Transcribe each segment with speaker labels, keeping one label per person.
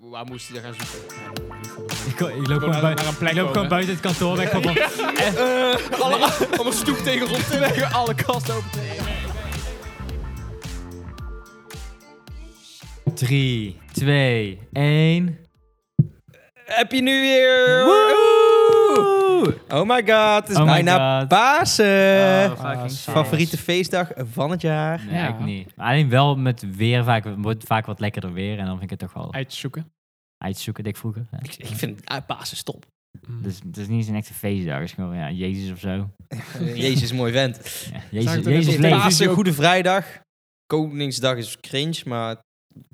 Speaker 1: waar moest hij dan gaan zoeken?
Speaker 2: Ik, ko- ik loop, gewoon,
Speaker 3: naar-
Speaker 2: bui-
Speaker 3: naar een plek
Speaker 2: ik loop gewoon
Speaker 3: komen.
Speaker 2: buiten het kantoor weg. Van,
Speaker 1: Alle, allemaal stoeptegels op te leggen, alle kasten open te leggen.
Speaker 2: 3, 2, 1.
Speaker 4: Happy New Year! Oh my god, het is
Speaker 2: Oh my
Speaker 4: bijna
Speaker 2: god.
Speaker 3: Oh,
Speaker 4: Pasen!
Speaker 2: shit.
Speaker 4: Favoriete feestdag van het jaar.
Speaker 2: Nee,
Speaker 3: Ja.
Speaker 2: ik niet. Alleen wel met weer vaak, wordt vaak wat lekkerder weer. En dan vind ik het toch wel
Speaker 3: Uitzoeken.
Speaker 2: uitzoeken, dik vroeger. Ja.
Speaker 4: Ik, ik vind ah, Pasen stop.
Speaker 3: Mm.
Speaker 2: Dus het is niet eens een echte feestdag. Het is gewoon, ja, Jezus of zo.
Speaker 4: Jezus, mooi vent.
Speaker 2: Ja, Jezus,
Speaker 3: Zag ik toch net
Speaker 2: Jezus leeft.
Speaker 3: op televisie
Speaker 4: Pasen,
Speaker 3: ook.
Speaker 4: Goede Vrijdag. Koningsdag is cringe, maar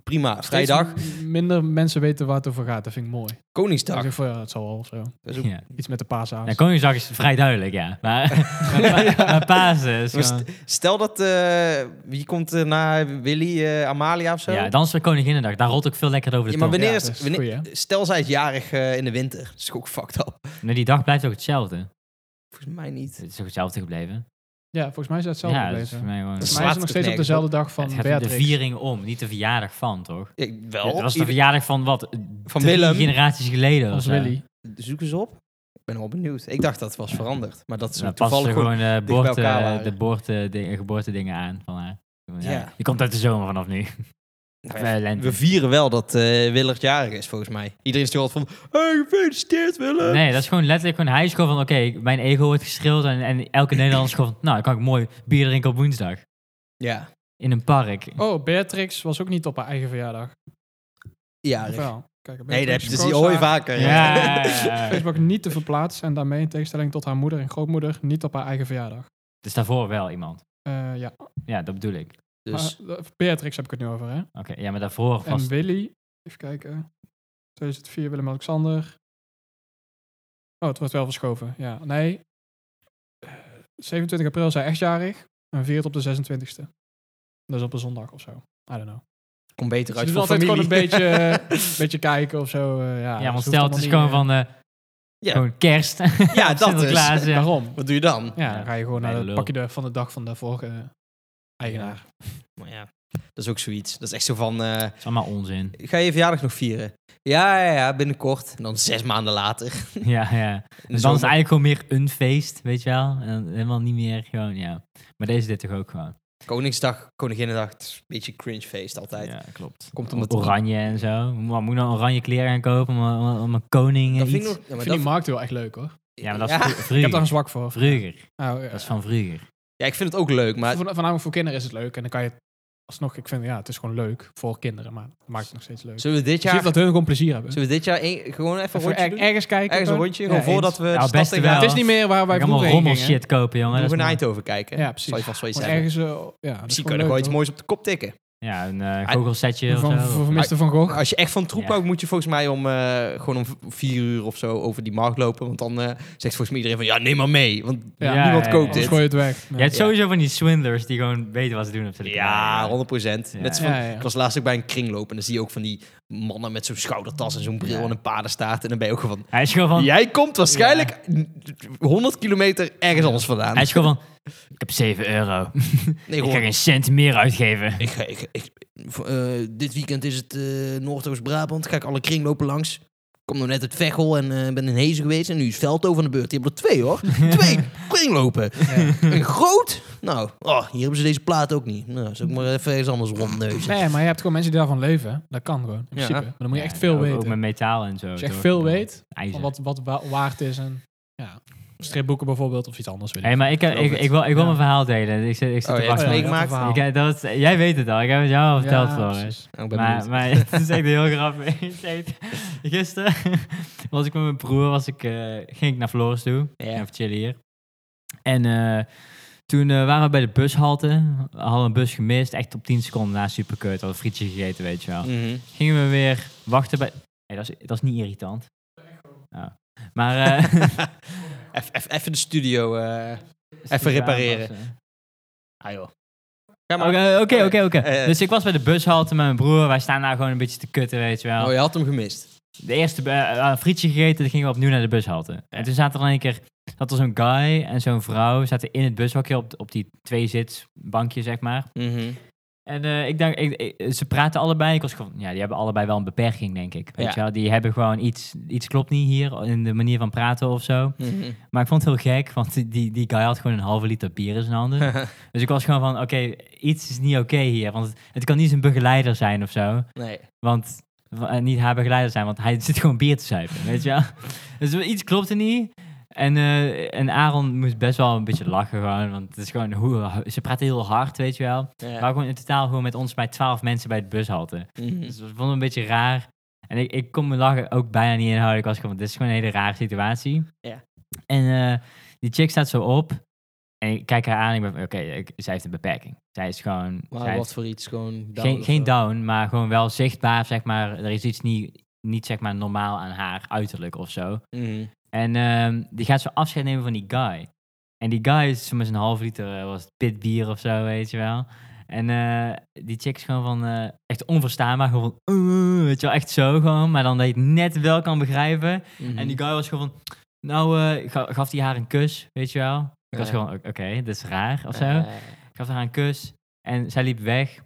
Speaker 4: prima.
Speaker 3: Steeds
Speaker 4: Vrijdag,
Speaker 3: m- Minder mensen weten waar het over gaat. Dat vind ik mooi. Ik
Speaker 4: Koningsdag.
Speaker 3: zeg van, ja, het zal wel of zo.
Speaker 4: Dat is ook-
Speaker 2: Ja.
Speaker 3: Iets met de paasavond.
Speaker 2: Ja, Koningsdag is vrij duidelijk, ja. Maar, maar, maar Pasen is
Speaker 4: Maar
Speaker 2: gewoon-
Speaker 4: st- Stel dat, eh, wie komt er na Willy, eh, Amalia of zo?
Speaker 2: Ja, dan is het Koninginnedag. Daar rolt ook veel lekkerder over de
Speaker 4: Ja, maar
Speaker 2: tong.
Speaker 4: wanneer
Speaker 3: Ja,
Speaker 4: is,
Speaker 3: dat is
Speaker 4: wanneer-
Speaker 3: goeie,
Speaker 4: Stel zij is jarig eh, in de winter. Dat is ook fucked up.
Speaker 2: Maar die dag blijft ook hetzelfde.
Speaker 4: Volgens mij niet.
Speaker 2: Het is ook hetzelfde gebleven.
Speaker 3: Ja, volgens mij is dat hetzelfde
Speaker 2: Ja, dat is
Speaker 3: gebleven.
Speaker 2: voor mij gewoon...
Speaker 4: Dat
Speaker 3: Volgens
Speaker 2: Het
Speaker 3: mij is het nog
Speaker 4: slaat
Speaker 3: steeds op
Speaker 4: het
Speaker 3: dezelfde dag van
Speaker 2: gaat om de
Speaker 3: Beatrix.
Speaker 2: viering om, niet de verjaardag van, toch?
Speaker 4: Ik, wel.
Speaker 2: Het was de
Speaker 4: Ieder-
Speaker 2: verjaardag van wat?
Speaker 4: Van
Speaker 2: Drie
Speaker 4: Willem.
Speaker 2: generaties geleden of
Speaker 3: Als
Speaker 2: zo.
Speaker 3: Willy.
Speaker 4: Zoek eens op. Ik ben wel benieuwd. Ik dacht dat het was veranderd. Maar dat is
Speaker 2: Dan passen
Speaker 4: toevallig
Speaker 2: ze
Speaker 4: gewoon...
Speaker 2: gewoon
Speaker 4: bij
Speaker 2: eh, boorte-
Speaker 4: elkaar waren.
Speaker 2: de boorte, de geboortedingen aan van haar. Ja.
Speaker 4: Ja.
Speaker 2: Je komt uit de zomer vanaf nu. Of, eh, lente.
Speaker 4: We vieren wel dat eh Willert jarig is, volgens mij. Iedereen is toch altijd van... Hey, gefeliciteerd Willem!
Speaker 2: Nee, dat is gewoon letterlijk gewoon... Hij is gewoon van, oké, mijn ego wordt gestreeld. En, en elke Nederlander is gewoon van, nou, dan kan ik mooi bier drinken op woensdag.
Speaker 4: Ja,
Speaker 2: In een park.
Speaker 3: Oh, Beatrix was ook niet op haar eigen verjaardag. Of
Speaker 4: jarig.
Speaker 3: wel? Kijk,
Speaker 4: Nee, dat heb je
Speaker 3: Beatrix
Speaker 4: dus
Speaker 3: koos
Speaker 4: hoor je
Speaker 3: haar
Speaker 4: vaker.
Speaker 2: Ja, ja, ja.
Speaker 3: Facebook niet te verplaatsen en daarmee in tegenstelling tot haar moeder en grootmoeder niet op haar eigen verjaardag.
Speaker 2: Dus daarvoor wel iemand.
Speaker 3: Eh, ja,
Speaker 2: Ja, dat bedoel ik.
Speaker 4: Dus
Speaker 3: Maar, eh, Beatrix heb ik het nu over, hè?
Speaker 2: Oké, ja, maar daarvoor
Speaker 3: En
Speaker 2: was...
Speaker 3: Willy, even kijken. 2004 Willem-Alexander. Oh, het wordt wel verschoven. Ja, nee. Eh, 27 april is hij echt jarig. En viert op de 26e. Dus op een zondag of zo. I don't know.
Speaker 4: kom beter
Speaker 3: Ze
Speaker 4: uit
Speaker 3: doen
Speaker 4: voor
Speaker 3: altijd
Speaker 4: familie.
Speaker 3: gewoon een beetje, een beetje kijken of zo. eh, ja,
Speaker 2: ja, want
Speaker 3: ze
Speaker 2: stel,
Speaker 3: hoeft
Speaker 2: het is gewoon
Speaker 3: allemaal
Speaker 2: van... eh,
Speaker 4: Ja.
Speaker 2: Gewoon kerst.
Speaker 4: Ja, dat is.
Speaker 2: Sinterklaas,
Speaker 3: niet, eh,
Speaker 2: ja.
Speaker 3: Daarom.
Speaker 4: Wat doe je dan?
Speaker 3: Ja,
Speaker 2: Ja,
Speaker 3: dan ga je gewoon
Speaker 2: bij
Speaker 3: naar
Speaker 2: de
Speaker 3: het
Speaker 2: lul.
Speaker 3: pakje de- van de dag van de vorige eh, eigenaar.
Speaker 4: Maar ja, dat is ook zoiets. Dat is echt zo van... eh,
Speaker 2: Dat is allemaal onzin.
Speaker 4: ga je je verjaardag nog vieren? Ja, ja, ja, binnenkort. En dan zes maanden later. in
Speaker 2: Ja, ja.
Speaker 4: de
Speaker 2: Dus dan is
Speaker 4: zomer.
Speaker 2: het eigenlijk gewoon meer een feest, weet je wel. En dan helemaal niet meer gewoon, ja. Maar deze dit toch ook gewoon.
Speaker 4: Koningsdag, Koninginnedag. Het is een beetje een cringe feest altijd.
Speaker 2: Ja, klopt.
Speaker 4: Komt omdat...
Speaker 2: Oranje en zo. Maar moet je nou oranje kleren gaan kopen om, om, om een koning en
Speaker 4: Dat
Speaker 2: iets?
Speaker 4: vind ik nog... Ja,
Speaker 3: Ik
Speaker 4: maar
Speaker 3: vind die
Speaker 4: dat-
Speaker 3: markt wel echt leuk hoor.
Speaker 2: Ja, maar dat is
Speaker 4: Ja.
Speaker 2: vro-
Speaker 3: Ik heb daar
Speaker 2: vroeger.
Speaker 3: een zwak voor.
Speaker 2: Vroeger.
Speaker 3: Nou, ja.
Speaker 2: Dat is van vroeger.
Speaker 4: ja, ik vind het ook leuk, maar...
Speaker 3: Voor- Voornamelijk voor kinderen is het leuk. En dan kan je het alsnog, ik vind ja, het is gewoon leuk voor kinderen, maar het maakt het nog steeds leuk. Dus
Speaker 4: Zullen we dit
Speaker 3: Je ziet
Speaker 4: jaar...
Speaker 3: dat hun gewoon plezier hebben.
Speaker 4: Zullen we dit jaar een- gewoon even een
Speaker 3: Even
Speaker 4: rondje
Speaker 3: er-
Speaker 4: doen?
Speaker 3: ergens kijken.
Speaker 4: Ergens een
Speaker 3: gewoon.
Speaker 4: rondje,
Speaker 3: Ja,
Speaker 4: gewoon
Speaker 3: eens.
Speaker 4: voordat we
Speaker 2: Ja,
Speaker 4: de stad
Speaker 2: best
Speaker 4: in
Speaker 2: wel.
Speaker 4: gaan.
Speaker 3: Het is niet meer waar wij
Speaker 2: Ik allemaal
Speaker 3: vroeger
Speaker 2: rommel
Speaker 3: heen gingen.
Speaker 2: shit kopen, jongen.
Speaker 4: Moeten
Speaker 2: Dat
Speaker 4: we
Speaker 2: is
Speaker 4: naar
Speaker 2: mooi.
Speaker 4: Eindhoven kijken.
Speaker 3: Ja, precies.
Speaker 4: Zal je vast wel iets
Speaker 3: Gewoon
Speaker 4: hebben.
Speaker 3: ergens, eh, ja, dat is
Speaker 4: Misschien kunnen
Speaker 3: gewoon
Speaker 4: we nog wel
Speaker 3: leuk,
Speaker 4: iets
Speaker 3: hoor.
Speaker 4: moois op de kop tikken.
Speaker 2: Ja, een eh goochelsetje of
Speaker 3: Van,
Speaker 2: zo.
Speaker 3: voor vermiste Van Gogh.
Speaker 4: Als je echt van troep
Speaker 2: Ja.
Speaker 4: houdt, moet je volgens mij om eh, gewoon om v- vier uur of zo over die markt lopen. Want dan eh, zegt volgens mij iedereen van ja, neem maar mee. Want
Speaker 3: Ja,
Speaker 2: Ja,
Speaker 4: niemand
Speaker 2: ja,
Speaker 4: koopt
Speaker 3: Anders
Speaker 2: ja.
Speaker 4: dit.
Speaker 3: gooi je het weg.
Speaker 2: Je hebt sowieso van die swindlers die gewoon weten wat ze doen op televisie.
Speaker 4: Ja, 100 procent.
Speaker 2: Ja.
Speaker 4: Net zo
Speaker 3: Ja,
Speaker 4: van,
Speaker 3: ja.
Speaker 4: Ik was laatst ook bij een kringloop en dan zie je ook van die mannen met zo'n schoudertas en zo'n bril
Speaker 2: Ja.
Speaker 4: en een paardenstaart. En dan ben je ook gewoon
Speaker 2: Hij is gewoon van...
Speaker 4: van, jij komt waarschijnlijk 100 kilometer ergens anders vandaan.
Speaker 2: Hij is gewoon van... Ik heb 7 euro.
Speaker 4: nee,
Speaker 2: Ik
Speaker 4: gewoon,
Speaker 2: ga geen cent meer uitgeven.
Speaker 4: Ik ga, ik, ik, v- eh, dit weekend is het eh, Noordoost-Brabant. Ga ik alle kringlopen langs. Ik kom nog net uit Veghel en eh, ben in Hezen geweest. En nu is Veldhoven aan de beurt. Die hebben er twee hoor. twee kringlopen. Een groot. Nou, oh, hier hebben ze deze plaat ook niet. Nou, zal ik maar even ergens anders rondneuzen.
Speaker 3: Nee, maar je hebt gewoon mensen die daarvan leven. hè. Dat kan gewoon, in
Speaker 4: Ja.
Speaker 3: principe. Maar dan moet je
Speaker 2: Ja,
Speaker 3: echt veel
Speaker 2: ook-
Speaker 3: weten.
Speaker 2: Ook met metaal en zo.
Speaker 3: Als je echt
Speaker 2: toch?
Speaker 3: veel weet,
Speaker 2: IJzer.
Speaker 3: van wat, wat wa- waard is en ja, stripboeken bijvoorbeeld of iets anders. Weet ik.
Speaker 2: Hey, maar ik, ik,
Speaker 4: Geloof
Speaker 2: ik,
Speaker 4: het.
Speaker 2: ik wil, ik wil
Speaker 3: Ja.
Speaker 2: mijn verhaal delen. Ik zit, ik zit
Speaker 4: Oh,
Speaker 2: te
Speaker 4: je hebt
Speaker 2: wachten.
Speaker 4: het
Speaker 3: ja,
Speaker 4: meegemaakt?
Speaker 3: dat
Speaker 2: Ik, eh, dat, jij weet het al. Ik heb het jou al verteld,
Speaker 3: Ja,
Speaker 2: Floris.
Speaker 3: precies.
Speaker 4: Nou, ik ben
Speaker 2: Maar,
Speaker 4: benieuwd.
Speaker 2: maar het is echt heel grappig. Ik zei het- Gisteren was ik met mijn broer, was ik, eh, ging ik naar Floris toe.
Speaker 4: Ja.
Speaker 2: Even chillen hier. En eh, toen eh, waren we bij de bushalte. We hadden een bus gemist. Echt op 10 seconden na superkeut. Hadden een frietje gegeten, weet je wel.
Speaker 4: Mhm.
Speaker 2: Gingen we weer wachten bij... Hey, dat, is, dat is niet irritant. Oh. Maar... eh,
Speaker 4: Eff- eff- Even de studio. eh. Even repareren. Ah joh. Ga maar.
Speaker 2: Oké, oké, oké, oké.
Speaker 4: Eh, eh.
Speaker 2: Dus ik was bij de bushalte met mijn broer. Wij staan daar gewoon een beetje te kutten, weet je wel.
Speaker 4: Oh, je had hem gemist.
Speaker 2: De eerste eh, eh, een frietje gegeten, dan gingen we opnieuw naar de bushalte. En toen zaten er in één keer... Zat er zo'n guy en zo'n vrouw zaten in het bushokje op, op die twee zitsbankje, zeg maar.
Speaker 4: Mhm.
Speaker 2: En eh, ik denk, ik, ik- ze praten allebei. Ik was gewoon, ja, die hebben allebei wel een beperking, denk ik. Weet
Speaker 4: Ja.
Speaker 2: je wel? Die hebben gewoon iets, iets klopt niet hier in de manier van praten of zo.
Speaker 4: Mhm.
Speaker 2: Maar ik vond het heel gek, want die- die, die guy had gewoon een halve liter bier in zijn handen. dus ik was gewoon van, oké, iets is niet oké hier. Want het, het kan niet zijn begeleider zijn of zo.
Speaker 4: nee.
Speaker 2: Want eh, niet haar begeleider zijn, want hij zit gewoon bier te zuipen, weet je wel. Dus iets klopte niet. En, eh, en Aaron moest best wel een beetje lachen gewoon, want het is gewoon, hoe, ze praten heel hard, weet je wel.
Speaker 4: Ja.
Speaker 2: Maar gewoon in totaal gewoon met ons bij twaalf mensen bij het bushalte.
Speaker 4: Mhm.
Speaker 2: Dus dat vond ik een beetje raar. En ik, ik kon mijn lachen ook bijna niet inhouden. Ik was gewoon, dit is gewoon een hele rare situatie.
Speaker 4: Ja.
Speaker 2: En eh, die chick staat zo op. En ik kijk haar aan en ik ben van, oké, ik- zij heeft een beperking. Zij is gewoon... zij
Speaker 4: Maar
Speaker 2: heeft-
Speaker 4: wat voor iets, gewoon down
Speaker 2: geen,
Speaker 4: of zo.
Speaker 2: geen down, maar gewoon wel zichtbaar, zeg maar. Er is iets niet, niet zeg maar, normaal aan haar uiterlijk of zo.
Speaker 4: Mhm.
Speaker 2: En ehm, die gaat zo afscheid nemen van die guy. En die guy is met zijn half liter, eh, was het pitbier of zo, weet je wel. En eh, die chick is gewoon van, eh, echt onverstaanbaar, gewoon van, "Eh," weet je wel, echt zo gewoon. Maar dan dat je het net wel kan begrijpen.
Speaker 4: Mhm.
Speaker 2: En die guy was gewoon van, nou, eh, ga- gaf hij haar een kus, weet je wel. Ik was
Speaker 4: Ja.
Speaker 2: gewoon, oké, dit is raar of zo.
Speaker 4: Eh,
Speaker 2: Ik gaf haar een kus en zij liep weg.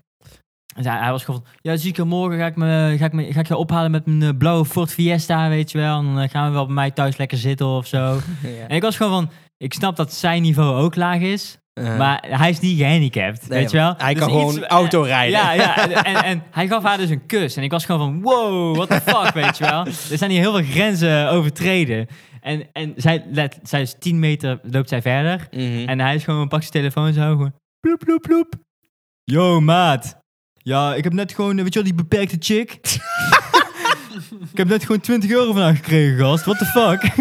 Speaker 2: En zij, hij was gewoon van, ja, zie ik je morgen, ga ik, me, ga, ik me, ga ik je ophalen met mijn eh, blauwe Ford Fiesta, weet je wel. En dan eh, gaan we wel bij mij thuis lekker zitten of zo.
Speaker 4: ja.
Speaker 2: en ik was gewoon van, ik snap dat zijn niveau ook laag is,
Speaker 4: Eh,
Speaker 2: maar hij is niet gehandicapt,
Speaker 4: nee,
Speaker 2: weet je wel.
Speaker 4: Hij
Speaker 2: Dus
Speaker 4: kan gewoon
Speaker 2: iets-
Speaker 4: auto rijden.
Speaker 2: ja, ja. En, en, en hij gaf haar dus een kus. En ik was gewoon van, wow, what the fuck, weet je wel. Er zijn hier heel veel grenzen overtreden. En, en zij, let, zij is 10 meter, loopt zij verder.
Speaker 4: Mhm.
Speaker 2: En hij is gewoon een pakje telefoon zo gewoon ploep, ploep, ploep. Yo, maat. Ja, ik heb net gewoon, eh, weet je wel, die beperkte chick. ik heb net gewoon 20 euro van haar gekregen, gast. What the fuck?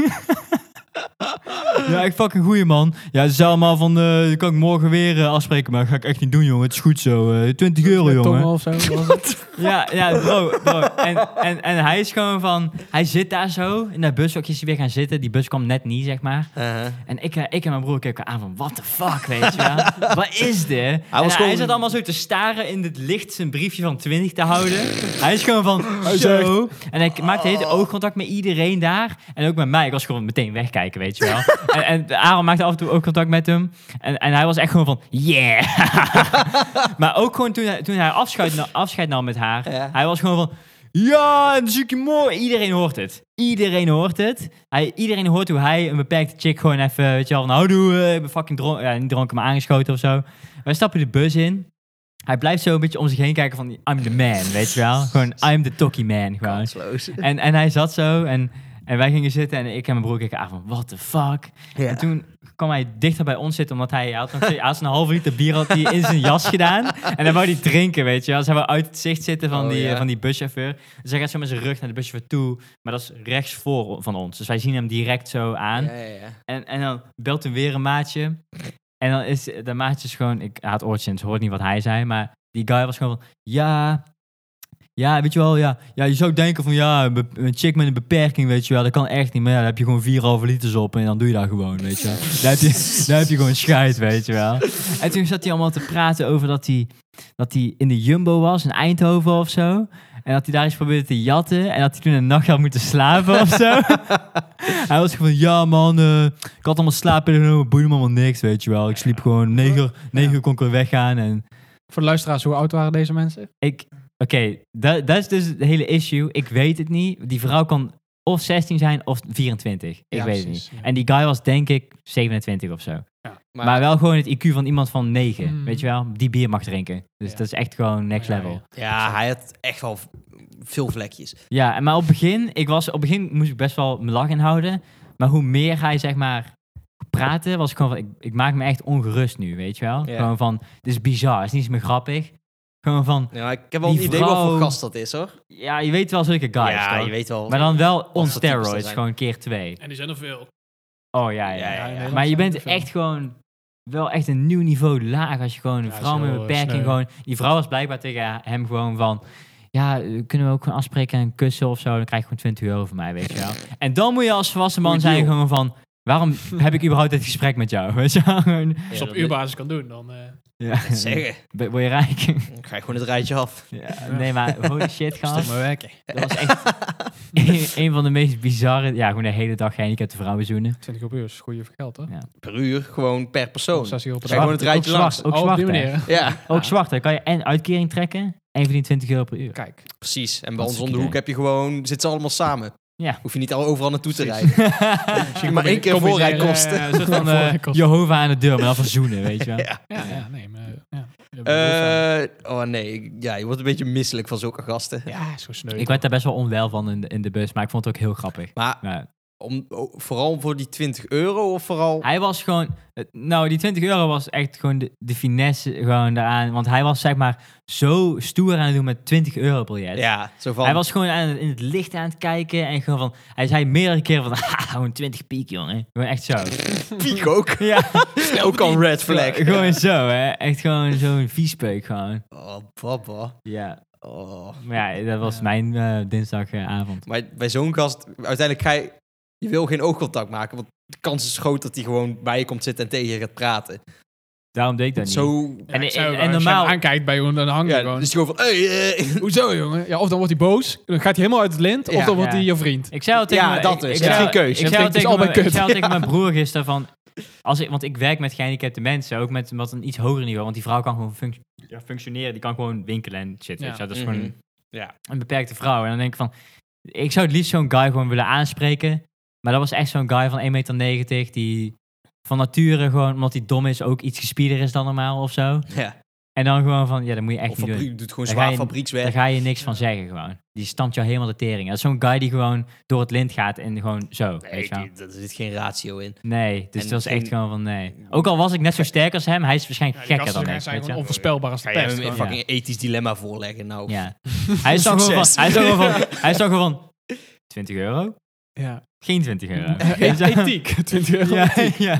Speaker 2: ja, ik fucking goeie man. Ja, ze zei allemaal van, eh, die kan ik morgen weer eh, afspreken, maar dat ga ik echt niet doen, jongen. Het is goed zo. eh, 20 euro,
Speaker 3: Met tongen
Speaker 2: jongen.
Speaker 3: of zo. was het?
Speaker 2: Ja, ja, bro, bro. En, en, en hij is gewoon van, hij zit daar zo, in dat bushokje is hij weer gaan zitten. Die bus kwam net niet, zeg maar.
Speaker 4: Uh-huh.
Speaker 2: En ik, eh, ik en mijn broer keken aan van, what the fuck, weet je wel? Wat is dit? En Hij,
Speaker 4: was gewoon-
Speaker 2: zat allemaal zo te staren in het licht zijn briefje van 20 te houden. hij is gewoon van,
Speaker 3: Hij
Speaker 2: zo. En hij maakte hele tijd oogcontact met iedereen daar. En ook met mij. Ik was gewoon meteen wegkijken, weet je wel. en, en Aaron maakte af en toe ook contact met hem. En, en hij was echt gewoon van, yeah. maar ook gewoon toen hij, toen hij afscheid, na- afscheid nam met haar.
Speaker 4: Ja.
Speaker 2: Hij was gewoon van, ja, en ziek je mooi. Iedereen hoort het. Iedereen hoort het. Hij, iedereen hoort hoe hij een beperkte chick gewoon even, weet je wel, van houdoe, eh, ik ben fucking dronken, ja, niet dronken, maar aangeschoten of zo. Wij stappen de bus in. Hij blijft zo een beetje om zich heen kijken van, I'm the man, weet je wel. Gewoon, I'm the talkie man, gewoon.
Speaker 4: Kansloos.
Speaker 2: En, en hij zat zo en, en wij gingen zitten en ik en mijn broer keken aan van, what the fuck.
Speaker 4: Ja.
Speaker 2: En toen kwam hij dichter bij ons zitten, omdat hij, hij had, nog steeds- hij had zijn halve liter bier had hij in zijn jas gedaan. En hij wou die drinken, weet je wel. Dus hij wou uit het zicht zitten van,
Speaker 4: Oh,
Speaker 2: die,
Speaker 4: ja.
Speaker 2: eh, van die buschauffeur. Dus hij gaat zo met zijn rug naar de buschauffeur toe, maar dat is rechts voor van ons. Dus wij zien hem direct zo aan.
Speaker 4: Ja, ja, ja.
Speaker 2: En, en dan belt hij weer een maatje. En dan is de maatje is gewoon, ik haat oortjes, dus hoort niet wat hij zei, maar die guy was gewoon van, ja, ja, weet je wel, ja, ja je zou denken van, ja, een, be- een chick met een beperking, weet je wel, dat kan echt niet, maar ja, daar heb je gewoon vier halve liters op en dan doe je dat gewoon, weet je wel. Daar heb je, daar heb je gewoon scheid, weet je wel. En toen zat hij allemaal te praten over dat hij, dat hij in de Jumbo was, in Eindhoven of zo. En dat hij daar eens probeerde te jatten. En dat hij toen een nacht had moeten slapen of zo. hij was gewoon, ja man, eh, ik had allemaal slapen genomen, boeide me allemaal niks, weet je wel. Ik sliep gewoon, negen, uur- negen uur kon ik weer weggaan. En
Speaker 3: Voor de luisteraars, hoe oud waren deze mensen?
Speaker 2: ik, oké, dat, dat is dus het hele issue. Ik weet het niet. Die vrouw kan of 16 zijn of 24. Ik
Speaker 3: Ja,
Speaker 2: weet
Speaker 3: precies,
Speaker 2: het niet.
Speaker 3: ja.
Speaker 2: En die guy was denk ik 27 of zo. Maar, wel gewoon het IQ van iemand van 9,
Speaker 3: Mm.
Speaker 2: weet je wel, die bier mag drinken. Dus
Speaker 3: Ja.
Speaker 2: dat is echt gewoon next
Speaker 3: Ja, ja.
Speaker 2: level.
Speaker 4: ja, hij had echt wel v- veel vlekjes.
Speaker 2: Ja, en maar op het begin, ik was, op het begin moest ik best wel mijn lach inhouden. Maar hoe meer hij, zeg maar, praatte, was ik gewoon van, ik, ik maak me echt ongerust nu, weet je wel.
Speaker 4: Ja.
Speaker 2: Gewoon van, dit is bizar, het is niet eens meer grappig. Gewoon van,
Speaker 4: Ja, ik heb wel
Speaker 2: Die
Speaker 4: een idee wat
Speaker 2: vrouw-
Speaker 4: voor gast dat is, hoor.
Speaker 2: ja, je weet wel zulke guys,
Speaker 4: ja,
Speaker 2: toch?
Speaker 4: je weet wel.
Speaker 2: Maar dan wel on
Speaker 4: voor types dat
Speaker 2: steroids,
Speaker 4: zijn.
Speaker 2: gewoon keer twee.
Speaker 3: En die zijn er veel.
Speaker 2: Oh ja, ja.
Speaker 4: Ja, ja,
Speaker 2: ja.
Speaker 4: in
Speaker 3: Nederland
Speaker 2: Maar je
Speaker 3: zijn
Speaker 2: bent
Speaker 3: er veel.
Speaker 2: echt gewoon wel echt een nieuw niveau laag als je gewoon een
Speaker 3: Ja,
Speaker 2: vrouw
Speaker 3: is
Speaker 2: met een
Speaker 3: heel, eh,
Speaker 2: beperking
Speaker 3: sneu.
Speaker 2: gewoon... Die vrouw was blijkbaar tegen hem gewoon van... Ja, eh, kunnen we ook gewoon afspreken en kussen of zo? Dan krijg je gewoon 20 euro van mij, weet je wel. En dan moet je als volwassen man
Speaker 4: Goeie
Speaker 2: zijn
Speaker 4: deal.
Speaker 2: gewoon van... Waarom heb ik überhaupt dit gesprek met jou? Weet je wel? Gewoon-
Speaker 4: Ja,
Speaker 3: Als je
Speaker 4: dat-
Speaker 3: op uurbasis kan doen, dan... eh,
Speaker 2: Ja.
Speaker 4: Zeggen,
Speaker 2: Ben- Word je rijk?
Speaker 4: dan ga je gewoon het rijtje af.
Speaker 2: Ja, nee, maar holy shit, gast.
Speaker 3: maar werken.
Speaker 2: Dat was echt... een van de meest bizarre... Ja, gewoon de hele dag gehandicapte vrouwen zoenen.
Speaker 3: 20 euro is goede geld, hè?
Speaker 2: Ja.
Speaker 4: Per uur, gewoon per persoon.
Speaker 3: 6 euro per
Speaker 4: Zeg gewoon
Speaker 3: dag.
Speaker 4: het rijtje
Speaker 2: ook zwart,
Speaker 4: langs.
Speaker 2: Ook
Speaker 3: Oh, op
Speaker 2: zwart,
Speaker 3: die
Speaker 2: hè.
Speaker 3: manier.
Speaker 4: Ja,
Speaker 2: Ook zwart, hè. Kan je en uitkering trekken en verdient 20 euro per uur.
Speaker 3: Kijk.
Speaker 4: precies. En bij
Speaker 2: Dat
Speaker 4: ons
Speaker 2: is
Speaker 4: om de
Speaker 2: oké.
Speaker 4: hoek heb je gewoon, zitten ze allemaal samen.
Speaker 2: Ja.
Speaker 4: Hoef je niet al overal naartoe te rijden. maar één keer
Speaker 3: Combineren,
Speaker 4: voorrijkosten.
Speaker 3: ja, ja, een soort
Speaker 2: Van
Speaker 3: van,
Speaker 2: eh,
Speaker 3: voorrijkosten.
Speaker 2: Jehovah aan de deur, maar dan verzoenen, weet je wel.
Speaker 4: Ja.
Speaker 3: Ja, ja, nee, maar... Ja,
Speaker 4: Eh, oh nee, ik- ja, je wordt een beetje misselijk van zulke gasten.
Speaker 3: ja zo sneu.
Speaker 2: Ik werd daar best wel onwel van in de, in de bus, maar ik vond het ook heel grappig.
Speaker 4: Maar
Speaker 2: Ja.
Speaker 4: om, oh, vooral voor die 20 euro of vooral...
Speaker 2: Hij was gewoon... eh, Nou, die 20 euro was echt gewoon de, de finesse gewoon daaraan. Want hij was zeg maar zo stoer aan het doen met 20 euro biljet.
Speaker 4: Ja, zo van...
Speaker 2: Hij was gewoon aan, het- in het licht aan het kijken en gewoon van... Hij zei meerdere keren van, haha, gewoon 20 piek, jongen. Gewoon echt zo.
Speaker 4: piek ook.
Speaker 2: ja,
Speaker 4: ook al red flag.
Speaker 2: gewoon zo, hè. Echt gewoon zo'n viespeuk gewoon.
Speaker 4: Oh, papa.
Speaker 2: Ja,
Speaker 4: Oh.
Speaker 2: maar ja, dat was
Speaker 3: Ja.
Speaker 2: mijn eh, dinsdagavond.
Speaker 4: Maar bij zo'n gast, uiteindelijk ga je... Je wil geen oogcontact maken, want de kans is groot dat hij gewoon bij je komt zitten en tegen je gaat praten.
Speaker 2: Daarom deed ik dat niet.
Speaker 4: Zo...
Speaker 2: en-
Speaker 3: en,
Speaker 2: en normaal-
Speaker 3: normaal... aankijkt bij jongen, dan hangt hij
Speaker 4: Ja,
Speaker 3: gewoon.
Speaker 4: dus gewoon van... Hey, eh,
Speaker 3: Hoezo, jongen? Ja, of dan wordt hij boos. Dan gaat hij helemaal uit het lint.
Speaker 4: Ja.
Speaker 3: of dan wordt
Speaker 2: Ja.
Speaker 3: hij je vriend.
Speaker 2: Ik zei al tegen
Speaker 4: Ja,
Speaker 2: mijn-
Speaker 4: dat dus
Speaker 2: ik-
Speaker 4: is.
Speaker 2: Ik
Speaker 4: Je hebt
Speaker 2: zei,
Speaker 4: geen keuze.
Speaker 2: Ik
Speaker 3: Je
Speaker 2: zei al tegen,
Speaker 3: hebt geen- het is
Speaker 2: mijn,
Speaker 3: allebei
Speaker 2: ik zei al
Speaker 3: kut.
Speaker 2: tegen mijn broer gisteren van... Als ik, want ik werk met gehandicapte mensen, ook met wat een iets hoger niveau. Want die vrouw kan gewoon funct- ja, functioneren. Die kan gewoon winkelen en shit.
Speaker 3: Ja.
Speaker 2: weet je wel. Dat is
Speaker 4: Mhm.
Speaker 2: gewoon een,
Speaker 4: Ja.
Speaker 2: een beperkte vrouw. En dan denk ik van... Ik zou het liefst zo'n guy gewoon willen aanspreken. Maar dat was echt zo'n guy van 1,90 meter die van nature gewoon, omdat hij dom is, ook iets gespieder is dan normaal of zo.
Speaker 4: Ja.
Speaker 2: En dan gewoon van, ja, dat moet je echt
Speaker 4: Of
Speaker 2: niet doen.
Speaker 4: fabriek, doet gewoon
Speaker 2: Dan
Speaker 4: zwaar
Speaker 2: ga je- Daar
Speaker 4: fabriekswerk.
Speaker 2: ga je niks van zeggen gewoon. Die stampt jou helemaal de tering. Dat is zo'n guy die gewoon door het lint gaat en gewoon zo, weet
Speaker 4: Nee,
Speaker 2: je wel.
Speaker 4: die- daar zit geen ratio in.
Speaker 2: Nee, dus
Speaker 4: En-
Speaker 2: dat was
Speaker 4: en-
Speaker 2: echt gewoon van nee. Ook al was ik net zo sterk als hem, hij is waarschijnlijk gekker dan ik.
Speaker 3: Zijn
Speaker 2: weet je
Speaker 3: gewoon
Speaker 2: wel.
Speaker 3: onvoorspelbaar als de
Speaker 4: Ga je
Speaker 3: pest.
Speaker 4: hem een
Speaker 3: gewoon.
Speaker 4: fucking ethisch dilemma voorleggen? Nou,
Speaker 2: Ja. Hij is dan gewoon
Speaker 4: Succes.
Speaker 2: van, hij is dan gewoon van, hij is dan gewoon van, 20 euro?
Speaker 3: Ja.
Speaker 2: Geen 20 euro.
Speaker 3: Eh, Ethiek. 20 euro.
Speaker 2: Ja, ja.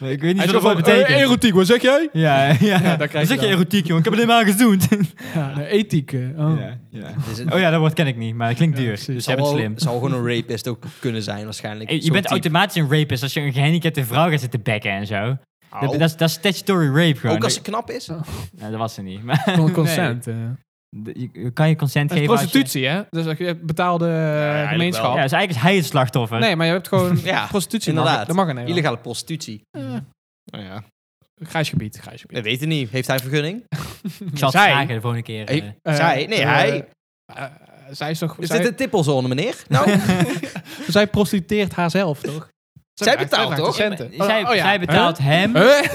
Speaker 2: Maar ik weet
Speaker 3: Hij
Speaker 2: niet
Speaker 3: is
Speaker 2: wat dat
Speaker 3: gewoon van, eh,
Speaker 2: betekent.
Speaker 3: erotiek, wat zeg jij?
Speaker 2: ja, ja.
Speaker 3: Ja, daar
Speaker 2: dan
Speaker 3: krijg je
Speaker 2: zeg je
Speaker 3: dan.
Speaker 2: erotiek, jongen. Ik heb het helemaal gezoend.
Speaker 3: Ja, nee, ethiek. eh, Oh.
Speaker 2: Ja, ja.
Speaker 4: Dus het is een-
Speaker 2: Oh ja, dat woord ken ik niet, maar het klinkt
Speaker 3: Ja,
Speaker 2: duur.
Speaker 3: precies.
Speaker 2: Dus je
Speaker 4: zal,
Speaker 2: hebt het
Speaker 4: wel-
Speaker 2: slim.
Speaker 4: zal gewoon een rapist ook kunnen zijn waarschijnlijk.
Speaker 2: Eh, Je
Speaker 4: Zo'n
Speaker 2: bent
Speaker 4: type.
Speaker 2: automatisch een rapist als je een gehandicapte vrouw gaat zitten bekken en zo. Dat,
Speaker 4: Au.
Speaker 2: dat, is, dat is statutory rape gewoon.
Speaker 4: Oh. Ook als ze knap is?
Speaker 2: Nou, dat was ze niet. Maar
Speaker 3: Gewoon consent. eh.
Speaker 2: Nee. Je- je kan je consent
Speaker 3: Dat is
Speaker 2: geven als je-
Speaker 3: prostitutie, hè? Dus je hebt betaalde eh,
Speaker 4: eigenlijk
Speaker 3: gemeenschap.
Speaker 4: wel.
Speaker 2: Ja, dus eigenlijk is hij het slachtoffer.
Speaker 3: Nee, maar je hebt gewoon
Speaker 4: Ja,
Speaker 3: prostitutie.
Speaker 4: inderdaad.
Speaker 3: Mag, dat mag in Nederland.
Speaker 4: Illegale prostitutie. Nou ja,
Speaker 3: Grijs gebied. Grijs gebied.
Speaker 4: we weten niet. Heeft hij vergunning?
Speaker 2: ik zal het
Speaker 3: Zij-
Speaker 2: vragen de volgende keer. eh.
Speaker 4: Hey, zij? Nee,
Speaker 3: eh,
Speaker 4: hij.
Speaker 3: eh, zij is toch...
Speaker 4: Is
Speaker 3: zij,
Speaker 4: dit een tippelzone, meneer? Nou,
Speaker 3: zij prostitueert haarzelf, toch?
Speaker 4: Zij betaalt,
Speaker 3: vraagt de
Speaker 4: toch?
Speaker 3: Centen. Oh,
Speaker 2: zij,
Speaker 3: ja.
Speaker 2: zij betaalt hem,
Speaker 3: Huh?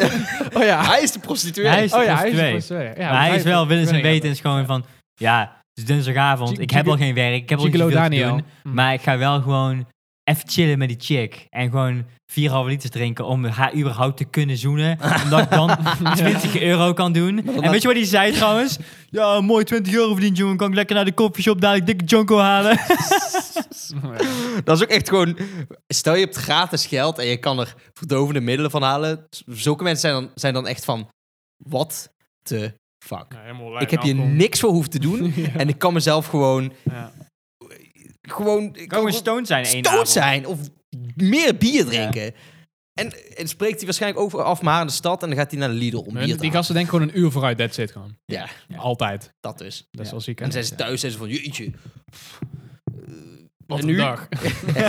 Speaker 3: oh ja.
Speaker 4: hij is de prostituee.
Speaker 2: Hij is-
Speaker 3: Oh ja, hij is
Speaker 2: twee.
Speaker 3: prostituee. Ja,
Speaker 2: maar hij is wel willens en
Speaker 3: vergunning
Speaker 2: wetens gewoon van... Ja, het is dinsdagavond,
Speaker 3: Gi-
Speaker 2: ik heb
Speaker 3: Gigolo-
Speaker 2: al geen werk, ik heb al niet
Speaker 3: Gigolo
Speaker 2: zoveel te
Speaker 3: Daniel.
Speaker 2: doen.
Speaker 3: Mm.
Speaker 2: Maar ik ga wel gewoon even chillen met die chick. En gewoon 4,5 liters drinken om haar überhaupt te kunnen zoenen. Omdat ik dan 20 euro kan doen. En weet je wat hij zei trouwens? Ja, mooi 20 euro verdiend jongen, kan ik lekker naar de koffieshop dadelijk dikke jonko halen.
Speaker 4: Dat is ook echt gewoon... Stel je hebt gratis geld en je kan er verdovende middelen van halen. Zulke mensen zijn dan, zijn dan echt van... What the fuck? ik heb hier niks voor hoeven te doen. En ik kan mezelf gewoon...
Speaker 3: Ja.
Speaker 4: Gewoon... Ik
Speaker 2: Kan gewoon stoned zijn één
Speaker 4: stoned
Speaker 2: avond.
Speaker 4: zijn of meer bier drinken. En, en spreekt hij waarschijnlijk over af maar in de stad en dan gaat hij naar de Lidl om bier te
Speaker 3: Die
Speaker 4: halen.
Speaker 3: gasten denken gewoon een uur vooruit, that's it gewoon.
Speaker 4: Ja,
Speaker 2: Ja.
Speaker 3: Altijd.
Speaker 4: dat dus. En
Speaker 3: Dat is
Speaker 2: Ja.
Speaker 3: wel ziek.
Speaker 4: dan zijn ze thuis en ze van, jeetje.
Speaker 3: Wat
Speaker 4: En
Speaker 3: een
Speaker 4: nu?
Speaker 3: dag.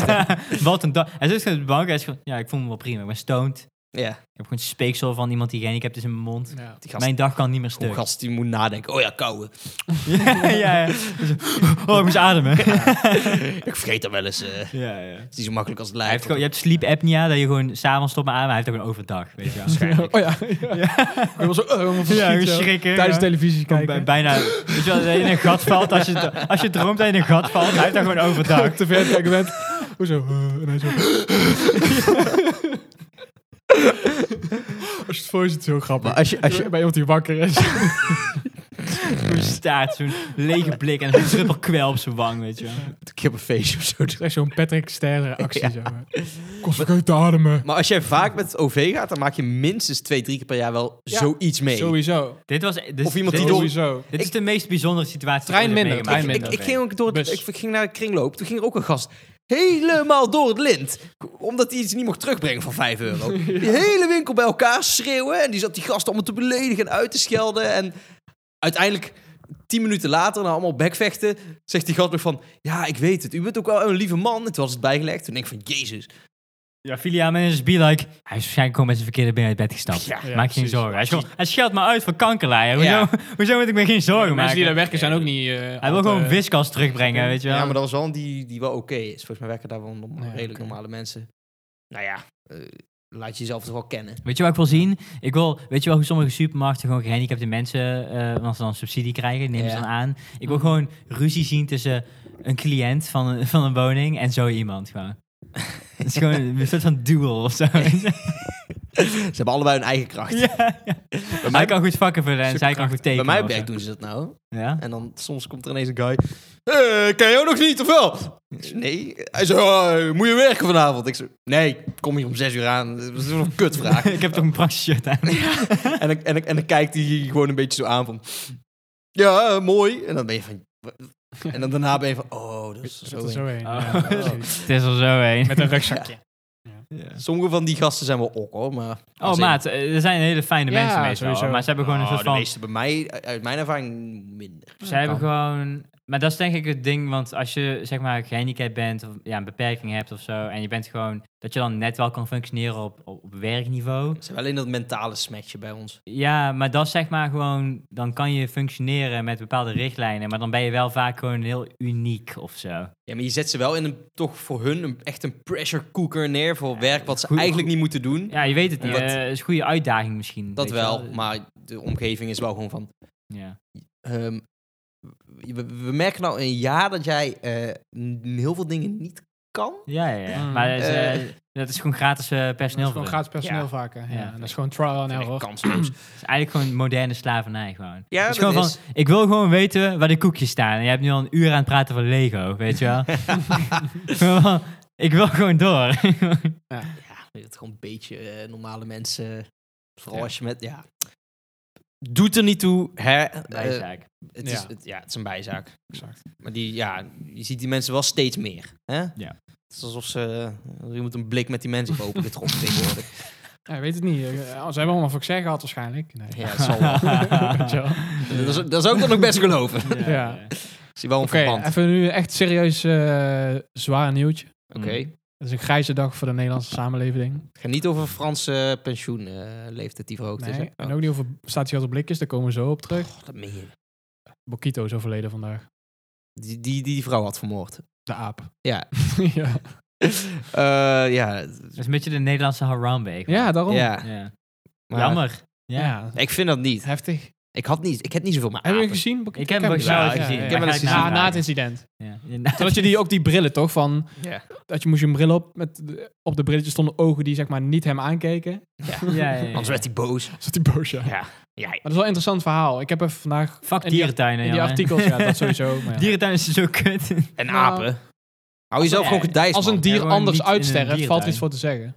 Speaker 2: Wat een dag. Hij zit gewoon op de bank. Hij is gewoon, ja, ik voel me wel prima. Ik ben stoned.
Speaker 4: Ja,
Speaker 2: Ik heb gewoon speeksel van iemand die gehandicapt is in mijn dus mond.
Speaker 3: Ja.
Speaker 4: die gast,
Speaker 2: Mijn dag kan niet meer
Speaker 4: oh,
Speaker 2: stuk.
Speaker 4: gast die moet nadenken. Oh ja, kouwen.
Speaker 2: ja, ja, ja. Oh, ik moest ademen.
Speaker 4: Ik vergeet dat wel eens. eh, het
Speaker 2: ja, ja.
Speaker 4: is niet zo makkelijk als het
Speaker 2: Hij heeft
Speaker 4: lijkt.
Speaker 2: gewoon, je hebt sleep apnea, dat je gewoon s'avonds stopt met ademen. Hij heeft ook een overdag, weet je wel.
Speaker 3: Oh ja. Ik was zo, eh, helemaal
Speaker 2: Ja,
Speaker 3: verschiet,
Speaker 2: gewoon
Speaker 3: zo.
Speaker 2: schrikken.
Speaker 3: Tijdens
Speaker 2: ja.
Speaker 3: televisie
Speaker 2: Gewoon
Speaker 3: kijken.
Speaker 2: bij- bijna, weet je wel, dat je in een gat valt. Als je, als je droomt dat je in een gat valt, hij heeft dat gewoon overdag.
Speaker 3: te ver kijken bent. Hoezo? Eh, en hij zo. Als je het voor je ziet, is het heel grappig.
Speaker 4: Maar als je- als je-
Speaker 3: Bij iemand die wakker is.
Speaker 2: Zo'n staart, zo'n lege blik en een druppel kwel op zijn wang, weet je wel.
Speaker 4: Ik heb een feestje of zo.
Speaker 3: Het is echt zo'n Patrick Sterre actie. Zo. Kost vergeten te ademen.
Speaker 4: Maar als jij vaak met het OV gaat, dan maak je minstens twee, drie keer per jaar wel
Speaker 3: Ja,
Speaker 4: zoiets mee.
Speaker 3: Sowieso.
Speaker 2: Dit was... Dit,
Speaker 4: Of iemand
Speaker 2: dit,
Speaker 4: die door-
Speaker 3: Sowieso.
Speaker 2: Dit is de meest bijzondere situatie.
Speaker 3: Trein
Speaker 2: die ik heb
Speaker 3: minder,
Speaker 2: meegemaakt.
Speaker 3: trein
Speaker 4: Ik, ik ging ook door het,
Speaker 3: Bus.
Speaker 4: ik ging naar een kringloop. Toen ging er ook een gast helemaal door het lint. Omdat hij iets niet mocht terugbrengen van 5 euro. Die hele winkel bij elkaar schreeuwen. En die zat die gast allemaal te beledigen en uit te schelden. En uiteindelijk Tien minuten later, na allemaal bekvechten, zegt die gatberg van... Ja, ik weet het. U bent ook wel een lieve man. En toen was het bijgelegd. Toen denk ik van, jezus.
Speaker 2: Ja, Filia Managers be like. Hij is waarschijnlijk gewoon met zijn verkeerde been uit bed gestapt.
Speaker 4: Ja,
Speaker 3: ja,
Speaker 2: Maak je geen
Speaker 3: precies.
Speaker 2: zorgen. Hij, is gewoon- hij scheldt me uit voor kankerlijn. Hoezo,
Speaker 4: Ja.
Speaker 2: hoezo moet ik me geen zorgen
Speaker 3: mensen
Speaker 2: maken?
Speaker 3: die daar werken zijn ook niet... eh,
Speaker 2: Hij wil
Speaker 3: altijd,
Speaker 2: gewoon
Speaker 3: eh,
Speaker 2: een viskas terugbrengen, weet je wel.
Speaker 4: Ja, maar dat was wel een die, die wel oké is. Volgens mij werken daar wel norm-
Speaker 3: Ja,
Speaker 4: redelijk
Speaker 3: oké.
Speaker 4: normale mensen. Nou ja, eh, laat je jezelf toch wel kennen.
Speaker 2: Weet je wat ik wil zien? Ik wil, weet je wel hoe sommige supermarkten gewoon gehandicapte mensen, eh want ze dan subsidie krijgen, nemen ze
Speaker 4: Ja.
Speaker 2: dan aan. Ik wil gewoon ruzie zien tussen een cliënt van een, van een woning en zo iemand gewoon. Het is gewoon een soort van duel of zo.
Speaker 4: Ze hebben allebei hun eigen kracht.
Speaker 2: ja, ja. Hij kan goed vakken verder en zij kan goed
Speaker 4: Bij
Speaker 2: tekenen.
Speaker 4: mij op
Speaker 2: of zo.
Speaker 4: werk doen ze dat nou.
Speaker 2: Ja?
Speaker 4: En dan soms komt er ineens een guy. "Eh, ken je ook nog niet, of wel? Ik zeg, Nee. Hij zo, "Oh, moet je werken vanavond? Ik zo, nee, ik kom hier om zes uur aan. Dat is wel een kutvraag.
Speaker 2: ik heb toch een praktisch shirt aan.
Speaker 4: en, dan, en, dan, en dan kijkt hij je gewoon een beetje zo aan van... Ja, eh, mooi. En dan ben je van... "Wa- En dan daarna ben je van... Oh, dat is
Speaker 3: zit
Speaker 4: zo...
Speaker 3: er
Speaker 4: eng."
Speaker 3: zo heen.
Speaker 2: Oh.
Speaker 3: Ja, precies.
Speaker 2: Het is al zo heen.
Speaker 3: Met een rugzakje.
Speaker 4: Sommige van die gasten zijn wel ok, hoor, maar...
Speaker 2: Oh
Speaker 4: als in-
Speaker 2: maat, eh, er zijn hele fijne
Speaker 3: Ja,
Speaker 2: mensen meestal.
Speaker 3: sowieso.
Speaker 2: Maar ze hebben gewoon een
Speaker 4: Oh,
Speaker 2: soort
Speaker 4: de
Speaker 2: van...
Speaker 4: meeste bij mij, uit mijn ervaring, minder.
Speaker 2: Ze hebben
Speaker 3: kan.
Speaker 2: gewoon. Maar dat is denk ik het ding, want als je zeg maar gehandicapt bent of ja, een beperking hebt of zo, en je bent gewoon dat je dan net wel kan functioneren op, op, op werkniveau.
Speaker 4: Ze hebben alleen dat mentale smetje bij ons.
Speaker 2: Ja, maar dat is zeg maar gewoon, dan kan je functioneren met bepaalde richtlijnen, maar dan ben je wel vaak gewoon heel uniek of zo.
Speaker 4: Ja, maar je zet ze wel in een, toch voor hun een, echt een pressure cooker neer voor werk wat ze
Speaker 2: goed-
Speaker 4: eigenlijk niet moeten doen.
Speaker 2: Ja, je weet het niet. Eh,
Speaker 4: Dat-
Speaker 2: Het is een goede uitdaging misschien.
Speaker 4: dat
Speaker 2: weet je
Speaker 4: wel, maar de omgeving is wel gewoon van...
Speaker 2: Ja.
Speaker 4: ehm, we, we merken nou een jaar dat jij eh, n- heel veel dingen niet kan.
Speaker 2: Ja, ja, ja.
Speaker 3: Mm.
Speaker 2: Maar dat is, eh,
Speaker 4: Eh.
Speaker 2: dat is gewoon gratis eh,
Speaker 3: Dat is
Speaker 2: personeel. voor
Speaker 3: gewoon
Speaker 2: hun.
Speaker 3: gratis personeel
Speaker 4: Ja.
Speaker 3: vaker. Ja.
Speaker 2: Ja.
Speaker 3: dat is gewoon trial and
Speaker 4: Vind ik
Speaker 3: error.
Speaker 4: kansloos.
Speaker 2: Het is eigenlijk gewoon moderne slavernij gewoon.
Speaker 4: Ja,
Speaker 2: Het is
Speaker 4: dat
Speaker 2: gewoon
Speaker 4: is.
Speaker 2: van, ik wil gewoon weten waar de koekjes staan. En jij hebt nu al een uur aan het praten van Lego, weet je wel. Gewoon van, ik wil
Speaker 4: Eh,
Speaker 2: gewoon door.
Speaker 4: ja, dat gewoon een beetje eh, normale mensen. Vooral
Speaker 3: Ja.
Speaker 4: als je met... Ja. Doet er niet toe, hè? Eh,
Speaker 2: Bijzaak.
Speaker 4: het, is,
Speaker 3: Ja.
Speaker 4: het, ja, het is een bijzaak.
Speaker 3: Exact.
Speaker 4: Maar die, ja, je ziet die mensen wel steeds meer. Hè?
Speaker 2: Ja.
Speaker 4: Het is alsof ze... Je moet een blik met die mensen heeft opengetrokken tegenwoordig.
Speaker 3: Ja, ik weet het niet. Eh, Ze hebben allemaal vaccin gehad waarschijnlijk. Nee.
Speaker 4: Ja, dat zal wel.
Speaker 3: Weet je wel.
Speaker 4: dat, is, dat zou ik dan ook best geloven. Ik
Speaker 3: Ja.
Speaker 4: Zie wel een
Speaker 3: Oké,
Speaker 4: verband.
Speaker 3: even nu echt serieus eh zwaar nieuwtje.
Speaker 4: Oké.
Speaker 3: Het is een grijze dag voor de Nederlandse samenleving.
Speaker 4: Het gaat niet over Franse pensioenleeftijd die verhoogd is.
Speaker 3: Nee. Nou,
Speaker 4: hè?
Speaker 3: En ook niet over blikjes, daar komen we zo op terug.
Speaker 4: Oh, dat meen je.
Speaker 3: Bokito is overleden vandaag.
Speaker 4: Die, die, die die vrouw had vermoord.
Speaker 3: De aap.
Speaker 4: Ja.
Speaker 3: ja.
Speaker 4: Eh, ja.
Speaker 2: Dat is een beetje de Nederlandse Harambe. gewoon.
Speaker 3: ja, daarom.
Speaker 4: ja.
Speaker 2: Ja.
Speaker 4: Maar
Speaker 2: Jammer. Ja.
Speaker 3: Ja.
Speaker 4: Ik vind dat niet.
Speaker 3: Heftig.
Speaker 4: Ik had niet. Ik heb niet zoveel. Maar
Speaker 3: Hebben
Speaker 4: apen.
Speaker 3: jullie gezien? Bokito?
Speaker 2: Ik heb hem
Speaker 4: wel
Speaker 2: zelf
Speaker 4: ja,
Speaker 2: gezien.
Speaker 4: ja.
Speaker 2: maar
Speaker 4: Ik heb hem
Speaker 2: ga
Speaker 4: eens
Speaker 2: niet
Speaker 4: gezien.
Speaker 3: Na,
Speaker 2: vragen.
Speaker 3: na het incident.
Speaker 2: Ja. inderdaad.
Speaker 3: Toen had je die, ook die brillen toch? Van,
Speaker 4: Ja.
Speaker 3: dat je moest je een bril op. Met, de- op de brilletjes stonden ogen die zeg maar niet hem aankeken.
Speaker 2: Ja, ja, ja, ja.
Speaker 4: Anders werd hij boos.
Speaker 3: Zat die boos, ja. Maar
Speaker 4: Ja. Ja.
Speaker 3: dat is wel een interessant verhaal. Ik heb even vandaag...
Speaker 2: Fuck
Speaker 3: in die-
Speaker 2: dierentuinen,
Speaker 3: in die
Speaker 2: jongen.
Speaker 3: artikels, ja, dat sowieso. Maar ja.
Speaker 2: Dierentuinen is zo kut.
Speaker 4: En
Speaker 3: Nou,
Speaker 4: apen. Hou jezelf
Speaker 2: ja,
Speaker 4: gewoon gedijs,
Speaker 3: Als een
Speaker 4: man.
Speaker 2: Ja,
Speaker 3: dier
Speaker 2: gewoon
Speaker 3: anders
Speaker 2: niet in een
Speaker 3: uitsterft, valt er
Speaker 2: dierentuin.
Speaker 3: iets voor te zeggen.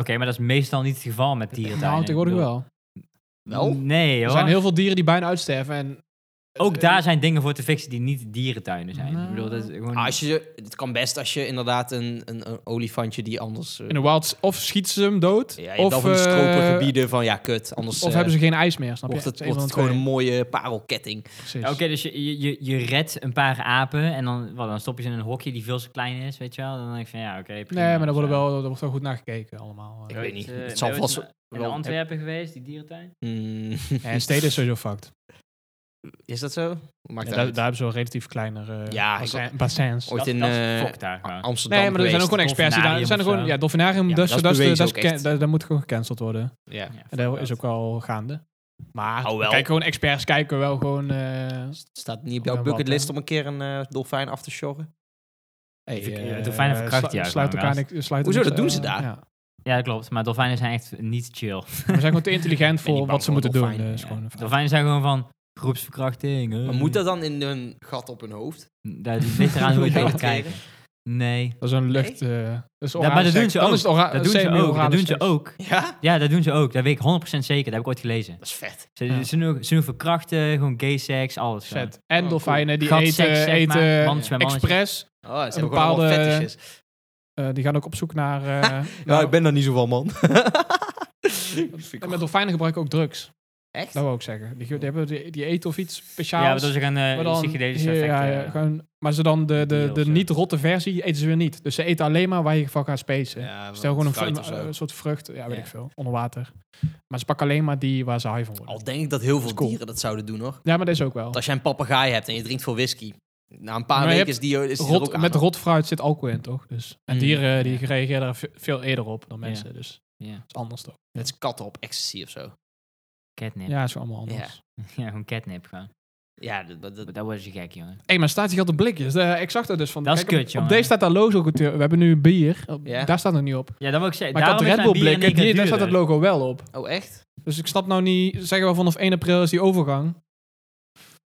Speaker 2: Oké, maar dat is meestal niet het geval met dierentuinen.
Speaker 3: Nou, tegenwoordig
Speaker 2: Ik bedoel-
Speaker 3: wel.
Speaker 4: Wel?
Speaker 2: Nee, hoor.
Speaker 3: Er zijn heel veel dieren die bijna uitsterven. En eh,
Speaker 2: Ook daar zijn dingen voor te fixen die niet dierentuinen zijn.
Speaker 3: Nou.
Speaker 2: Ik bedoel, dat is gewoon...
Speaker 4: Ah, Als je, het kan best als je inderdaad een, een, een olifantje die anders... eh,
Speaker 3: in de wild, of schieten ze hem dood,
Speaker 4: ja, je hebt dan
Speaker 3: of,
Speaker 4: van die stroperige
Speaker 3: eh,
Speaker 4: gebieden van ja, kut. Anders
Speaker 3: of
Speaker 4: eh,
Speaker 3: hebben ze geen ijs meer, snap je?
Speaker 4: wordt het,
Speaker 3: is een
Speaker 4: wordt het
Speaker 3: van
Speaker 4: gewoon
Speaker 3: de
Speaker 4: een mooie parelketting.
Speaker 3: twee. Precies.
Speaker 2: Ja, Oké, dus je, je, je, je redt een paar apen en dan, wat, dan stop je ze in een hokje die veel te klein is, weet je wel? Dan denk ik van ja, oké. prima,
Speaker 3: Nee, maar daar
Speaker 2: of
Speaker 3: wordt
Speaker 2: zo.
Speaker 3: wel, daar wordt wel goed naar gekeken allemaal.
Speaker 4: Ik
Speaker 2: Ooit,
Speaker 4: weet niet.
Speaker 2: eh,
Speaker 4: Het zal
Speaker 2: ben je
Speaker 4: vast
Speaker 2: ooit in
Speaker 4: wel-
Speaker 2: Antwerpen geweest, die dierentuin?
Speaker 4: Mm,
Speaker 3: En steden is sowieso fucked.
Speaker 4: is dat zo? Maakt
Speaker 3: Ja,
Speaker 4: dat
Speaker 3: daar,
Speaker 4: uit.
Speaker 3: daar hebben ze wel relatief kleiner eh,
Speaker 4: Ja, ik
Speaker 3: bassin- bassins.
Speaker 4: Ooit
Speaker 2: dat,
Speaker 4: in
Speaker 2: dat is
Speaker 4: eh,
Speaker 2: fucked daar gewoon.
Speaker 4: Amsterdam
Speaker 3: Nee, maar er zijn ook
Speaker 4: geweest.
Speaker 3: gewoon experts die daar... er zijn er gewoon, ja,
Speaker 2: Dolfinarium
Speaker 3: Dolfinarium,
Speaker 4: Ja,
Speaker 3: dat,
Speaker 4: dat
Speaker 3: is-
Speaker 4: is
Speaker 3: dat, is- dat,
Speaker 4: bewezen ook
Speaker 3: is ken-
Speaker 4: echt.
Speaker 3: dat, dat moet gewoon gecanceld worden.
Speaker 4: Ja.
Speaker 2: Ja,
Speaker 3: En dat
Speaker 2: fuck
Speaker 3: is ook wel gaande. Maar
Speaker 4: Oh, wel.
Speaker 3: kijk, gewoon experts kijken wel gewoon... eh,
Speaker 4: Staat niet op
Speaker 3: Ja,
Speaker 4: jouw
Speaker 3: wat,
Speaker 4: bucketlist
Speaker 3: hè?
Speaker 4: om een keer een eh, dolfijn af te sjorren?
Speaker 3: Hey,
Speaker 2: Ik-
Speaker 3: eh,
Speaker 2: dolfijnen
Speaker 3: eh,
Speaker 2: verkrachten
Speaker 3: slu-
Speaker 2: jou
Speaker 3: Sluit
Speaker 2: gewoon,
Speaker 3: elkaar
Speaker 2: gast.
Speaker 3: niks. sluit
Speaker 4: Hoezo,
Speaker 3: niks,
Speaker 4: dat doen
Speaker 3: eh,
Speaker 4: ze daar?
Speaker 3: ja.
Speaker 2: Ja, dat klopt. Maar dolfijnen zijn echt niet chill.
Speaker 3: We zijn gewoon te intelligent
Speaker 4: niet
Speaker 3: voor
Speaker 4: bang
Speaker 3: wat ze
Speaker 4: voor
Speaker 3: moeten doen.
Speaker 4: dolfijnen,
Speaker 3: eh, is
Speaker 2: Ja.
Speaker 3: gewoon een verhaal.
Speaker 2: Dolfijnen zijn gewoon van groepsverkrachting. eh.
Speaker 4: Maar moet dat dan in hun gat op hun hoofd?
Speaker 2: Dat ligt eraan hoe je
Speaker 4: Moet je
Speaker 2: tegen
Speaker 4: dat
Speaker 2: kijken. Nee.
Speaker 3: Dat is een lucht... eh, dat is
Speaker 2: maar dat
Speaker 3: orale
Speaker 2: doen
Speaker 3: seks.
Speaker 2: ze
Speaker 3: Dan
Speaker 2: ook.
Speaker 3: is het ora-
Speaker 2: Dat doen ze
Speaker 3: semi-orale
Speaker 2: ook. Dat doen ze
Speaker 3: seks.
Speaker 2: ook.
Speaker 4: Ja?
Speaker 2: Ja, dat doen ze ook. Dat weet ik 100% zeker. Dat heb ik ooit gelezen.
Speaker 4: Dat is vet.
Speaker 2: Ze,
Speaker 3: Ja.
Speaker 2: ze, doen, ze doen verkrachten, gewoon gay seks, alles. gewoon.
Speaker 3: Vet. En
Speaker 4: Oh,
Speaker 3: dolfijnen die
Speaker 2: Gat,
Speaker 3: eten,
Speaker 2: seks, zeg
Speaker 3: eten
Speaker 2: maar. Mannetjes
Speaker 3: eh,
Speaker 2: bij mannetjes.
Speaker 3: expres.
Speaker 4: Oh, ze hebben
Speaker 3: bepaalde-
Speaker 4: gewoon allemaal fetishes.
Speaker 3: Eh, die gaan ook op zoek naar... eh,
Speaker 4: Ja,
Speaker 3: nou,
Speaker 4: ik ben daar niet zo van, man.
Speaker 3: en met dolfijnen gebruiken ook drugs.
Speaker 2: Echt?
Speaker 3: Dat wil ik zeggen. Die, die hebben die, die eten of iets speciaals.
Speaker 2: ja, dus ze gaan
Speaker 3: maar
Speaker 2: eh
Speaker 3: dan-
Speaker 2: psychedelische eh.
Speaker 3: ja, ja,
Speaker 2: effecten.
Speaker 3: ja, gewoon- maar ze dan de, de,
Speaker 2: Deals,
Speaker 3: de
Speaker 2: ja.
Speaker 3: niet-rotte versie eten ze weer niet. Dus ze eten alleen maar waar je van gaat spacen.
Speaker 1: Ja,
Speaker 3: Stel gewoon een,
Speaker 1: fruit
Speaker 3: een-
Speaker 1: of zo.
Speaker 3: een soort vrucht, ja, weet
Speaker 2: Ja.
Speaker 3: ik veel, onder water. Maar ze pakken alleen maar die waar ze high van worden.
Speaker 4: Al denk ik dat heel veel
Speaker 3: cool.
Speaker 4: dieren dat zouden doen, hoor.
Speaker 3: Ja, maar dat is ook wel.
Speaker 4: Want als jij een papegaai hebt en je drinkt veel whisky, na een paar
Speaker 3: Maar je
Speaker 4: weken
Speaker 3: hebt
Speaker 4: is die, is die er ook
Speaker 3: Rot,
Speaker 4: aan,
Speaker 3: met
Speaker 4: hoor.
Speaker 3: rot fruit zit alcohol in, toch? Dus, en
Speaker 4: Mm.
Speaker 3: dieren die reageren er ve- veel eerder op dan mensen. Dus dat
Speaker 2: Ja.
Speaker 3: is anders toch?
Speaker 4: Dat is katten op ecstasy of zo.
Speaker 2: Catnip. Ja.
Speaker 3: Ja, is wel allemaal anders.
Speaker 2: gewoon catnip gewoon.
Speaker 4: Ja, dat, dat- dat-
Speaker 2: Maar Dat was je gek, jongen.
Speaker 3: Hé, maar staat hier altijd blikjes? Eh, ik zag dat dus van.
Speaker 2: Dat is
Speaker 3: kijk, op-
Speaker 2: kut,
Speaker 3: op,
Speaker 2: jongen.
Speaker 3: deze staat daar logo. goed, eh, We hebben nu bier. Op-
Speaker 4: Ja.
Speaker 3: Daar staat nog niet op. Maar
Speaker 2: Ja, dat wil ik zeggen.
Speaker 3: ik had
Speaker 2: Daarom
Speaker 3: Red
Speaker 2: zijn
Speaker 3: Bull
Speaker 2: bieren
Speaker 3: blikken.
Speaker 2: in één
Speaker 3: Hier,
Speaker 2: keer
Speaker 3: daar staat het
Speaker 2: duurder.
Speaker 3: logo wel op.
Speaker 4: Oh, echt?
Speaker 3: Dus ik snap nou niet. Zeggen we vanaf 1 april is die overgang.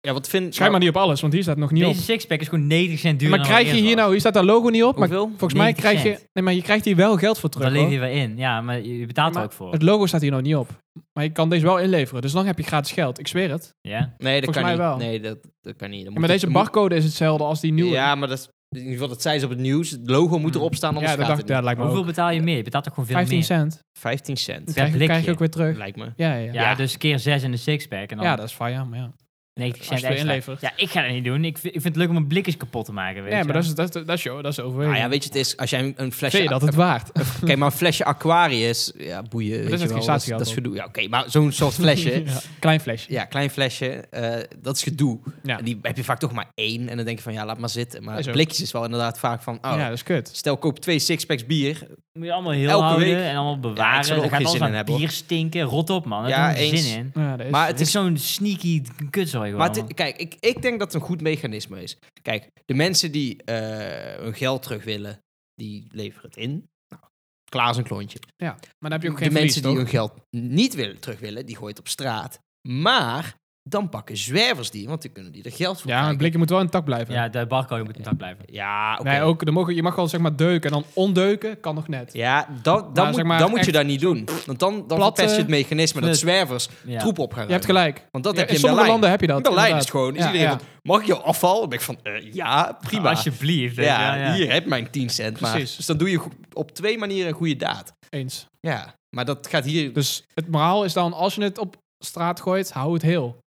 Speaker 4: Ja, wat vind... nou,
Speaker 3: Schrijf maar niet op alles, want hier staat nog niet op.
Speaker 2: Deze sixpack is gewoon 90 cent duurder.
Speaker 3: maar krijg je hier nou. Hier staat daar logo niet op. Maar
Speaker 4: Hoeveel?
Speaker 3: volgens mij
Speaker 2: 90
Speaker 3: krijg je.
Speaker 2: cent.
Speaker 3: Nee, maar je krijgt hier wel geld voor terug.
Speaker 2: Daar leef
Speaker 3: hoor.
Speaker 2: je wel in. Ja, maar je je betaalt er
Speaker 3: Maar
Speaker 2: ook voor.
Speaker 3: Het logo staat hier nog niet op. Maar je kan deze wel inleveren. Dus dan heb je gratis geld. Ik zweer het.
Speaker 2: Ja.
Speaker 4: Nee, dat
Speaker 3: Volgens
Speaker 4: kan
Speaker 3: mij
Speaker 4: niet.
Speaker 3: wel.
Speaker 4: Nee, dat, dat kan niet. Dan
Speaker 3: Ja, maar
Speaker 4: moet
Speaker 3: deze
Speaker 4: het- moet-
Speaker 3: barcode is hetzelfde als die nieuwe.
Speaker 4: Ja, maar dat is... In ieder geval, dat zei ze op het nieuws. Het logo moet
Speaker 2: Hmm.
Speaker 4: erop staan, anders
Speaker 3: ja dat,
Speaker 4: gaat
Speaker 3: dacht,
Speaker 4: het
Speaker 3: ja,
Speaker 4: niet.
Speaker 3: dat lijkt me
Speaker 2: Hoeveel
Speaker 3: ook.
Speaker 2: betaal je meer? Je betaalt toch gewoon veel
Speaker 3: 15
Speaker 2: meer?
Speaker 3: cent.
Speaker 4: 15 cent,
Speaker 3: Dat krijg, je- krijg je
Speaker 2: blikje.
Speaker 3: ook weer terug.
Speaker 4: lijkt me.
Speaker 3: Ja, ja, ja.
Speaker 2: Ja, dus keer 6 in de sixpack. En dan
Speaker 3: Ja, dat is fijn, maar ja.
Speaker 2: 90
Speaker 3: als
Speaker 2: cent
Speaker 3: je het
Speaker 2: extra.
Speaker 3: inlevert.
Speaker 2: Ja, ik ga dat niet doen. Ik, vind- ik vind het leuk om mijn blikjes kapot te maken, weet
Speaker 3: Nee,
Speaker 2: je
Speaker 3: maar
Speaker 2: wel.
Speaker 3: dat is, dat, is- dat is, joh, dat is overweging.
Speaker 4: Nou ja, weet je, het is... Als jij een- een flesje...
Speaker 3: Vind je dat het waard?
Speaker 4: Oké, maar een flesje Aquarius, ja, boeien.
Speaker 3: is
Speaker 4: weet je
Speaker 3: het
Speaker 4: wel,
Speaker 3: geen
Speaker 4: dat, is-
Speaker 3: statiegeld,
Speaker 4: dat is
Speaker 3: toch?
Speaker 4: gedoe. Ja, oké, maar zo'n soort flesje,
Speaker 3: Ja, Klein flesje.
Speaker 4: ja, klein flesje, eh, dat is gedoe.
Speaker 3: Ja.
Speaker 4: En die heb je vaak toch maar één. En dan denk je van, ja, laat maar zitten. Maar
Speaker 3: Is ook.
Speaker 4: blikjes is wel inderdaad vaak van, oh,
Speaker 3: Ja, dat is kut.
Speaker 4: stel koop twee sixpacks bier.
Speaker 2: Moet je allemaal heel
Speaker 4: Elke
Speaker 2: houden
Speaker 4: week.
Speaker 2: en allemaal
Speaker 4: Ja, ik zou
Speaker 2: bewaren. Ja,
Speaker 4: er
Speaker 2: dan
Speaker 4: ook
Speaker 2: gaat
Speaker 4: geen
Speaker 2: alles
Speaker 4: zin in
Speaker 2: aan
Speaker 4: hebben, hoor.
Speaker 2: bier stinken. Rot op, man. Daar
Speaker 4: Ja,
Speaker 2: heb ik geen
Speaker 4: eens.
Speaker 2: zin in.
Speaker 3: Ja, dat is,
Speaker 4: Maar
Speaker 2: Het
Speaker 4: het
Speaker 2: is
Speaker 4: is...
Speaker 2: zo'n sneaky kutzooi gewoon.
Speaker 4: Maar het- kijk, ik, ik denk dat het een goed mechanisme is. Kijk, de mensen die eh, hun geld terug willen, die leveren het in. Nou, Klaar is een klontje.
Speaker 3: maar dan heb je ook
Speaker 4: de
Speaker 3: geen verlies,
Speaker 4: mensen die
Speaker 3: toch?
Speaker 4: hun geld niet willen, terug willen, die gooit op straat. Maar dan pakken zwervers die, want die kunnen die er geld voor
Speaker 3: Ja, maar
Speaker 4: krijgen.
Speaker 3: het blikje moet wel intact blijven.
Speaker 2: Ja, de barcode moet intact blijven.
Speaker 4: Ja, oké.
Speaker 3: Nee, ook, dan mogen, je mag wel zeg maar deuken en dan ondeuken kan nog net.
Speaker 4: Ja, dat, dan,
Speaker 3: Maar
Speaker 4: moet,
Speaker 3: Nou, zeg maar
Speaker 4: dan moet je
Speaker 3: echt
Speaker 4: dat niet doen. Want dan, dan
Speaker 3: platte-
Speaker 4: verpest je het mechanisme dat
Speaker 2: Nee.
Speaker 4: zwervers
Speaker 2: Ja.
Speaker 4: troep op gaan
Speaker 3: Je hebt
Speaker 4: ruimen.
Speaker 3: gelijk.
Speaker 4: Want dat
Speaker 3: Ja,
Speaker 4: heb je
Speaker 3: in
Speaker 4: in
Speaker 3: sommige
Speaker 4: Berlijn.
Speaker 3: landen heb je dat.
Speaker 4: In Berlijn is
Speaker 3: inderdaad.
Speaker 4: het gewoon, is
Speaker 3: Ja,
Speaker 4: iedereen
Speaker 3: ja.
Speaker 4: van, mag ik jouw afval? Dan ben ik van, eh, ja, prima.
Speaker 2: Alsjeblieft. weet je
Speaker 4: ja,
Speaker 2: wel, ja.
Speaker 4: hier, heb mijn 10 cent maar.
Speaker 3: Precies.
Speaker 4: Dus dan doe je go- op twee manieren een goede daad.
Speaker 3: Eens.
Speaker 4: Ja, maar dat gaat hier...
Speaker 3: Dus het moraal is dan, als je het op straat gooit, hou het heel.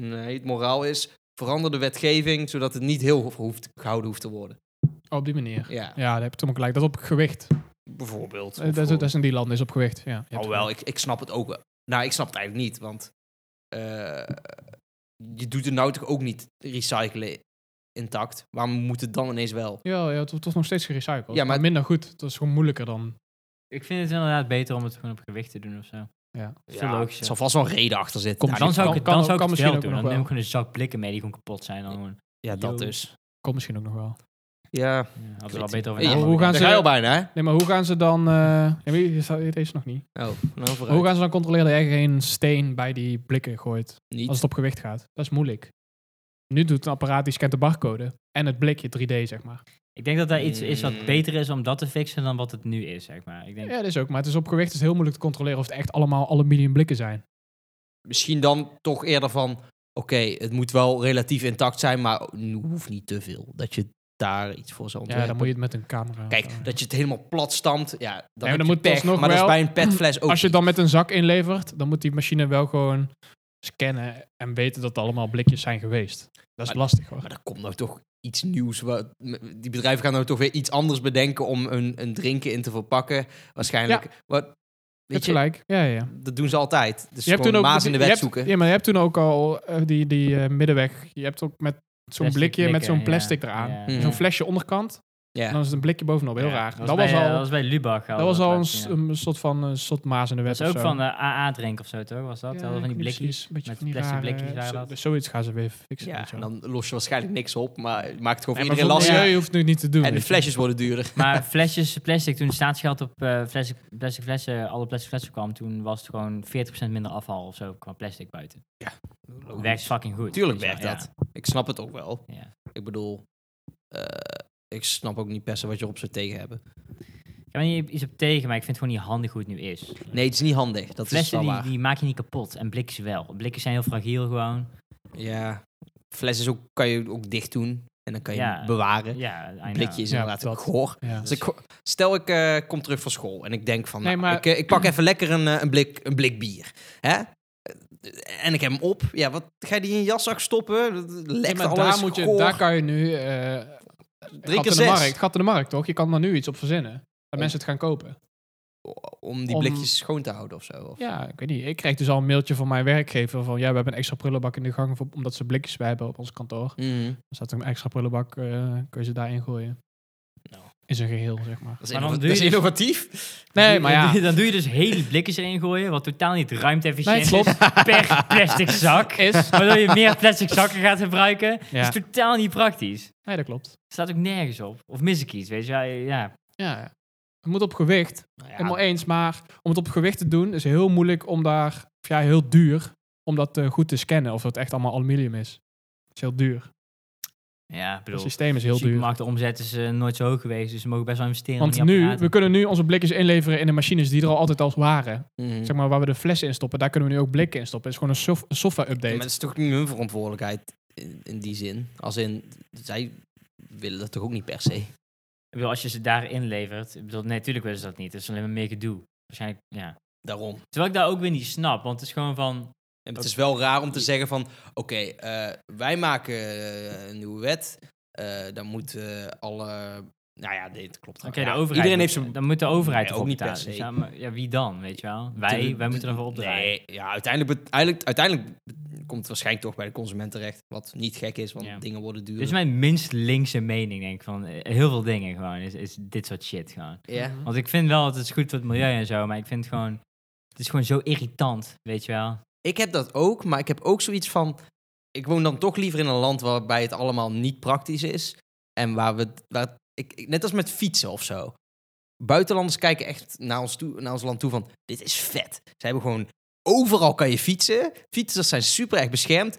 Speaker 4: Nee, het moraal is, verander de wetgeving, zodat het niet heel ho- hoeft, gehouden hoeft te worden.
Speaker 3: Oh, op die manier.
Speaker 4: Ja,
Speaker 3: Ja, daar heb je toch ook gelijk. Dat op gewicht.
Speaker 4: bijvoorbeeld.
Speaker 3: Eh, Dat,
Speaker 4: Of-
Speaker 3: dat is in die landen, is op gewicht. Ja, je hebt
Speaker 4: Oh wel, ik, ik snap het ook wel. Nou, ik snap het eigenlijk niet, want eh, je doet het nou toch ook niet recyclen intact. Waarom moet het dan ineens wel?
Speaker 3: Ja, ja, het wordt toch nog steeds gerecycled.
Speaker 4: Ja,
Speaker 3: Ja,
Speaker 4: maar-
Speaker 3: maar minder goed. Het is gewoon moeilijker dan.
Speaker 2: Ik vind het inderdaad beter om het gewoon op gewicht te doen of zo.
Speaker 3: Ja.
Speaker 2: Veel logischer.
Speaker 4: Er zal vast wel een reden achter zitten.
Speaker 3: Komt
Speaker 4: ja,
Speaker 2: dan
Speaker 4: die-
Speaker 2: zou ik
Speaker 3: kan-
Speaker 2: het, dan
Speaker 3: kan-
Speaker 2: zou ik het
Speaker 3: kan misschien
Speaker 2: wel
Speaker 3: ook
Speaker 2: doen.
Speaker 3: nog
Speaker 2: Dan neem
Speaker 3: wel.
Speaker 2: ik gewoon een zak blikken mee die gewoon kapot zijn. Dan gewoon,
Speaker 4: ja, dat
Speaker 2: Yo.
Speaker 4: dus.
Speaker 3: Komt misschien ook nog wel.
Speaker 4: Ja.
Speaker 2: ja, hadden we wel beter over
Speaker 4: Hey,
Speaker 2: na
Speaker 3: hoe
Speaker 2: moeten
Speaker 3: gaan
Speaker 4: Daar
Speaker 3: ze-
Speaker 4: ga je al bijna, hè?
Speaker 3: Nee, maar hoe gaan ze dan. eh ja, wie- hier staat- hier deze nog niet.
Speaker 4: Oh, nou
Speaker 3: Maar hoe
Speaker 4: vooruit.
Speaker 3: gaan ze dan controleren dat je geen steen bij die blikken gooit?
Speaker 4: Niet.
Speaker 3: Als het op gewicht gaat. Dat is moeilijk. Nu doet een apparaat die scant de barcode. En het blikje 3D, zeg maar.
Speaker 2: Ik denk dat daar iets is
Speaker 4: Mm.
Speaker 2: wat beter is om dat te fixen dan wat het nu is, zeg maar. Ik denk,
Speaker 3: Ja, dat is ook. Maar het is op gewicht is heel moeilijk te controleren of het echt allemaal aluminium blikken zijn.
Speaker 4: Misschien dan toch eerder van, oké, het moet wel relatief intact zijn, maar hoeft niet te veel. Dat je daar iets voor zal
Speaker 3: Ja,
Speaker 4: ontwerpen.
Speaker 3: eh, dan moet je het met een camera.
Speaker 4: Kijk, dat je het helemaal plat stampt, ja, dan,
Speaker 3: maar
Speaker 4: heb
Speaker 3: dan
Speaker 4: je
Speaker 3: moet
Speaker 4: pech,
Speaker 3: alsnog
Speaker 4: maar dat
Speaker 3: wel-
Speaker 4: is bij een petfles ook
Speaker 3: Als je
Speaker 4: niet.
Speaker 3: het dan met een zak inlevert, dan moet die machine wel gewoon scannen en weten dat het allemaal blikjes zijn geweest. Dat is
Speaker 4: Maar-
Speaker 3: lastig hoor.
Speaker 4: Maar er komt nou toch iets nieuws. wat- Die bedrijven gaan nou toch weer iets anders bedenken om een, een drinken in te verpakken. Waarschijnlijk. Wat,
Speaker 3: Je hebt
Speaker 4: weet je,
Speaker 3: gelijk. Ja, ja.
Speaker 4: dat doen ze altijd. Dus
Speaker 3: Je hebt
Speaker 4: gewoon
Speaker 3: toen ook
Speaker 4: maas in de
Speaker 3: je
Speaker 4: wet
Speaker 3: hebt-
Speaker 4: zoeken.
Speaker 3: Ja, maar je hebt toen ook al eh, die, die eh, middenweg. Je hebt ook met zo'n
Speaker 2: plastic
Speaker 3: blikje met
Speaker 2: blikken,
Speaker 3: zo'n
Speaker 2: ja.
Speaker 3: plastic eraan.
Speaker 2: Ja.
Speaker 4: Mhm.
Speaker 3: Zo'n flesje onderkant.
Speaker 4: Ja.
Speaker 3: En dan is het een blikje bovenop. Heel
Speaker 2: Ja,
Speaker 3: raar.
Speaker 2: Dat,
Speaker 3: Dat
Speaker 2: was
Speaker 3: was
Speaker 2: bij, eh,
Speaker 3: al,
Speaker 2: dat was bij Lubach.
Speaker 3: dat was al een, s-
Speaker 2: Ja.
Speaker 3: een soort van eh, soort maas in de wet.
Speaker 2: Dat is ook
Speaker 3: of zo.
Speaker 2: van eh, de AA-drink of zo, toch? Was dat?
Speaker 3: Ja,
Speaker 2: dat was van die
Speaker 3: ik weet
Speaker 2: blikjes.
Speaker 3: niet precies. Een beetje
Speaker 2: Met
Speaker 3: van die
Speaker 2: plastic
Speaker 3: rare-
Speaker 2: blikjes waren
Speaker 3: zo-
Speaker 2: dat.
Speaker 3: dus zoiets gaan ze weer fixen.
Speaker 4: Ja,
Speaker 3: weet je
Speaker 4: en
Speaker 3: wel.
Speaker 4: dan los je waarschijnlijk niks op, maar het maakt het gewoon
Speaker 3: Nee,
Speaker 4: voor
Speaker 3: maar
Speaker 4: iedereen
Speaker 3: zonder-
Speaker 4: lastig.
Speaker 3: je hoeft het nu niet te doen.
Speaker 4: En de
Speaker 3: weet je.
Speaker 4: flesjes worden duurder.
Speaker 2: Maar flesjes, plastic, toen het staatsgeld op eh, plastic, plastic flessen, alle plastic flessen kwam, toen was het gewoon 40% minder afval of zo qua plastic buiten.
Speaker 3: Oh,
Speaker 2: Werkt fucking goed.
Speaker 4: Tuurlijk
Speaker 2: Dus ja,
Speaker 4: werkt dat. Ik snap het ook wel.
Speaker 2: Ja. Ja.
Speaker 4: Ik bedoel, eh, ik snap ook niet per se wat je erop zou tegen hebben.
Speaker 2: Ik heb er niet iets op tegen, maar ik vind het gewoon niet handig hoe het nu is.
Speaker 4: Nee, het is niet handig. Dat is
Speaker 2: Flessen
Speaker 4: wel
Speaker 2: die,
Speaker 4: waar.
Speaker 2: die maak je niet kapot en blikjes wel. Blikjes zijn heel fragiel gewoon.
Speaker 4: Ja, fles is ook, kan je ook dicht doen en dan kan je
Speaker 2: Ja.
Speaker 4: hem bewaren.
Speaker 2: Ja, I know.
Speaker 4: blikje is
Speaker 3: Ja,
Speaker 4: inderdaad
Speaker 3: dat.
Speaker 4: goor.
Speaker 3: Ja.
Speaker 4: Dus ik, stel ik eh, kom terug van school en ik denk van,
Speaker 3: Nee,
Speaker 4: nou,
Speaker 3: maar-
Speaker 4: ik, eh, ik pak even lekker een, eh, een, blik, een blik bier. Hè? En ik heb hem op. Ja, wat ga je die in je jaszak stoppen? Dat Lekt
Speaker 3: maar
Speaker 4: alles
Speaker 3: daar, moet je,
Speaker 4: goor.
Speaker 3: daar kan je nu... eh
Speaker 4: Drie
Speaker 3: gat
Speaker 4: keer
Speaker 3: in de
Speaker 4: zes.
Speaker 3: markt, gat in de markt, toch? Je kan daar nu iets op verzinnen. Dat mensen het gaan kopen.
Speaker 4: Om die
Speaker 3: om-
Speaker 4: blikjes schoon te houden of zo. Of...
Speaker 3: Ja, ik weet niet. Ik kreeg dus al een mailtje van mijn werkgever van... Ja, we hebben een extra prullenbak in de gang voor, omdat ze blikjes bij hebben op ons kantoor.
Speaker 4: Mhm.
Speaker 3: Er staat een extra prullenbak, eh, kun je ze daarin gooien.
Speaker 4: Nou.
Speaker 3: In zijn geheel, zeg maar.
Speaker 4: Dat is,
Speaker 2: Maar dan
Speaker 4: innova-
Speaker 2: doe
Speaker 4: dat is
Speaker 2: je dus-
Speaker 4: innovatief.
Speaker 3: Nee, maar ja.
Speaker 2: Dan doe je dus hele blikjes erin gooien, wat totaal niet ruimte-efficiënt
Speaker 3: Nee, klopt.
Speaker 2: is per plastic zak.
Speaker 3: Is.
Speaker 2: Waardoor je meer plastic zakken gaat gebruiken.
Speaker 3: Ja.
Speaker 2: Dat is totaal niet praktisch.
Speaker 3: Nee, dat klopt.
Speaker 2: Staat ook nergens op. Of mis ik iets, weet je. Ja, ja.
Speaker 3: Ja, ja. Het moet op gewicht.
Speaker 4: Nou ja,
Speaker 3: Helemaal eens, maar om het op gewicht te doen is heel moeilijk om daar, of ja, heel duur, om dat eh, goed te scannen of dat echt allemaal aluminium is. Dat is heel duur.
Speaker 2: ja ik
Speaker 3: Het
Speaker 2: bedoel,
Speaker 3: systeem is heel duur.
Speaker 2: supermarktenomzet is eh, nooit zo hoog geweest, dus ze mogen best wel investeren in
Speaker 3: Want
Speaker 2: die
Speaker 3: nu,
Speaker 2: apparaten.
Speaker 3: we kunnen nu onze blikjes inleveren in de machines die er al altijd als waren.
Speaker 2: Mm.
Speaker 4: mhm.
Speaker 3: Zeg maar waar we de flessen in stoppen, daar kunnen we nu ook blikken in stoppen. Het is gewoon een, sof- een
Speaker 4: Ja,
Speaker 3: software-update.
Speaker 4: Maar het is toch niet hun verantwoordelijkheid in, in die zin. Als in, zij willen dat toch ook niet per se.
Speaker 2: Ik bedoel, als je ze daarin levert, ik bedoel, nee, natuurlijk willen ze dat niet. Het is alleen maar meer gedoe. Waarschijnlijk, ja.
Speaker 4: Daarom.
Speaker 2: Terwijl ik daar ook weer niet snap, want het is gewoon van...
Speaker 4: En het is wel raar om te zeggen van... Oké, eh, wij maken eh, een nieuwe wet. Eh, dan moeten alle... Nou ja, dit klopt. trouwens.
Speaker 2: Oké, de
Speaker 4: Ja,
Speaker 2: overheid
Speaker 4: Iedereen heeft
Speaker 2: moet-
Speaker 4: zijn...
Speaker 2: Dan moet de overheid
Speaker 4: Nee,
Speaker 2: ervoor
Speaker 4: ook niet per
Speaker 2: betalen. Dus
Speaker 4: se.
Speaker 2: ja, maar, ja, wie dan, weet je wel? Wij, wij moeten ervoor opdraaien.
Speaker 4: Nee, ja, uiteindelijk, be- eigenlijk- uiteindelijk komt het waarschijnlijk toch bij de consument terecht. Wat niet gek is, want
Speaker 2: Ja. Dus
Speaker 4: dingen worden duurder.
Speaker 2: Dit is mijn minst linkse mening, denk ik, van eh, heel veel dingen gewoon, is, is dit soort shit gewoon.
Speaker 4: Ja.
Speaker 3: Mm-hmm.
Speaker 2: Want ik vind wel, dat het is goed voor het milieu en zo, maar ik vind het gewoon, het is gewoon zo irritant, weet je wel.
Speaker 4: Ik heb dat ook, maar ik heb ook zoiets van... Ik woon dan toch liever in een land waarbij het allemaal niet praktisch is. En waar we... Waar, ik, ik- net als met fietsen of zo. Buitenlanders kijken echt naar ons, toe, naar ons land toe van... Dit is vet. Ze hebben gewoon... Overal kan je fietsen. Fietsers zijn super erg beschermd.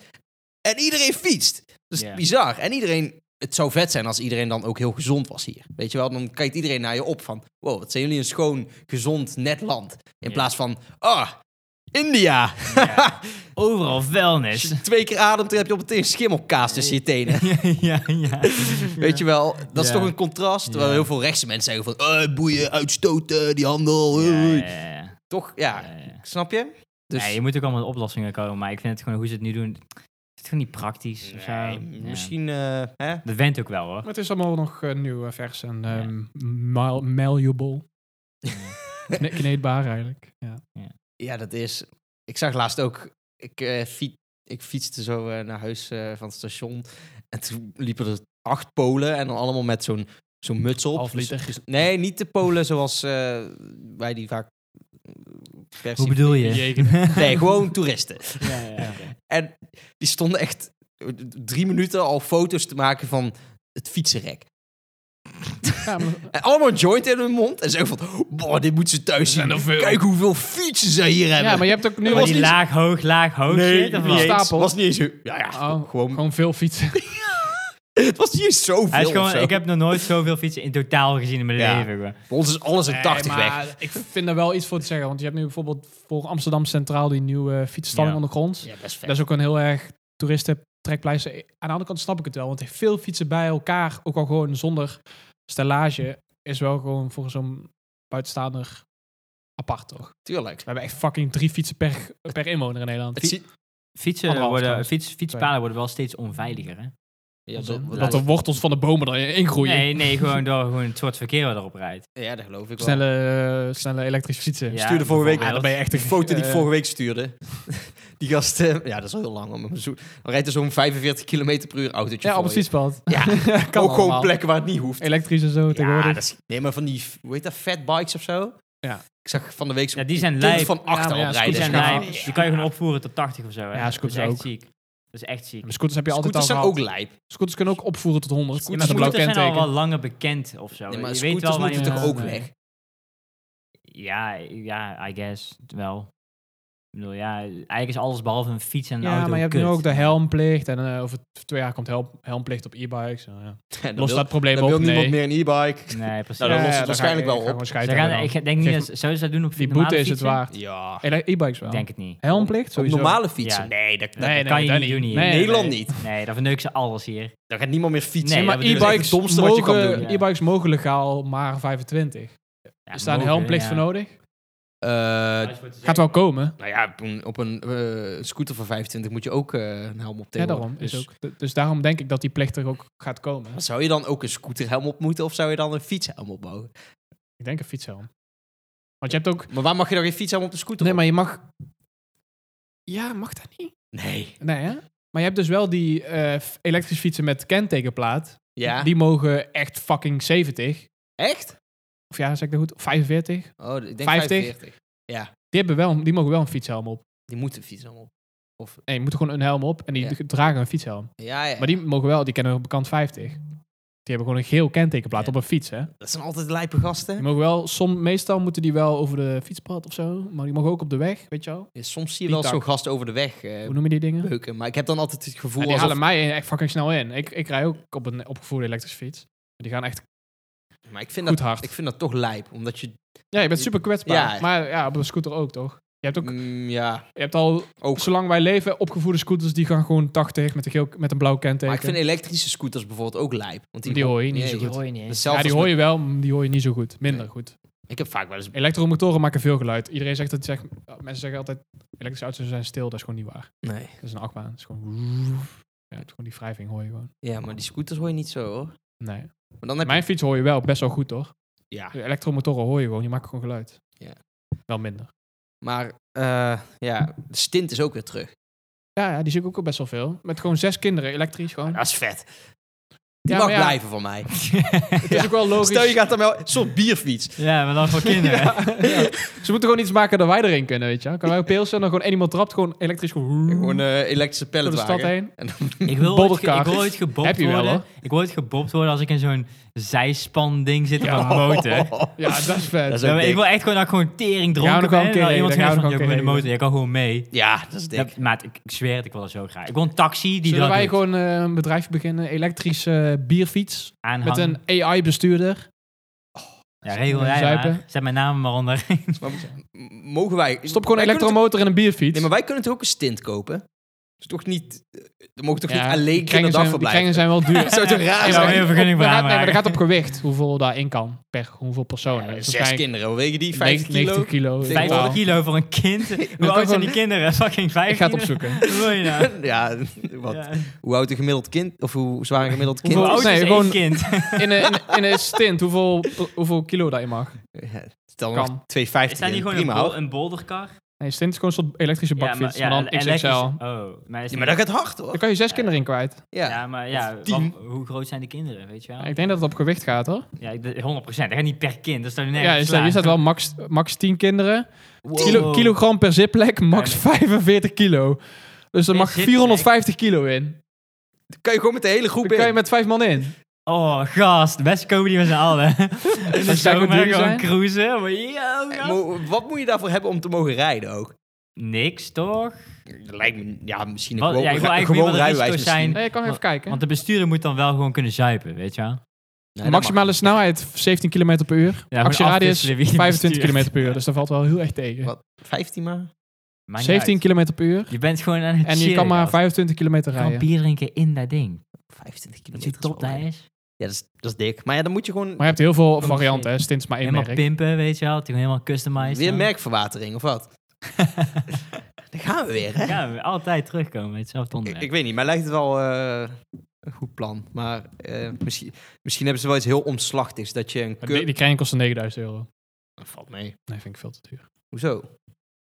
Speaker 4: En iedereen fietst. Dat is
Speaker 2: Ja.
Speaker 4: bizar. En iedereen... Het zou vet zijn als iedereen dan ook heel gezond was hier. Weet je wel, dan kijkt iedereen naar je op van... Wow, wat zijn jullie een schoon, gezond, net land. In
Speaker 2: Ja.
Speaker 4: plaats van... Ah, India.
Speaker 2: Ja. Overal vuilnis.
Speaker 4: Als je twee keer ademt, dan heb je op meteen schimmelkaas tussen je tenen.
Speaker 2: ja, ja, ja.
Speaker 4: Weet je wel, dat is
Speaker 2: Ja.
Speaker 4: toch een contrast. Terwijl
Speaker 2: Ja.
Speaker 4: heel veel rechtse mensen zeggen van... eh, boeien, uitstoten, die handel.
Speaker 2: Ja,
Speaker 4: eh, eh."
Speaker 2: ja, ja,
Speaker 4: Toch, ja.
Speaker 2: ja, ja.
Speaker 4: Snap je? Dus
Speaker 2: Nee, je moet ook allemaal met oplossingen komen, maar ik vind het gewoon, hoe ze het nu doen, het is gewoon niet praktisch of zo.
Speaker 4: nee,
Speaker 2: Ja.
Speaker 4: misschien... eh, hè?
Speaker 2: Dat went ook wel, hoor.
Speaker 3: Maar het is allemaal nog eh, nieuw, eh, vers en ehm, mal- malleable. Kne- kneedbaar eigenlijk. Ja.
Speaker 4: Ja, dat is... Ik zag laatst ook... Ik, eh, fiet, ik fietste zo eh, naar huis eh, van het station. En toen liepen er acht Polen. En dan allemaal met zo'n zo'n muts op.
Speaker 3: Half liter.
Speaker 4: Dus- nee, niet de Polen zoals eh, wij die vaak... eh, per
Speaker 2: Hoe
Speaker 4: se-
Speaker 2: bedoel je?
Speaker 4: Nee, gewoon toeristen.
Speaker 2: Ja, ja, ja.
Speaker 4: En die stonden echt drie minuten al foto's te maken van het fietsenrek.
Speaker 3: Ja, maar-
Speaker 4: En allemaal een joint in hun mond. En zeggen van, boah, dit moeten ze thuis zien. Kijk hoeveel fietsen ze hier hebben.
Speaker 3: ja, maar je hebt ook nu...
Speaker 2: Maar
Speaker 3: al
Speaker 2: die
Speaker 3: iets-
Speaker 2: laag, hoog, laag, hoog shit, of
Speaker 3: niet
Speaker 2: wat?
Speaker 3: eens. stapel.
Speaker 4: was niet eens... zo- Ja, ja,
Speaker 3: Oh,
Speaker 4: gewoon...
Speaker 3: gewoon veel fietsen.
Speaker 4: Het was niet eens zoveel
Speaker 2: Hij is
Speaker 4: of
Speaker 2: gewoon,
Speaker 4: zo.
Speaker 2: ik heb nog nooit zoveel fietsen in totaal gezien in mijn
Speaker 4: Ja.
Speaker 2: leven. gewoon.
Speaker 4: Voor ons is alles een 80
Speaker 3: Nee,
Speaker 4: weg.
Speaker 3: maar Ik vind daar wel iets voor te zeggen. Want je hebt nu bijvoorbeeld voor Amsterdam Centraal die nieuwe fietsstalling
Speaker 2: Ja.
Speaker 3: ondergronds.
Speaker 4: Ja, best
Speaker 3: Dat is ook een heel erg toeristen trekpleister. Aan de andere kant snap ik het wel. Want veel fietsen bij elkaar, ook al gewoon zonder stellage, is wel gewoon voor zo'n buitenstaander apart toch?
Speaker 4: Tuurlijk.
Speaker 3: We hebben echt fucking drie fietsen per, per inwoner in Nederland.
Speaker 4: Het zie-
Speaker 2: Fietsen
Speaker 3: Anderhalf
Speaker 2: worden,
Speaker 3: trouwens.
Speaker 2: fiets, fietspaden worden wel steeds onveiliger. Hè?
Speaker 4: ja,
Speaker 3: dat,
Speaker 4: dat,
Speaker 3: dat de wortels van de bomen erin groeien.
Speaker 2: Nee, nee, gewoon door gewoon het soort verkeer wat erop rijdt.
Speaker 4: ja, dat geloof ik wel.
Speaker 3: Snelle, eh, snelle elektrische fietsen.
Speaker 2: Ja,
Speaker 4: stuurde vorige week-
Speaker 3: Ja, dan ben je echt een
Speaker 4: De foto die ik
Speaker 3: eh,
Speaker 4: vorige week stuurde. Die gast, eh, ja, dat is al heel lang. Maar zo, dan rijdt er zo'n 45 km per uur autootje
Speaker 3: Ja, op
Speaker 4: voor
Speaker 3: het
Speaker 4: je.
Speaker 3: fietspad.
Speaker 4: Ja,
Speaker 3: kan
Speaker 4: ook gewoon
Speaker 3: allemaal.
Speaker 4: plekken waar het niet hoeft.
Speaker 3: Elektrisch en zo tegenwoordig.
Speaker 4: Ja, dat is, nee, maar van die, hoe heet dat, fatbikes of zo?
Speaker 3: Ja.
Speaker 4: Ik zag van de week zo'n
Speaker 2: Ja, die zijn
Speaker 4: kind
Speaker 2: lijp.
Speaker 4: van
Speaker 3: Ja,
Speaker 4: achter
Speaker 3: maar ja,
Speaker 4: op
Speaker 2: Die
Speaker 4: rijden.
Speaker 2: zijn
Speaker 3: Ja.
Speaker 2: lijp. Die kan je gewoon opvoeren tot 80 of zo. Hè?
Speaker 3: Ja, scooters
Speaker 2: dat is echt
Speaker 3: ook.
Speaker 2: ziek. Dat is echt ziek.
Speaker 3: Maar scooters heb je altijd
Speaker 4: Scooters
Speaker 3: al
Speaker 4: zijn
Speaker 3: gehad.
Speaker 4: ook lijp.
Speaker 3: Scooters kunnen ook opvoeren tot 100.
Speaker 4: Scooters
Speaker 3: met een blauw
Speaker 2: Scooters zijn al
Speaker 3: kenteken.
Speaker 2: wel langer bekend of zo.
Speaker 4: Nee, maar
Speaker 2: je weet
Speaker 4: scooters
Speaker 2: wel
Speaker 4: moeten
Speaker 2: wanneer-
Speaker 4: toch
Speaker 3: je-
Speaker 4: ook
Speaker 3: nee.
Speaker 4: weg?
Speaker 2: Ja, ja, I guess. Wel. Ik bedoel, ja, eigenlijk is alles behalve een fiets en een
Speaker 3: Ja,
Speaker 2: auto
Speaker 3: maar je hebt
Speaker 2: kut.
Speaker 3: nu ook de helmplicht. En eh, over t- twee jaar komt helm, helmplicht op e-bikes. Nou, ja.
Speaker 4: Dan
Speaker 3: Los
Speaker 4: wil-
Speaker 3: dat probleem
Speaker 4: dan wil
Speaker 3: op, nee.
Speaker 4: niemand meer een e-bike.
Speaker 2: Nee, precies.
Speaker 4: Nou, dan
Speaker 3: Ja,
Speaker 4: lost het
Speaker 3: ja,
Speaker 4: waarschijnlijk
Speaker 3: ga ik-
Speaker 4: wel
Speaker 3: ik ga
Speaker 4: op.
Speaker 3: gewoon
Speaker 2: Ze
Speaker 3: scheiden
Speaker 2: gaan,
Speaker 3: aan
Speaker 2: ik
Speaker 3: dan.
Speaker 2: denk niet
Speaker 3: Geef-
Speaker 2: dat ze- zouden ze dat doen op
Speaker 3: Die
Speaker 2: normale
Speaker 3: boete is het
Speaker 2: fietsen?
Speaker 3: waard.
Speaker 4: Ja.
Speaker 3: Ele- E-bikes wel.
Speaker 2: Ik denk het niet.
Speaker 3: Helmplicht
Speaker 4: Op
Speaker 3: sowieso.
Speaker 4: normale fietsen?
Speaker 2: Ja.
Speaker 4: Nee, dat, dat-
Speaker 3: Nee,
Speaker 2: dat kan je
Speaker 3: dat
Speaker 2: niet
Speaker 3: niet.
Speaker 2: doen hier.
Speaker 3: Nee,
Speaker 4: in Nederland
Speaker 3: nee.
Speaker 4: niet.
Speaker 2: Nee, dan verneuken ze alles hier.
Speaker 4: Dan gaat niemand meer fietsen.
Speaker 2: Nee,
Speaker 3: maar
Speaker 2: dat bedoel ik. Dat is
Speaker 3: e-bikes
Speaker 4: het domste wat je kan
Speaker 3: mogen,
Speaker 4: doen.
Speaker 2: Ja.
Speaker 3: e-bikes mogen legaal maar 25.
Speaker 2: Ja,
Speaker 3: Is daar een
Speaker 2: mogen,
Speaker 3: helmplicht
Speaker 2: ja.
Speaker 3: voor nodig?
Speaker 4: Eh,
Speaker 3: Gaat wel komen.
Speaker 4: nou ja, op een, op een eh, scooter van 25 moet je ook eh, een helm op
Speaker 3: Ja,
Speaker 4: tegenwoordig.
Speaker 3: daarom. Is
Speaker 4: Dus
Speaker 3: ook. D- Dus daarom denk ik dat die plichtig ook gaat komen.
Speaker 4: Zou je dan ook een scooterhelm op moeten of zou je dan een fietshelm opbouwen?
Speaker 3: Ik denk een fietshelm. Want je hebt ook...
Speaker 4: Maar waar mag je dan geen fietshelm op de scooter?
Speaker 3: Nee, maar je mag... Ja, mag dat niet?
Speaker 4: op? Nee.
Speaker 3: Nee, hè? Maar je hebt dus wel die eh, f- elektrische fietsen met kentekenplaat.
Speaker 4: Ja.
Speaker 3: Die mogen echt fucking 70.
Speaker 4: Echt?
Speaker 3: Of ja, zeg ik dat goed? 45.
Speaker 4: Oh, ik denk
Speaker 3: 50?
Speaker 4: 45. Ja,
Speaker 3: Die, hebben wel, een- die mogen wel een fietshelm op.
Speaker 4: die moeten een fietshelm op. Of,
Speaker 3: Nee, je moet gewoon een helm op en die
Speaker 4: Ja.
Speaker 3: dragen een fietshelm.
Speaker 4: ja, ja.
Speaker 3: Maar die mogen wel, die kennen we op kant 50. Die hebben gewoon een geel kentekenplaat
Speaker 4: Ja.
Speaker 3: op een fiets, hè?
Speaker 4: Dat zijn altijd lijpe gasten.
Speaker 3: Die mogen wel, som, meestal moeten die wel over de fietspad of zo. Maar die mogen ook op de weg, weet je wel.
Speaker 4: Ja, soms zie je
Speaker 3: Die
Speaker 4: wel zo'n
Speaker 3: tak.
Speaker 4: gast over de weg eh,
Speaker 3: Hoe noem je die dingen?
Speaker 4: beuken. Maar ik heb dan altijd het gevoel
Speaker 3: Ja, die
Speaker 4: alsof-
Speaker 3: halen mij echt fucking snel in. Ik, ik rij ook op een opgevoerde elektrische fiets. Die gaan echt
Speaker 4: Maar ik vind,
Speaker 3: goed
Speaker 4: dat,
Speaker 3: hard.
Speaker 4: Nou, ik vind dat toch lijp. Omdat je...
Speaker 3: Ja, je bent super kwetsbaar.
Speaker 4: Ja.
Speaker 3: Maar ja, op een scooter ook, toch? Je hebt, ook,
Speaker 4: Mm, ja,
Speaker 3: je hebt al,
Speaker 4: ook.
Speaker 3: zolang wij leven, opgevoerde scooters die gaan gewoon 80 met een, geel, met een blauw kenteken.
Speaker 4: Maar ik vind elektrische scooters bijvoorbeeld ook lijp. Want die,
Speaker 3: Die hoor je niet
Speaker 4: Nee,
Speaker 3: zo
Speaker 4: die
Speaker 3: goed.
Speaker 2: hoor je niet eens.
Speaker 4: Hetzelfde
Speaker 3: ja, die
Speaker 4: als
Speaker 3: hoor
Speaker 4: met-
Speaker 3: je wel, maar die hoor je niet zo goed. Minder
Speaker 4: Nee.
Speaker 3: goed.
Speaker 4: Ik heb vaak wel eens...
Speaker 3: Elektromotoren maken veel geluid. Iedereen zegt dat, zegt, mensen zeggen altijd, elektrische auto's zijn stil. Dat is gewoon niet waar.
Speaker 4: Nee.
Speaker 3: Dat is een achtbaan. Dat is gewoon... Ja, het is gewoon die wrijving hoor je gewoon.
Speaker 4: Ja, maar die scooters hoor je niet zo hoor.
Speaker 3: Nee.
Speaker 4: Maar dan heb
Speaker 3: Mijn fiets hoor je wel best wel goed, toch?
Speaker 4: je... Ja.
Speaker 3: De elektromotoren hoor je gewoon, die maken gewoon geluid.
Speaker 4: Ja.
Speaker 3: Wel minder.
Speaker 4: Maar eh, ja, de stint is ook weer terug.
Speaker 3: Ja, ja, die zie ik ook al best wel veel. Met gewoon zes kinderen, elektrisch gewoon.
Speaker 4: Dat is vet. Die
Speaker 3: Ja,
Speaker 4: mag
Speaker 3: maar ja,
Speaker 4: blijven van mij.
Speaker 3: Het is ook wel logisch.
Speaker 4: Stel je gaat dan wel... Een soort bierfiets.
Speaker 2: Ja, maar dan voor kinderen.
Speaker 3: Ze moeten gewoon iets maken dat wij erin kunnen, weet je. wel. Kan wij op pilsen en dan gewoon en iemand trapt, gewoon elektrisch gewoon,
Speaker 4: Gewoon eh, elektrische
Speaker 3: door de stad
Speaker 4: palletwagen.
Speaker 3: heen.
Speaker 4: En dan
Speaker 2: Ik wil, ooit, ge- ik
Speaker 3: Bodderkar.
Speaker 2: wil ooit
Speaker 3: Heb
Speaker 2: gebopt
Speaker 3: je wel,
Speaker 2: worden.
Speaker 3: hoor.
Speaker 2: ik wil ooit gebopt worden als ik in zo'n zijspan ding zit op
Speaker 3: Ja.
Speaker 2: een motor.
Speaker 4: Oh.
Speaker 3: Ja, dat is vet.
Speaker 4: Dat is
Speaker 2: Ja,
Speaker 4: ook
Speaker 2: maar ik
Speaker 4: dik.
Speaker 2: wil echt gewoon dat ik gewoon tering
Speaker 3: Ja,
Speaker 2: dronken
Speaker 3: dan kan
Speaker 2: ben. en
Speaker 3: ik een
Speaker 2: dat
Speaker 3: keer
Speaker 2: iemand
Speaker 3: reden,
Speaker 2: zegt van,
Speaker 3: dan
Speaker 2: "Yo, ik wil
Speaker 3: kan
Speaker 2: in
Speaker 3: ik
Speaker 2: de
Speaker 3: een
Speaker 2: motor, jij kan gewoon mee.
Speaker 4: Ja, dat is dik.
Speaker 2: Ja, maat, ik, ik zweer het, ik wil dat zo graag. Ik wil een taxi die
Speaker 3: Zullen
Speaker 2: dat
Speaker 3: wij
Speaker 2: doet.
Speaker 3: gewoon eh, een bedrijf beginnen? Elektrische bierfiets met
Speaker 2: aanhangen.
Speaker 3: een AI-bestuurder.
Speaker 2: ja, regel jij
Speaker 3: zuipen.
Speaker 2: maar. Zet mijn naam maar onder.
Speaker 4: Maar m- mogen wij...
Speaker 3: Stop gewoon
Speaker 4: wij
Speaker 3: een
Speaker 4: kunnen
Speaker 3: elektromotor in een bierfiets.
Speaker 4: Nee, maar wij kunnen toch ook een stint kopen? Dus toch niet... eh, Er mogen toch
Speaker 3: Ja,
Speaker 4: niet
Speaker 3: die
Speaker 4: alleen
Speaker 3: kringen zijn, die
Speaker 4: kinderdagverblijven?
Speaker 3: kringen zijn wel duur.
Speaker 4: Dat zou toch raar
Speaker 2: Ja,
Speaker 3: maar
Speaker 2: zou
Speaker 4: zijn?
Speaker 2: heel
Speaker 3: op-
Speaker 2: vergunning
Speaker 3: dat
Speaker 2: voor
Speaker 3: gaat-
Speaker 2: aanmaken.
Speaker 3: Nee, maar dat gaat op gewicht, hoeveel daarin kan. Per hoeveel personen.
Speaker 4: Ja, zes
Speaker 3: Dus waarschijnlijk
Speaker 4: kinderen, hoe wegen die? 50 kilo?
Speaker 3: 90 kilo. kilo in
Speaker 4: 50
Speaker 3: totaal.
Speaker 2: 500 kilo voor een kind. Hoe
Speaker 3: kan
Speaker 2: oud zijn die
Speaker 3: gewoon-
Speaker 2: kinderen? Fucking 15?
Speaker 3: Ik ga het opzoeken.
Speaker 2: Wat wil je nou?
Speaker 4: ja, wat?
Speaker 2: Ja.
Speaker 4: Hoe oud een gemiddeld kind? Of hoe zwaar een gemiddeld kind?
Speaker 2: Hoe
Speaker 3: Hoeveel-
Speaker 2: oud
Speaker 3: Nee,
Speaker 2: is één
Speaker 3: gewoon-
Speaker 2: kind?
Speaker 3: In een, in, een- in een stint, hoeveel, hoeveel kilo daarin mag.
Speaker 4: Ja, Stel
Speaker 3: Kan.
Speaker 4: nog 2,50
Speaker 2: Is dat
Speaker 4: in,
Speaker 2: niet gewoon een,
Speaker 4: prima
Speaker 2: bol,
Speaker 4: hoor.
Speaker 2: een boulderkar?
Speaker 3: Nee, stint is gewoon een soort elektrische bakfiets. maar, dan
Speaker 2: elektrisch-
Speaker 3: XXL.
Speaker 2: Oh, maar, is
Speaker 4: Ja,
Speaker 2: die-
Speaker 4: maar dat gaat hard hoor.
Speaker 3: Dan kan je zes kinderen in kwijt.
Speaker 4: Ja.
Speaker 2: Ja, maar ja,
Speaker 4: Of tien.
Speaker 2: wat- hoe groot zijn de kinderen, weet je wel?
Speaker 3: Ik denk dat het op gewicht gaat, hoor.
Speaker 2: Ja, ik- 100%. Dat gaat niet per kind, dat is dan
Speaker 3: ja,
Speaker 2: nergens
Speaker 3: je staat,
Speaker 2: slaan.
Speaker 3: hier staat wel max, max 10 kinderen.
Speaker 4: Wow.
Speaker 3: Kilo, kilogram per zitplek, max
Speaker 2: Ja,
Speaker 3: 45 kilo. Dus er
Speaker 2: Per
Speaker 3: mag
Speaker 2: zitplek?
Speaker 3: 450 kilo in.
Speaker 4: Kan je gewoon met de hele groep
Speaker 3: Dan kan je
Speaker 4: in.
Speaker 3: met vijf man in.
Speaker 2: Oh, gast, best comedy met z'n allen. In de
Speaker 3: Als zij goed
Speaker 2: zomer
Speaker 3: jullie
Speaker 2: gewoon
Speaker 3: zijn?
Speaker 2: cruisen. Maar yo,
Speaker 4: Eh,
Speaker 2: gast.
Speaker 4: mo- Wat moet je daarvoor hebben om te mogen rijden ook?
Speaker 2: Niks, toch?
Speaker 4: Dat lijkt me, ja, misschien
Speaker 2: Wat-
Speaker 4: een gewoon,
Speaker 2: ja, ik wil
Speaker 4: ra-
Speaker 2: eigenlijk
Speaker 4: gewoon
Speaker 2: niet wat de
Speaker 4: rijbewijs
Speaker 2: risico's
Speaker 4: misschien.
Speaker 2: zijn.
Speaker 3: Nee, ik kan even kijken.
Speaker 2: Want de bestuurder moet dan wel gewoon kunnen zuipen, weet je wel?
Speaker 4: Nee, dat
Speaker 3: Maximale
Speaker 4: mag.
Speaker 3: snelheid 17 km per uur.
Speaker 2: Ja,
Speaker 3: Actieradius
Speaker 2: afwisselen wie die
Speaker 3: 25
Speaker 2: bestuurt.
Speaker 3: km per uur. Dus dat valt wel heel erg tegen.
Speaker 4: Wat? 15 maar?
Speaker 2: Maakt niet
Speaker 3: 17
Speaker 2: uit.
Speaker 3: km per uur.
Speaker 2: Je bent gewoon aan het
Speaker 3: En je
Speaker 2: chillen,
Speaker 3: kan maar
Speaker 2: gast.
Speaker 3: 25 kilometer
Speaker 2: Je kan
Speaker 3: rijden.
Speaker 2: bier drinken in dat ding.
Speaker 4: 25
Speaker 2: Dat
Speaker 4: kilometer.
Speaker 2: je top
Speaker 4: wel
Speaker 2: daar
Speaker 4: rijden.
Speaker 2: is.
Speaker 4: Ja, dat is, dat is dik. Maar ja, dan moet je gewoon
Speaker 3: Maar je hebt heel veel varianten. hè. Stint is maar één
Speaker 2: Helemaal
Speaker 3: merk.
Speaker 2: pimpen, weet je wel? Het is Helemaal customized.
Speaker 4: weer
Speaker 2: dan.
Speaker 4: merkverwatering of wat? dan gaan we weer, hè?
Speaker 2: Ja, we altijd terugkomen met hetzelfde
Speaker 4: Ik,
Speaker 2: onderwerp.
Speaker 4: ik weet niet, mij lijkt het wel eh, een goed plan. Maar eh, misschien, misschien hebben ze wel iets heel omslachtigs. Dat je een
Speaker 3: Die,
Speaker 4: curve...
Speaker 3: die krijgen kosten 9000 euro.
Speaker 4: Dat valt mee.
Speaker 3: Nee, vind ik veel te duur.
Speaker 4: Hoezo?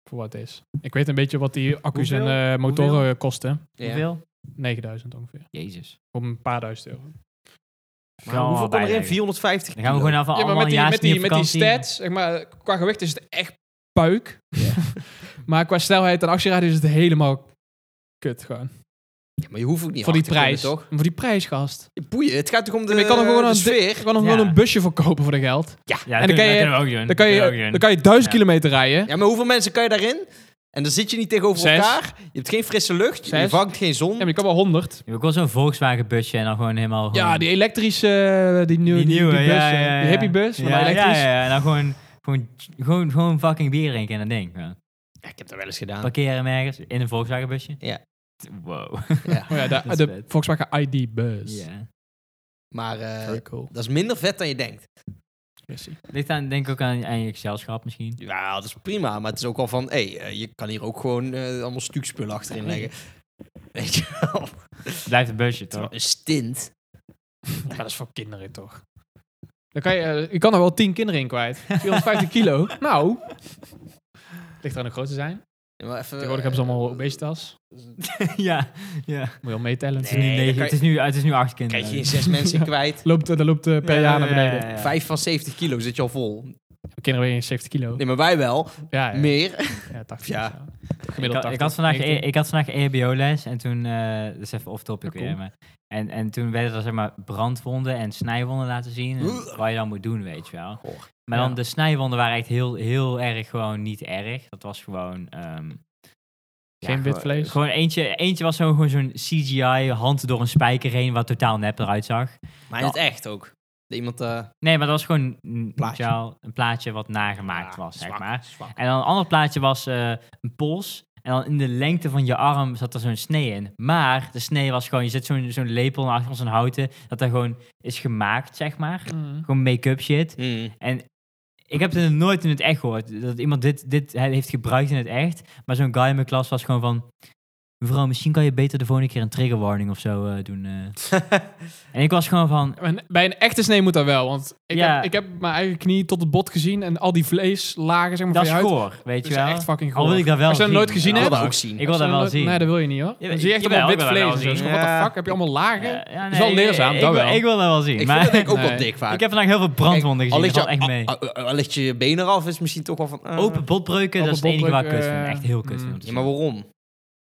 Speaker 3: Voor wat het is. Ik weet een beetje wat die accu's en
Speaker 2: Hoeveel?
Speaker 3: eh, motoren
Speaker 2: Hoeveel?
Speaker 3: kosten.
Speaker 4: Ja.
Speaker 2: Hoeveel?
Speaker 3: 9000 ongeveer.
Speaker 2: Jezus.
Speaker 3: Om een paar duizend euro.
Speaker 4: Maar
Speaker 2: Gaan we
Speaker 4: hoeveel
Speaker 2: wel
Speaker 4: komt erin?
Speaker 2: bijleggen.
Speaker 4: 450
Speaker 2: Dan gaan we gewoon af
Speaker 3: Ja,
Speaker 2: allemaal
Speaker 3: maar met
Speaker 2: een
Speaker 3: die,
Speaker 2: jaar
Speaker 3: met die,
Speaker 2: niet op
Speaker 3: met die
Speaker 2: vakantie.
Speaker 3: stats, zeg maar, qua gewicht is het echt puik. maar qua snelheid en actieradius is het helemaal kut gewoon.
Speaker 4: Ja, maar je hoeft ook niet
Speaker 3: voor die
Speaker 4: hard te
Speaker 3: prijs.
Speaker 4: kunnen, toch?
Speaker 3: Voor die prijs, gast.
Speaker 4: Boeien, het gaat toch om de,
Speaker 3: maar je kan er gewoon
Speaker 4: de
Speaker 3: een di-
Speaker 4: sfeer?
Speaker 3: Ik kan nog
Speaker 2: Ja.
Speaker 3: gewoon een busje voor kopen voor de geld.
Speaker 2: Ja,
Speaker 3: En
Speaker 2: dat
Speaker 3: dan kan
Speaker 2: kunnen-
Speaker 3: je-
Speaker 2: dat kunnen we ook doen. Dat
Speaker 3: Dan kan
Speaker 2: kunnen we
Speaker 3: je,
Speaker 2: ook
Speaker 3: dan
Speaker 2: doen.
Speaker 3: kan je
Speaker 2: Ja.
Speaker 3: duizend kilometer rijden.
Speaker 4: Ja, maar hoeveel mensen kan je daarin? En dan zit je niet tegenover
Speaker 3: Zes.
Speaker 4: elkaar. Je hebt geen frisse lucht. Je
Speaker 3: Zes.
Speaker 4: vangt geen zon.
Speaker 3: Ja, maar je kan wel 100.
Speaker 2: Je hebt ook wel zo'n Volkswagen busje en dan gewoon helemaal...
Speaker 3: Ja,
Speaker 2: gewoon-
Speaker 3: die elektrische, eh, die, nieuwe, die,
Speaker 2: Oh. nieuwe,
Speaker 3: die bus,
Speaker 2: ja,
Speaker 3: eh,
Speaker 2: ja,
Speaker 3: die
Speaker 2: ja.
Speaker 3: hippiebus, maar
Speaker 2: ja,
Speaker 3: dan elektrisch.
Speaker 2: Ja, ja, en dan gewoon, gewoon, gewoon, gewoon fucking bier drinken en dat ding. Ja.
Speaker 4: Ja, ik heb dat wel eens gedaan.
Speaker 2: Parkeren ergens in een Volkswagen busje.
Speaker 4: Ja.
Speaker 2: Wow.
Speaker 4: Ja.
Speaker 3: Oh ja, de,
Speaker 2: Dat is
Speaker 3: de
Speaker 2: vet.
Speaker 3: Volkswagen ID-bus.
Speaker 2: Ja.
Speaker 4: Maar eh,
Speaker 3: Very cool.
Speaker 4: dat is minder vet dan je denkt.
Speaker 3: suggestie.
Speaker 2: Ligt aan, denk ik ook aan, aan je gezelschap misschien.
Speaker 4: Ja, dat is prima. Maar het is ook wel van, hé, eh, je kan hier ook gewoon eh, allemaal stukspullen achterin leggen. Weet je wel?
Speaker 2: Blijft een busje toch?
Speaker 4: Terwijl Een stint.
Speaker 3: Ja, Nou, dat is voor kinderen toch? Dan kan je, eh, je kan er wel 10 kinderen in kwijt. 450 kilo. Nou. Ligt er aan de grootte
Speaker 2: Eh,
Speaker 3: zijn.
Speaker 4: Ja, maar even, eh,
Speaker 3: Tegenwoordig hebben ze allemaal obesitas.
Speaker 2: ja, ja.
Speaker 3: Moet je al meetellen.
Speaker 2: Het is nu
Speaker 4: Nee, dan
Speaker 2: negen-
Speaker 4: kan
Speaker 2: het is nu, het is nu acht kinderen.
Speaker 4: Krijg je in zes mensen kwijt.
Speaker 3: Loopt, eh, dat loopt eh, per
Speaker 2: Ja,
Speaker 3: jaar naar
Speaker 2: ja,
Speaker 3: beneden.
Speaker 2: ja, ja.
Speaker 4: Vijf van 70 kilo zit je al vol.
Speaker 3: Kinderen wegen 70 kilo.
Speaker 4: Nee, maar wij wel.
Speaker 3: Ja, ja,
Speaker 4: Meer.
Speaker 3: ja, 80
Speaker 4: Ja.
Speaker 3: of zo.
Speaker 2: Ik, had-
Speaker 3: Gemiddeld 80.
Speaker 2: ik had vandaag,
Speaker 3: 19.
Speaker 2: E- ik had vandaag EHBO-les en toen, eh dat is even off-topic
Speaker 3: Ja,
Speaker 2: weer,
Speaker 3: cool.
Speaker 2: maar, en, en toen werden er zeg maar brandwonden en snijwonden laten zien, en wat je dan moet doen, weet je wel.
Speaker 4: Goh.
Speaker 2: Maar
Speaker 3: Ja.
Speaker 2: dan de snijwonden waren echt heel, heel erg gewoon niet erg. Dat was gewoon... ehm, ja,
Speaker 3: Geen wit
Speaker 2: gewoon-
Speaker 3: vlees.
Speaker 2: Gewoon eentje, eentje was zo- gewoon zo'n CGI hand door een spijker heen, wat totaal nep eruit zag.
Speaker 4: Maar in het echt ook. Dat Iemand... eh
Speaker 2: Nee, maar dat was gewoon een
Speaker 4: Plaatje.
Speaker 2: plaatje, een plaatje wat nagemaakt
Speaker 4: ja,
Speaker 2: was, zeg
Speaker 4: zwak,
Speaker 2: maar.
Speaker 4: zwak.
Speaker 2: En dan een ander plaatje was eh, een pols. En dan in de lengte van je arm zat er zo'n snee in. Maar de snee was gewoon, je zet zo'n zo'n lepel achter zo'n houten, dat er gewoon is gemaakt, zeg maar.
Speaker 3: Mm.
Speaker 2: Gewoon make-up shit.
Speaker 4: Mm.
Speaker 2: En ik heb het nooit in het echt gehoord. Dat iemand dit, dit he- heeft gebruikt in het echt. Maar zo'n guy in mijn klas was gewoon van... Mevrouw, misschien kan je beter de volgende keer een trigger warning of zo eh, doen. eh." en ik was gewoon van...
Speaker 3: En Bij een echte snee moet dat wel, want ik,
Speaker 2: Ja.
Speaker 3: heb, ik heb mijn eigen knie tot het bot gezien en al die vleeslagen zeg maar,
Speaker 2: Dat
Speaker 3: van
Speaker 2: is
Speaker 3: je huid.
Speaker 2: goor, weet
Speaker 3: Dat
Speaker 2: je
Speaker 3: is
Speaker 2: wel.
Speaker 3: echt fucking
Speaker 2: Al
Speaker 3: goor.
Speaker 2: wil ik dat wel
Speaker 3: Als je dat nooit gezien
Speaker 4: Ja,
Speaker 3: hebt,
Speaker 4: dat ook zien.
Speaker 2: Ik wil dat
Speaker 3: Als je
Speaker 2: wel
Speaker 3: dat-
Speaker 2: zien.
Speaker 3: Nee, dat wil je niet hoor.
Speaker 2: Ja,
Speaker 3: Dan zie je echt
Speaker 2: jawel,
Speaker 3: allemaal
Speaker 2: ik
Speaker 3: wit
Speaker 2: wil dat wel
Speaker 3: vlees en zo.
Speaker 2: zien.
Speaker 3: Dus What the
Speaker 4: Ja.
Speaker 3: fuck, heb je allemaal lagen?
Speaker 2: Ja, ja,
Speaker 3: dat is wel
Speaker 2: nee,
Speaker 3: leerzaam,
Speaker 2: ik,
Speaker 3: dat
Speaker 2: wil-
Speaker 3: wel.
Speaker 2: Ik wil dat wel zien.
Speaker 4: Ik
Speaker 2: maar
Speaker 4: vind dat denk ik ook
Speaker 3: Nee.
Speaker 4: wel dik vaak.
Speaker 2: ik heb vandaag heel veel
Speaker 4: Al
Speaker 2: brandwonden gezien.
Speaker 4: ligt
Speaker 2: Dat
Speaker 4: je,
Speaker 2: valt echt mee.
Speaker 4: al- al- al ligt je benen eraf, is misschien toch wel van... eh.
Speaker 2: Open botbreuken, dat is het
Speaker 3: Open
Speaker 2: enige waar ik kut
Speaker 3: botbreuken,
Speaker 2: vind. Echt heel kut
Speaker 3: eh,
Speaker 2: vind om te
Speaker 4: Ja, maar
Speaker 2: zien.
Speaker 4: waarom?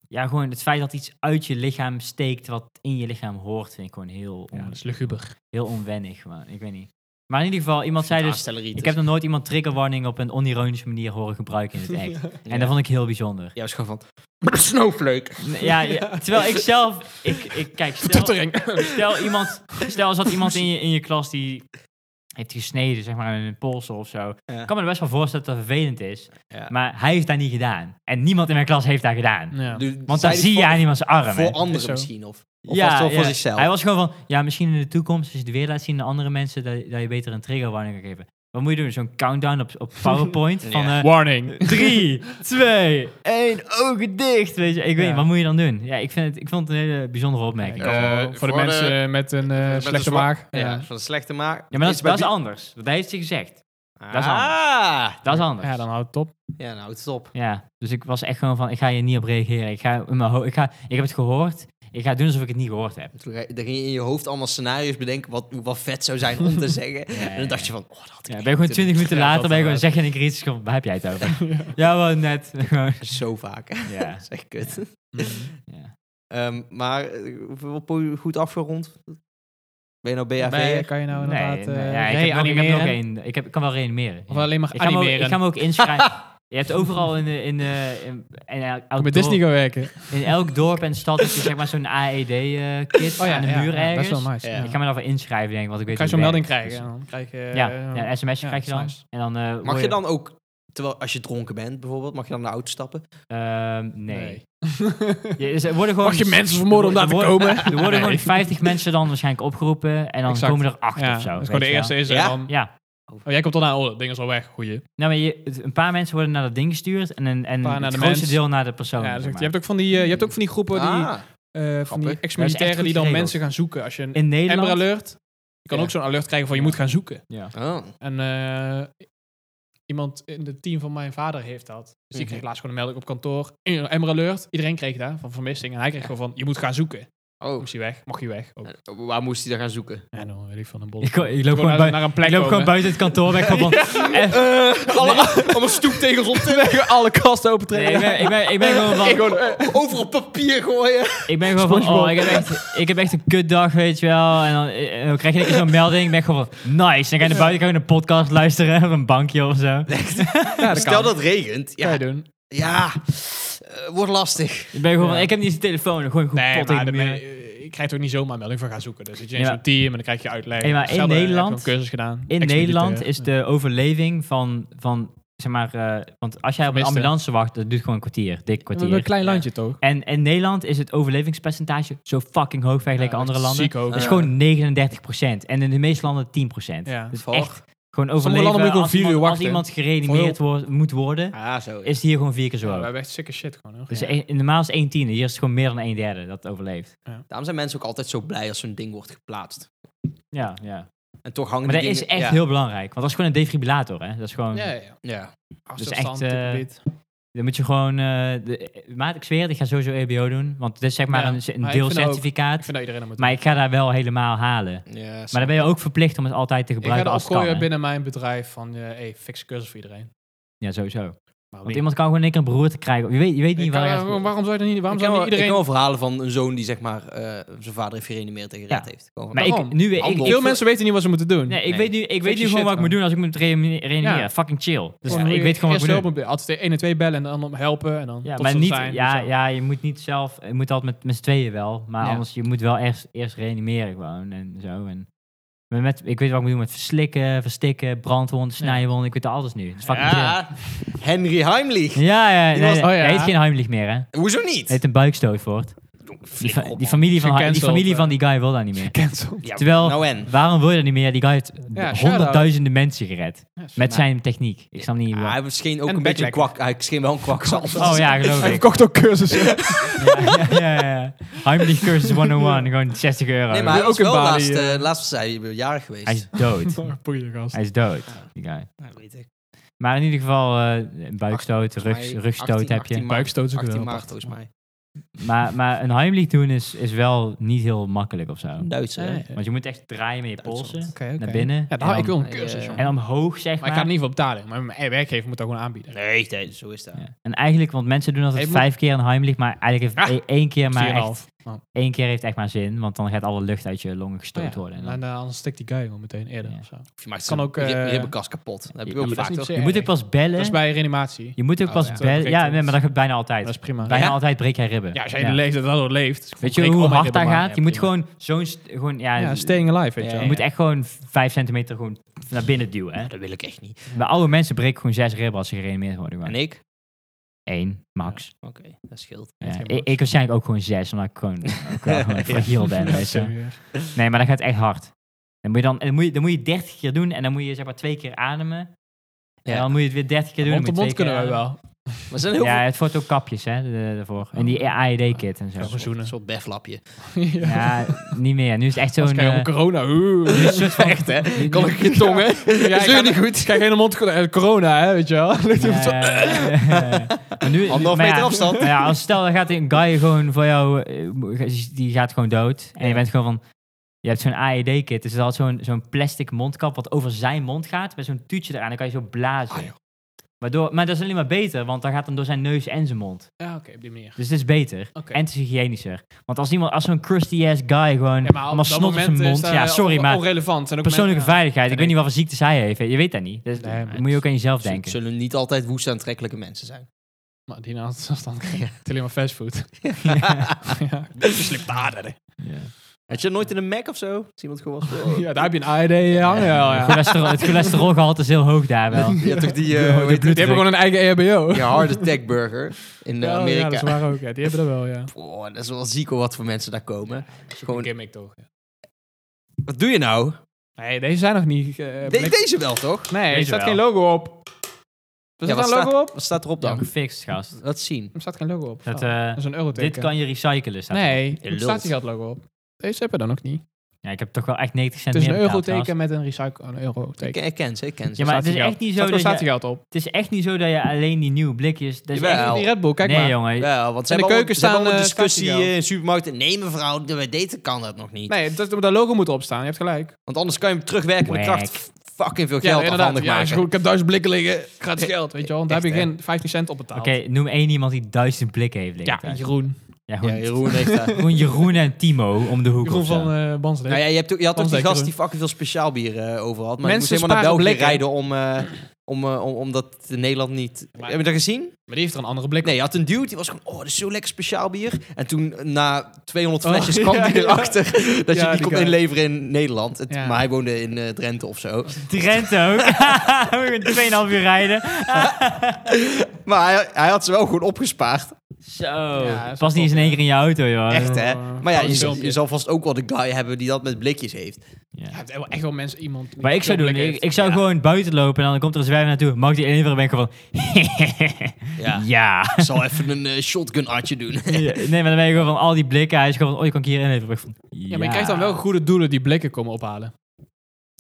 Speaker 2: Ja, gewoon het feit dat iets uit je lichaam steekt wat in je lichaam hoort, vind ik gewoon heel,
Speaker 3: Ja,
Speaker 2: on-
Speaker 3: dat is luguber.
Speaker 2: heel onwennig. Maar ik weet niet. Maar in ieder geval, iemand zei dus...
Speaker 4: Aanstelleritis.
Speaker 2: Ik heb nog nooit iemand triggerwarning op een onironische manier horen gebruiken in het echt.
Speaker 4: Ja.
Speaker 2: En dat vond ik heel bijzonder.
Speaker 4: Ja, is gewoon van... Snowflake.
Speaker 2: Ja, ja, terwijl ik zelf... Ik, ik, kijk, stel,
Speaker 3: Tuttering.
Speaker 2: stel iemand... Stel, er zat iemand in je, in je klas die heeft gesneden, zeg maar, in een pols of zo.
Speaker 4: Ja.
Speaker 2: Ik kan me er best wel voorstellen dat dat vervelend is.
Speaker 4: Ja.
Speaker 2: Maar hij heeft dat niet gedaan. En niemand in mijn klas heeft dat gedaan.
Speaker 3: Ja.
Speaker 4: Dus-
Speaker 2: Want
Speaker 4: zij
Speaker 2: dan
Speaker 4: is
Speaker 2: zie je
Speaker 4: voor-
Speaker 2: aan iemands arm. hè.
Speaker 4: Voor anderen
Speaker 3: Zo.
Speaker 4: misschien, of... Of was
Speaker 2: ja,
Speaker 4: het wel voor
Speaker 2: ja.
Speaker 4: zichzelf?
Speaker 2: Hij was gewoon van, ja, misschien in de toekomst, als je het weer laat zien aan andere mensen, dat, dat je beter een triggerwarning kan geven. Wat moet je doen? Zo'n countdown op, op PowerPoint
Speaker 4: Ja.
Speaker 2: van eh,
Speaker 3: Warning.
Speaker 2: Drie, twee, één, ogen dicht. Weet je, ik weet
Speaker 3: Ja.
Speaker 2: niet, wat moet je dan doen? Ja, ik, vind het, ik vond het een hele bijzondere opmerking.
Speaker 4: Ja,
Speaker 2: Ja,
Speaker 3: Eh, voor,
Speaker 4: voor
Speaker 3: de
Speaker 4: de-
Speaker 3: mensen met een eh,
Speaker 4: met een
Speaker 3: slechte
Speaker 4: zwak-
Speaker 3: maag.
Speaker 4: Ja,
Speaker 3: Ja.
Speaker 4: van de slechte maak.
Speaker 2: maar dat, is-
Speaker 4: Iets bij
Speaker 2: dat is
Speaker 4: bi-
Speaker 2: anders. Dat heeft hij gezegd. dat is
Speaker 4: Ah!
Speaker 2: Dat is anders.
Speaker 3: Ja, dan houdt het op.
Speaker 4: Ja, nou, het is op.
Speaker 2: Ja, dus ik was echt gewoon van, ik ga hier niet op reageren. Ik, ga in mijn ho- ik, ga, ik heb het gehoord. Ik ga doen alsof ik het niet gehoord heb.
Speaker 4: Toen ga- dan ging je in je hoofd allemaal scenario's bedenken wat, wat vet zou zijn om te zeggen.
Speaker 2: Ja,
Speaker 4: en dan dacht je van, oh, dat had ik echt
Speaker 2: Ja, ben je gewoon
Speaker 4: moeten-
Speaker 2: 20 minuten
Speaker 4: Ja,
Speaker 2: later,
Speaker 4: dat
Speaker 2: ben je gewoon
Speaker 4: had ik
Speaker 2: zeggen in een crisis, waar heb jij het over? ja, wel net. Gewoon,
Speaker 4: Zo vaak.
Speaker 2: ja,
Speaker 4: Dat is echt kut.
Speaker 2: ja.
Speaker 4: Ehm, maar eh, hoeveel po- goed afgerond? Ben je nou
Speaker 3: Bij,
Speaker 4: BHV?
Speaker 3: kan je nou inderdaad
Speaker 2: nee, nee,
Speaker 3: eh,
Speaker 2: ja, ik, heb nog, ik heb nog
Speaker 3: reanimeren?
Speaker 2: één. Ik, heb, ik kan wel reanimeren.
Speaker 3: Of
Speaker 2: ja.
Speaker 3: alleen maar
Speaker 2: ik ga, me ook, ik
Speaker 3: animeren?
Speaker 2: ga me ook inschrijven. Je hebt overal in, de- in, de- in, in, elk- elk
Speaker 3: Met Disney
Speaker 2: dorp,
Speaker 3: gaan werken.
Speaker 2: in elk dorp en stad heb je zeg maar zo'n E AED-kit eh, aan de muur
Speaker 3: Dat
Speaker 2: ergens.
Speaker 3: is wel nice.
Speaker 4: Ja.
Speaker 3: Oh Ja.
Speaker 2: Ik ga me daarvoor inschrijven, denk ik, want ik weet
Speaker 3: Kan je zo'n
Speaker 2: hoe het
Speaker 3: melding
Speaker 2: werkt.
Speaker 3: krijgen? en Dan krijg je,
Speaker 2: Dus- ja,
Speaker 3: eh,
Speaker 2: ja, een sms'je
Speaker 3: ja,
Speaker 2: krijg je
Speaker 3: dat
Speaker 2: dan.
Speaker 3: is nice.
Speaker 2: En dan eh, word
Speaker 4: Mag
Speaker 2: je-
Speaker 4: je dan ook, terwijl als je dronken bent bijvoorbeeld, mag je dan naar de auto stappen?
Speaker 2: Ehm, nee. Je, dus er worden gewoon,
Speaker 3: Mag je mensen vermoorden om daar te
Speaker 2: Er
Speaker 3: komen?
Speaker 2: worden- Er worden
Speaker 3: Nee.
Speaker 2: gewoon 50 mensen dan waarschijnlijk opgeroepen en dan
Speaker 3: Exact.
Speaker 2: komen er acht
Speaker 3: Ja,
Speaker 2: of zo.
Speaker 3: dat
Speaker 2: weet
Speaker 3: is gewoon de
Speaker 2: je wel.
Speaker 3: eerste is er
Speaker 4: Ja?
Speaker 3: dan.
Speaker 2: Ja,
Speaker 3: Oh, jij komt dan aan, oh, dat ding is al weg. Goeie.
Speaker 2: Nou, maar je, het- een paar mensen worden naar dat ding gestuurd en, een, en
Speaker 3: Een paar
Speaker 2: het
Speaker 3: naar de
Speaker 2: grootste
Speaker 3: mens.
Speaker 2: deel naar de persoon.
Speaker 3: Ja, dat is
Speaker 2: zeg
Speaker 3: echt-
Speaker 2: maar.
Speaker 3: je, hebt ook van die, eh, je hebt ook van die groepen die,
Speaker 4: Ah,
Speaker 3: eh, van die
Speaker 4: grappig.
Speaker 3: ex-militairen
Speaker 2: goed
Speaker 3: die dan
Speaker 2: geregeld.
Speaker 3: mensen gaan zoeken. Als je een
Speaker 2: In Nederland...
Speaker 3: Amber Alert, je kan
Speaker 4: Ja.
Speaker 3: ook zo'n alert krijgen van je moet gaan zoeken.
Speaker 2: Ja.
Speaker 4: oh.
Speaker 3: En eh, iemand in het team van mijn vader heeft dat. Dus die
Speaker 4: Mhm.
Speaker 3: kreeg laatst gewoon een melding op kantoor. Eh, Amber Alert, iedereen kreeg daar van vermissing. En hij kreeg gewoon van, je moet gaan zoeken.
Speaker 4: Oh.
Speaker 3: Moest hij weg, mocht hij weg. Ook.
Speaker 4: Eh, Waar moest hij dan gaan zoeken?
Speaker 3: En dan weet ik van een bol.
Speaker 2: Ik, ko- ik loop,
Speaker 3: Gewoon
Speaker 2: gewoon,
Speaker 3: naar,
Speaker 2: bui-
Speaker 3: naar een
Speaker 2: ik
Speaker 3: plek
Speaker 2: loop gewoon
Speaker 3: komen.
Speaker 2: buiten het kantoor weg. Van, Eh,
Speaker 1: Allemaal stoeptegels op te leggen, alle kasten open
Speaker 2: nee, ik, ben, ik, ben, ik ben gewoon van...
Speaker 4: Gewoon eh, overal papier gooien.
Speaker 2: Ik ben gewoon van...
Speaker 3: SpongeBob.
Speaker 2: Oh, ik heb, echt, ik heb echt een kutdag, weet je wel. En dan, eh, eh, dan krijg je een keer zo'n melding. Ik ben gewoon van... Nice. Dan ga je naar buiten, kan je een podcast luisteren. Op een bankje of zo.
Speaker 3: Ja, dat
Speaker 4: Stel
Speaker 3: kan.
Speaker 4: dat het regent.
Speaker 3: Kan
Speaker 4: Ja,
Speaker 3: je doen.
Speaker 4: ja. eh, wordt lastig.
Speaker 2: Ik ben gewoon van...
Speaker 3: Ja.
Speaker 2: Ik heb niet eens een telefoon. Dan gooi ik gewoon
Speaker 3: Nee,
Speaker 2: pot in
Speaker 3: maar eh,
Speaker 2: de
Speaker 3: dan ben
Speaker 2: muur.
Speaker 3: je, je krijgt ook niet zomaar een melding van gaan zoeken. Dus zit je in
Speaker 2: Ja.
Speaker 3: zo'n team en dan krijg je uitleg.
Speaker 2: Hey, maar in
Speaker 3: Hetzelfde, heb je
Speaker 2: Nederland-
Speaker 3: ook een cursus gedaan.
Speaker 2: In Nederland is de overleving van... van zeg maar, eh, want als jij op een
Speaker 3: Vermisten.
Speaker 2: ambulance wacht, dat duurt gewoon een kwartier. Dik kwartier.
Speaker 3: Een klein landje toch?
Speaker 2: En in Nederland is het overlevingspercentage zo fucking hoog vergeleken
Speaker 3: Ja,
Speaker 2: andere
Speaker 3: echt
Speaker 2: landen.
Speaker 3: Ziek hoog.
Speaker 2: Dat is
Speaker 4: Ja.
Speaker 2: gewoon 39%. En in de meeste landen 10%.
Speaker 3: Ja.
Speaker 2: Dus
Speaker 4: Hoog.
Speaker 2: echt gewoon overleven.
Speaker 3: landen moet je gewoon
Speaker 2: als,
Speaker 3: vier uur
Speaker 2: iemand, als
Speaker 3: wachten.
Speaker 2: iemand gereanimeerd wordt, moet worden,
Speaker 4: Ah, zo.
Speaker 2: is het hier gewoon vier keer
Speaker 3: Ja,
Speaker 2: zo
Speaker 3: we
Speaker 2: hoog.
Speaker 3: hebben echt sikke shit gewoon. Hoor.
Speaker 2: Dus
Speaker 3: Ja.
Speaker 2: een- normaal is het 1 tiende, hier is het gewoon meer dan 1 derde dat het overleeft.
Speaker 4: Daarom zijn mensen ook altijd zo blij als zo'n ding wordt geplaatst.
Speaker 2: Ja, ja.
Speaker 4: En toch hangen
Speaker 2: Maar dat
Speaker 4: die
Speaker 2: is
Speaker 4: dingen-
Speaker 2: echt
Speaker 4: ja.
Speaker 2: heel belangrijk, want dat is gewoon een defibrillator, hè. Dat is gewoon...
Speaker 3: Ja, ja, ja.
Speaker 4: Ja.
Speaker 2: echt,
Speaker 3: Afstand,
Speaker 2: eh,
Speaker 3: typebeat.
Speaker 2: Dan moet je gewoon... eh de, maat, ik zweer het, ik ga sowieso EBO doen. Want het is zeg maar
Speaker 3: Ja,
Speaker 2: een, een
Speaker 3: maar ik vind
Speaker 2: deelcertificaat.
Speaker 3: Ik vind dat iedereen dat moet
Speaker 2: Maar ik ga daar wel helemaal halen.
Speaker 4: ja
Speaker 2: Maar dan ben je ook verplicht om het altijd te
Speaker 3: doen. Ik ga
Speaker 2: gebruiken
Speaker 3: dat
Speaker 2: als kan.
Speaker 3: opgooien
Speaker 2: hè.
Speaker 3: binnen mijn bedrijf van, eh hey, fix een cursus voor iedereen.
Speaker 2: Ja, sowieso.
Speaker 3: Maar
Speaker 2: Want iemand kan gewoon een keer een beroerte krijgen. Je weet, je weet
Speaker 3: Ik
Speaker 2: niet
Speaker 3: kan-
Speaker 2: waar...
Speaker 3: eh, waarom, zou je dat niet, waarom
Speaker 4: ik ken
Speaker 3: zou niet
Speaker 4: wel- Ik
Speaker 3: iedereen...
Speaker 4: ken wel verhalen van een zoon die zeg maar eh, zijn vader heeft gereanimeerd en gered
Speaker 2: Ja.
Speaker 4: heeft. Gewoon van,
Speaker 2: maar ik,
Speaker 3: waarom?
Speaker 2: nu, ik,
Speaker 4: Handel.
Speaker 2: ik-
Speaker 3: Veel mensen weten niet wat ze moeten doen.
Speaker 2: nee, ik
Speaker 4: Nee.
Speaker 2: weet nu, ik weet
Speaker 3: je
Speaker 2: nu gewoon
Speaker 3: shit
Speaker 2: wat ik
Speaker 3: gewoon.
Speaker 2: moet doen als ik moet reanime- reanimeren.
Speaker 3: Ja.
Speaker 2: Fucking chill. Dus
Speaker 3: Gewoon
Speaker 2: ik
Speaker 3: hoe
Speaker 2: weet gewoon
Speaker 3: je
Speaker 2: wat ik moet
Speaker 3: eerst
Speaker 2: doen.
Speaker 3: hulp moet- Altijd 1 en 2 bellen en dan helpen en dan
Speaker 2: Ja,
Speaker 3: tot
Speaker 2: maar
Speaker 3: ze
Speaker 2: niet,
Speaker 3: zijn, dus
Speaker 2: ja,
Speaker 3: zo.
Speaker 2: ja, je moet niet zelf... Je moet altijd met, met z'n tweeën wel. Maar
Speaker 3: Ja.
Speaker 2: anders, je moet wel eerst, eerst reanimeren gewoon. En zo. En, maar met, ik weet wat ik moet doen met verslikken, verstikken, brandwonden, snijwonden. Ik weet dat alles nu. Dat is fucking chill.
Speaker 4: ja, Henry Heimlich.
Speaker 2: Ja, ja, nee,
Speaker 4: Die was-
Speaker 2: nee,
Speaker 3: oh ja.
Speaker 2: hij heet geen Heimlich meer, hè? Hij
Speaker 4: Hoezo niet?
Speaker 2: heet een buikstootvoort. Die, fa-
Speaker 4: Flikker op,
Speaker 2: die,
Speaker 4: man.
Speaker 2: familie van, die
Speaker 3: Gecanceld,
Speaker 2: familie
Speaker 3: eh.
Speaker 2: van die guy wil dat niet meer.
Speaker 3: Cancel.
Speaker 4: Ja,
Speaker 2: Terwijl-
Speaker 4: Nou en?
Speaker 2: Waarom wil je dat niet meer? Die guy heeft
Speaker 3: shout-out.
Speaker 2: honderdduizenden mensen gered. Met
Speaker 3: zijn
Speaker 2: zijn techniek. Ik snap niet
Speaker 4: Ah,
Speaker 2: waar.
Speaker 4: hij scheen ook
Speaker 3: En
Speaker 4: een beetje een
Speaker 3: backpacker.
Speaker 4: kwak. Hij scheen wel een kwak.
Speaker 2: Oh ja, geloof
Speaker 3: Hij
Speaker 2: ik.
Speaker 3: verkocht ook cursussen.
Speaker 2: ja, ja, ja, ja. Heimlich Cursus 101, gewoon 60 euro.
Speaker 4: Nee, maar hij
Speaker 3: Ook
Speaker 4: is
Speaker 3: in
Speaker 4: wel
Speaker 3: Bali,
Speaker 4: laatst,
Speaker 3: eh.
Speaker 4: eh, laatst was hij jarig geweest.
Speaker 2: Hij is dood.
Speaker 3: Boeien, gast.
Speaker 2: Hij is dood, die guy.
Speaker 4: Ja, Nou, weet ik.
Speaker 2: Maar in ieder geval, eh, een buikstoot,
Speaker 4: Volgens
Speaker 2: rugs,
Speaker 4: mij
Speaker 2: rugstoot
Speaker 4: 18,
Speaker 2: heb je.
Speaker 4: 18
Speaker 3: Buikstoot is ook
Speaker 4: 18
Speaker 3: wel
Speaker 4: maart
Speaker 3: apart.
Speaker 4: volgens mij.
Speaker 2: Maar, maar een Heimlich doen is, is wel niet heel makkelijk of zo.
Speaker 4: Een Duitser. hè?
Speaker 3: Ah, Ja, ja.
Speaker 2: Want je moet echt draaien met je
Speaker 4: Duitsland.
Speaker 2: polsen.
Speaker 3: Oké, oké.
Speaker 2: eh, Naar binnen.
Speaker 3: Ja, daar,
Speaker 2: en,
Speaker 3: ik wil
Speaker 2: dan,
Speaker 3: een cursus,
Speaker 4: eh,
Speaker 3: jongen.
Speaker 2: en omhoog, zeg
Speaker 3: Maar
Speaker 2: maar.
Speaker 3: ik ga er niet voor betalen. Maar mijn werkgever moet dat gewoon aanbieden.
Speaker 4: Nee, nee, zo is dat.
Speaker 2: Ja. En eigenlijk, want mensen doen altijd
Speaker 3: Hey, moet-
Speaker 2: vijf keer een Heimlich, maar eigenlijk heeft
Speaker 3: Ah,
Speaker 2: e- één keer maar echt,
Speaker 3: 4,5. Oh.
Speaker 2: één keer heeft echt maar zin, want dan gaat alle lucht uit je longen gestoot
Speaker 3: Ja,
Speaker 2: worden. En dan-
Speaker 3: En eh, anders stikt die guy gewoon meteen eerder.
Speaker 2: Ja.
Speaker 3: of zo.
Speaker 4: Of je maakt
Speaker 3: Kan
Speaker 4: zijn
Speaker 3: ook, eh,
Speaker 4: rib- ribbenkast kapot. Dat heb
Speaker 2: je-
Speaker 4: je ook
Speaker 2: je-
Speaker 4: vaak,
Speaker 3: dat is
Speaker 4: toch?
Speaker 3: niet
Speaker 2: je moet ook
Speaker 3: erg.
Speaker 2: pas bellen.
Speaker 3: Dat is bij reanimatie.
Speaker 2: Je moet ook
Speaker 4: Oh,
Speaker 2: pas
Speaker 4: ja.
Speaker 2: bellen. Ja, nee, maar dat gaat bijna altijd.
Speaker 3: Dat is prima.
Speaker 2: Bijna
Speaker 4: Ja.
Speaker 2: altijd breek jij ribben.
Speaker 3: Ja, als jij in de leeftijd dat al leeft. is het
Speaker 2: Weet je
Speaker 3: gewoon
Speaker 2: hoe
Speaker 3: breek al
Speaker 2: hard dat
Speaker 3: mijn ribben,
Speaker 2: gaat? Je moet
Speaker 3: maar-
Speaker 2: gewoon zo'n... st- Gewoon, ja,
Speaker 3: Ja, staying alive, weet
Speaker 4: Ja,
Speaker 3: je wel.
Speaker 2: je moet echt gewoon vijf centimeter gewoon naar binnen duwen. Hè?
Speaker 4: Ja, Dat wil ik echt niet.
Speaker 2: Bij oude mensen breken gewoon zes ribben als ze gereanimeerd worden.
Speaker 4: En
Speaker 2: gewoon.
Speaker 4: ik?
Speaker 2: Eén, max.
Speaker 4: Oké, dat scheelt.
Speaker 2: Ja,
Speaker 3: geen
Speaker 2: ik, ik waarschijnlijk ook gewoon zes, omdat ik gewoon, ook wel gewoon fragiel ben.
Speaker 3: Ja,
Speaker 2: weet je.
Speaker 3: serieus.
Speaker 2: Nee, maar dat gaat echt hard. Dan moet je, dan, en dan moet je, dan moet je 30 keer doen en dan moet je zeg maar twee keer ademen. En
Speaker 4: Ja.
Speaker 2: dan moet je het weer 30 keer doen. dan
Speaker 3: Mond tot
Speaker 2: moet je
Speaker 3: mond
Speaker 2: twee
Speaker 3: kunnen we
Speaker 2: keer
Speaker 3: wel.
Speaker 4: Maar er zijn
Speaker 2: ademen.
Speaker 4: heel
Speaker 2: Ja, het wordt ook kapjes hè, de- de- daarvoor. En die AED-kit en zo.
Speaker 3: Ja,
Speaker 4: veel...
Speaker 3: zoenen.
Speaker 4: Een soort beflapje.
Speaker 3: Ja.
Speaker 2: Ja, niet meer. Nu is het echt
Speaker 3: Als
Speaker 2: zo'n...
Speaker 3: krijg
Speaker 2: eh,
Speaker 3: je ook corona.
Speaker 2: nu is
Speaker 3: Oeh.
Speaker 2: het soort van-
Speaker 4: Echt, hè?
Speaker 2: nu-
Speaker 4: Kan
Speaker 2: nu-
Speaker 4: ik je tongen?
Speaker 3: Ja,
Speaker 4: Zeur niet
Speaker 3: goed. Krijg je in de mond eh, corona, hè, weet je wel. Ligt
Speaker 2: Ja,
Speaker 3: hem zo-
Speaker 2: ja, ja. Maar nu-
Speaker 4: Anderhalf
Speaker 2: maar ja,
Speaker 4: meter afstand.
Speaker 2: maar ja, als stel, dan gaat een guy gewoon voor jou, eh, die gaat gewoon dood. En je bent gewoon van, je hebt zo'n AED-kit, dus dat is zo'n zo'n plastic mondkap wat over zijn mond gaat, met zo'n tuutje eraan, dan kan je zo blazen.
Speaker 4: Ah, joh.
Speaker 2: Waardoor, maar dat is alleen maar beter, want dan gaat dan door zijn neus en zijn mond.
Speaker 3: Ja, oké, op die manier.
Speaker 2: Dus het is beter.
Speaker 3: Oké.
Speaker 2: En het is hygiënischer. Want als iemand, als zo'n crusty-ass guy gewoon
Speaker 3: Ja, maar op
Speaker 2: allemaal
Speaker 3: dat
Speaker 2: Mm. snot op zijn
Speaker 3: moment is
Speaker 2: mond.
Speaker 3: dat,
Speaker 2: Ja,
Speaker 3: eh,
Speaker 2: sorry,
Speaker 3: on-
Speaker 2: maar
Speaker 3: Onrelevant. En ook
Speaker 2: persoonlijke
Speaker 3: mensen-
Speaker 2: veiligheid. Ik
Speaker 3: Ja,
Speaker 2: weet niet wat voor ziektes hij heeft. Je weet dat niet. Dus
Speaker 3: Nee, maar
Speaker 2: moet je ook aan jezelf
Speaker 4: Het
Speaker 2: denken.
Speaker 4: zullen niet altijd woest aantrekkelijke mensen zijn.
Speaker 3: Maar die naast dan krijg je alleen maar fastfood. ja.
Speaker 4: Slim paarden.
Speaker 2: Ja.
Speaker 4: Had je nooit in een Mac of zo? Is iemand gewoon was voor-
Speaker 3: ja, daar heb je een AED hangen. Ja,
Speaker 2: Het
Speaker 3: ja.
Speaker 2: cholesterol- het cholesterolgehalte is heel hoog daar wel.
Speaker 4: Je hebt toch die, eh,
Speaker 2: Ja,
Speaker 4: hoe
Speaker 2: de
Speaker 4: heet
Speaker 3: Die
Speaker 2: bloed-
Speaker 4: het?
Speaker 3: hebben gewoon een eigen E EHBO.
Speaker 4: die hard attack burger in eh,
Speaker 3: Oh, Ja,
Speaker 4: Amerika.
Speaker 3: Ja, dat is waar ook. Ja. Die hebben dat wel, ja.
Speaker 4: Oh, dat is wel ziek hoor, wat voor mensen daar komen.
Speaker 3: Gewoon
Speaker 4: Gewoon,
Speaker 3: gimmick toch.
Speaker 4: wat doe je nou?
Speaker 3: Nee, deze zijn nog niet... eh,
Speaker 4: De-
Speaker 3: blik-
Speaker 4: deze wel, toch?
Speaker 3: nee, er
Speaker 2: deze
Speaker 3: staat
Speaker 2: wel.
Speaker 3: geen logo op. Er
Speaker 4: Ja,
Speaker 3: staat
Speaker 4: wat,
Speaker 3: een logo
Speaker 4: staat,
Speaker 3: op?
Speaker 4: wat staat erop
Speaker 2: Dan
Speaker 4: dan?
Speaker 2: gefixt, gast.
Speaker 4: Laat zien.
Speaker 3: Er staat geen logo op.
Speaker 2: Dat,
Speaker 3: Oh,
Speaker 2: eh,
Speaker 3: dat is een euroteken.
Speaker 2: dit kan je recyclen, staat er.
Speaker 3: Nee,
Speaker 4: Je
Speaker 3: er staat
Speaker 4: lult.
Speaker 3: die logo op. Deze hebben dan ook niet.
Speaker 2: Ja, ik heb toch wel echt 90 cent
Speaker 3: Het is een
Speaker 2: meer betaald,
Speaker 3: euroteken met een recycle een euroteken.
Speaker 4: Ik ken- ik ken ze, ik ken ze.
Speaker 2: Ja, maar
Speaker 3: Staat
Speaker 2: het is
Speaker 3: die geld-
Speaker 2: echt niet zo
Speaker 3: staat,
Speaker 2: dat
Speaker 3: staat
Speaker 2: je-
Speaker 3: die geld op.
Speaker 2: trouwens. Het is echt niet zo dat je alleen die nieuwe blikjes... Dat is
Speaker 4: Jawel.
Speaker 2: echt-
Speaker 3: Die Red Bull, kijk
Speaker 2: nee,
Speaker 3: maar.
Speaker 2: jongen.
Speaker 4: Ja, want ze
Speaker 3: In de
Speaker 4: hebben al-
Speaker 3: keuken
Speaker 4: ze hebben
Speaker 3: staan,
Speaker 4: al een
Speaker 3: eh,
Speaker 4: discussie
Speaker 3: staat die wel.
Speaker 4: eh, in supermarkten. Nee mevrouw, bij daten kan dat nog niet.
Speaker 3: Nee, dat, dat logo moet erop staan. Je hebt gelijk.
Speaker 4: Want anders kan je hem terugwerken met
Speaker 2: Wack.
Speaker 4: kracht f- fucking veel geld afhandig
Speaker 3: Ja, is
Speaker 4: maken.
Speaker 3: goed. Ik heb duizend blikken liggen. Gratis geld, weet je wel. Want daar
Speaker 4: Echt,
Speaker 3: heb je geen 15 cent op betaald.
Speaker 2: Oké, noem één iemand die duizend blikken heeft liggen.
Speaker 3: Ja,
Speaker 2: thuis.
Speaker 3: Jeroen.
Speaker 2: Ja,
Speaker 4: Ja,
Speaker 2: gewoon,
Speaker 4: Jeroen heeft daar...
Speaker 2: gewoon Jeroen en Timo om de hoek
Speaker 3: Jeroen
Speaker 2: of zo.
Speaker 3: van eh Bansleef.
Speaker 4: Nou ja, je, hebt ook, je had ook die
Speaker 3: Onzeker,
Speaker 4: gast
Speaker 3: hoor.
Speaker 4: die fucking veel speciaal bier eh, over had. Maar
Speaker 3: Mensen
Speaker 4: die moest helemaal naar België
Speaker 3: sparen
Speaker 4: rijden
Speaker 3: blikken.
Speaker 4: om, eh, om, eh, om, omdat in Nederland niet...
Speaker 3: Maar-
Speaker 4: Heb je dat gezien?
Speaker 3: Maar die heeft er een andere blik
Speaker 4: Nee, je had een dude die was gewoon... Oh, dat is zo lekker speciaal bier. En toen eh, na 200
Speaker 3: Oh,
Speaker 4: flesjes
Speaker 3: ja,
Speaker 4: kwam die
Speaker 3: ja.
Speaker 4: erachter dat
Speaker 3: Ja,
Speaker 4: je die
Speaker 3: die
Speaker 4: kon
Speaker 3: guy.
Speaker 4: inleveren in Nederland. Het-
Speaker 3: Ja.
Speaker 4: Maar hij woonde in eh, Drenthe of zo.
Speaker 2: Drenthe ook. We gaan 2,5 uur rijden.
Speaker 3: Oh.
Speaker 4: Maar hij, hij had ze wel gewoon opgespaard.
Speaker 2: Zo.
Speaker 3: Ja, is
Speaker 2: Pas niet
Speaker 3: top,
Speaker 2: eens in één
Speaker 3: ja.
Speaker 2: keer in je auto, joh.
Speaker 4: Echt, hè?
Speaker 3: Eh,
Speaker 4: Maar ja, je,
Speaker 3: een
Speaker 4: zal-
Speaker 3: filmpje.
Speaker 4: je zal vast ook wel de guy hebben die dat met blikjes heeft.
Speaker 2: Ja.
Speaker 3: Ja, je hebt echt wel mensen, iemand... die
Speaker 2: Maar ik zou
Speaker 3: zo'n
Speaker 2: doen,
Speaker 3: blik
Speaker 2: ik,
Speaker 3: heeft.
Speaker 2: ik zou gewoon buiten lopen en dan komt er een zwijver naartoe. Mag ik die ene ben ik gewoon.
Speaker 4: Ja.
Speaker 2: ja.
Speaker 4: Ik zal even een shotgun-artje
Speaker 3: Oh,
Speaker 4: doen.
Speaker 2: Ja, Nee, maar dan ben je gewoon van al die blikken. Hij is gewoon van, oh, je kan ik hier inleveren. Ik van, Ja,
Speaker 3: Ja, maar je krijgt dan wel goede doelen die blikken komen ophalen.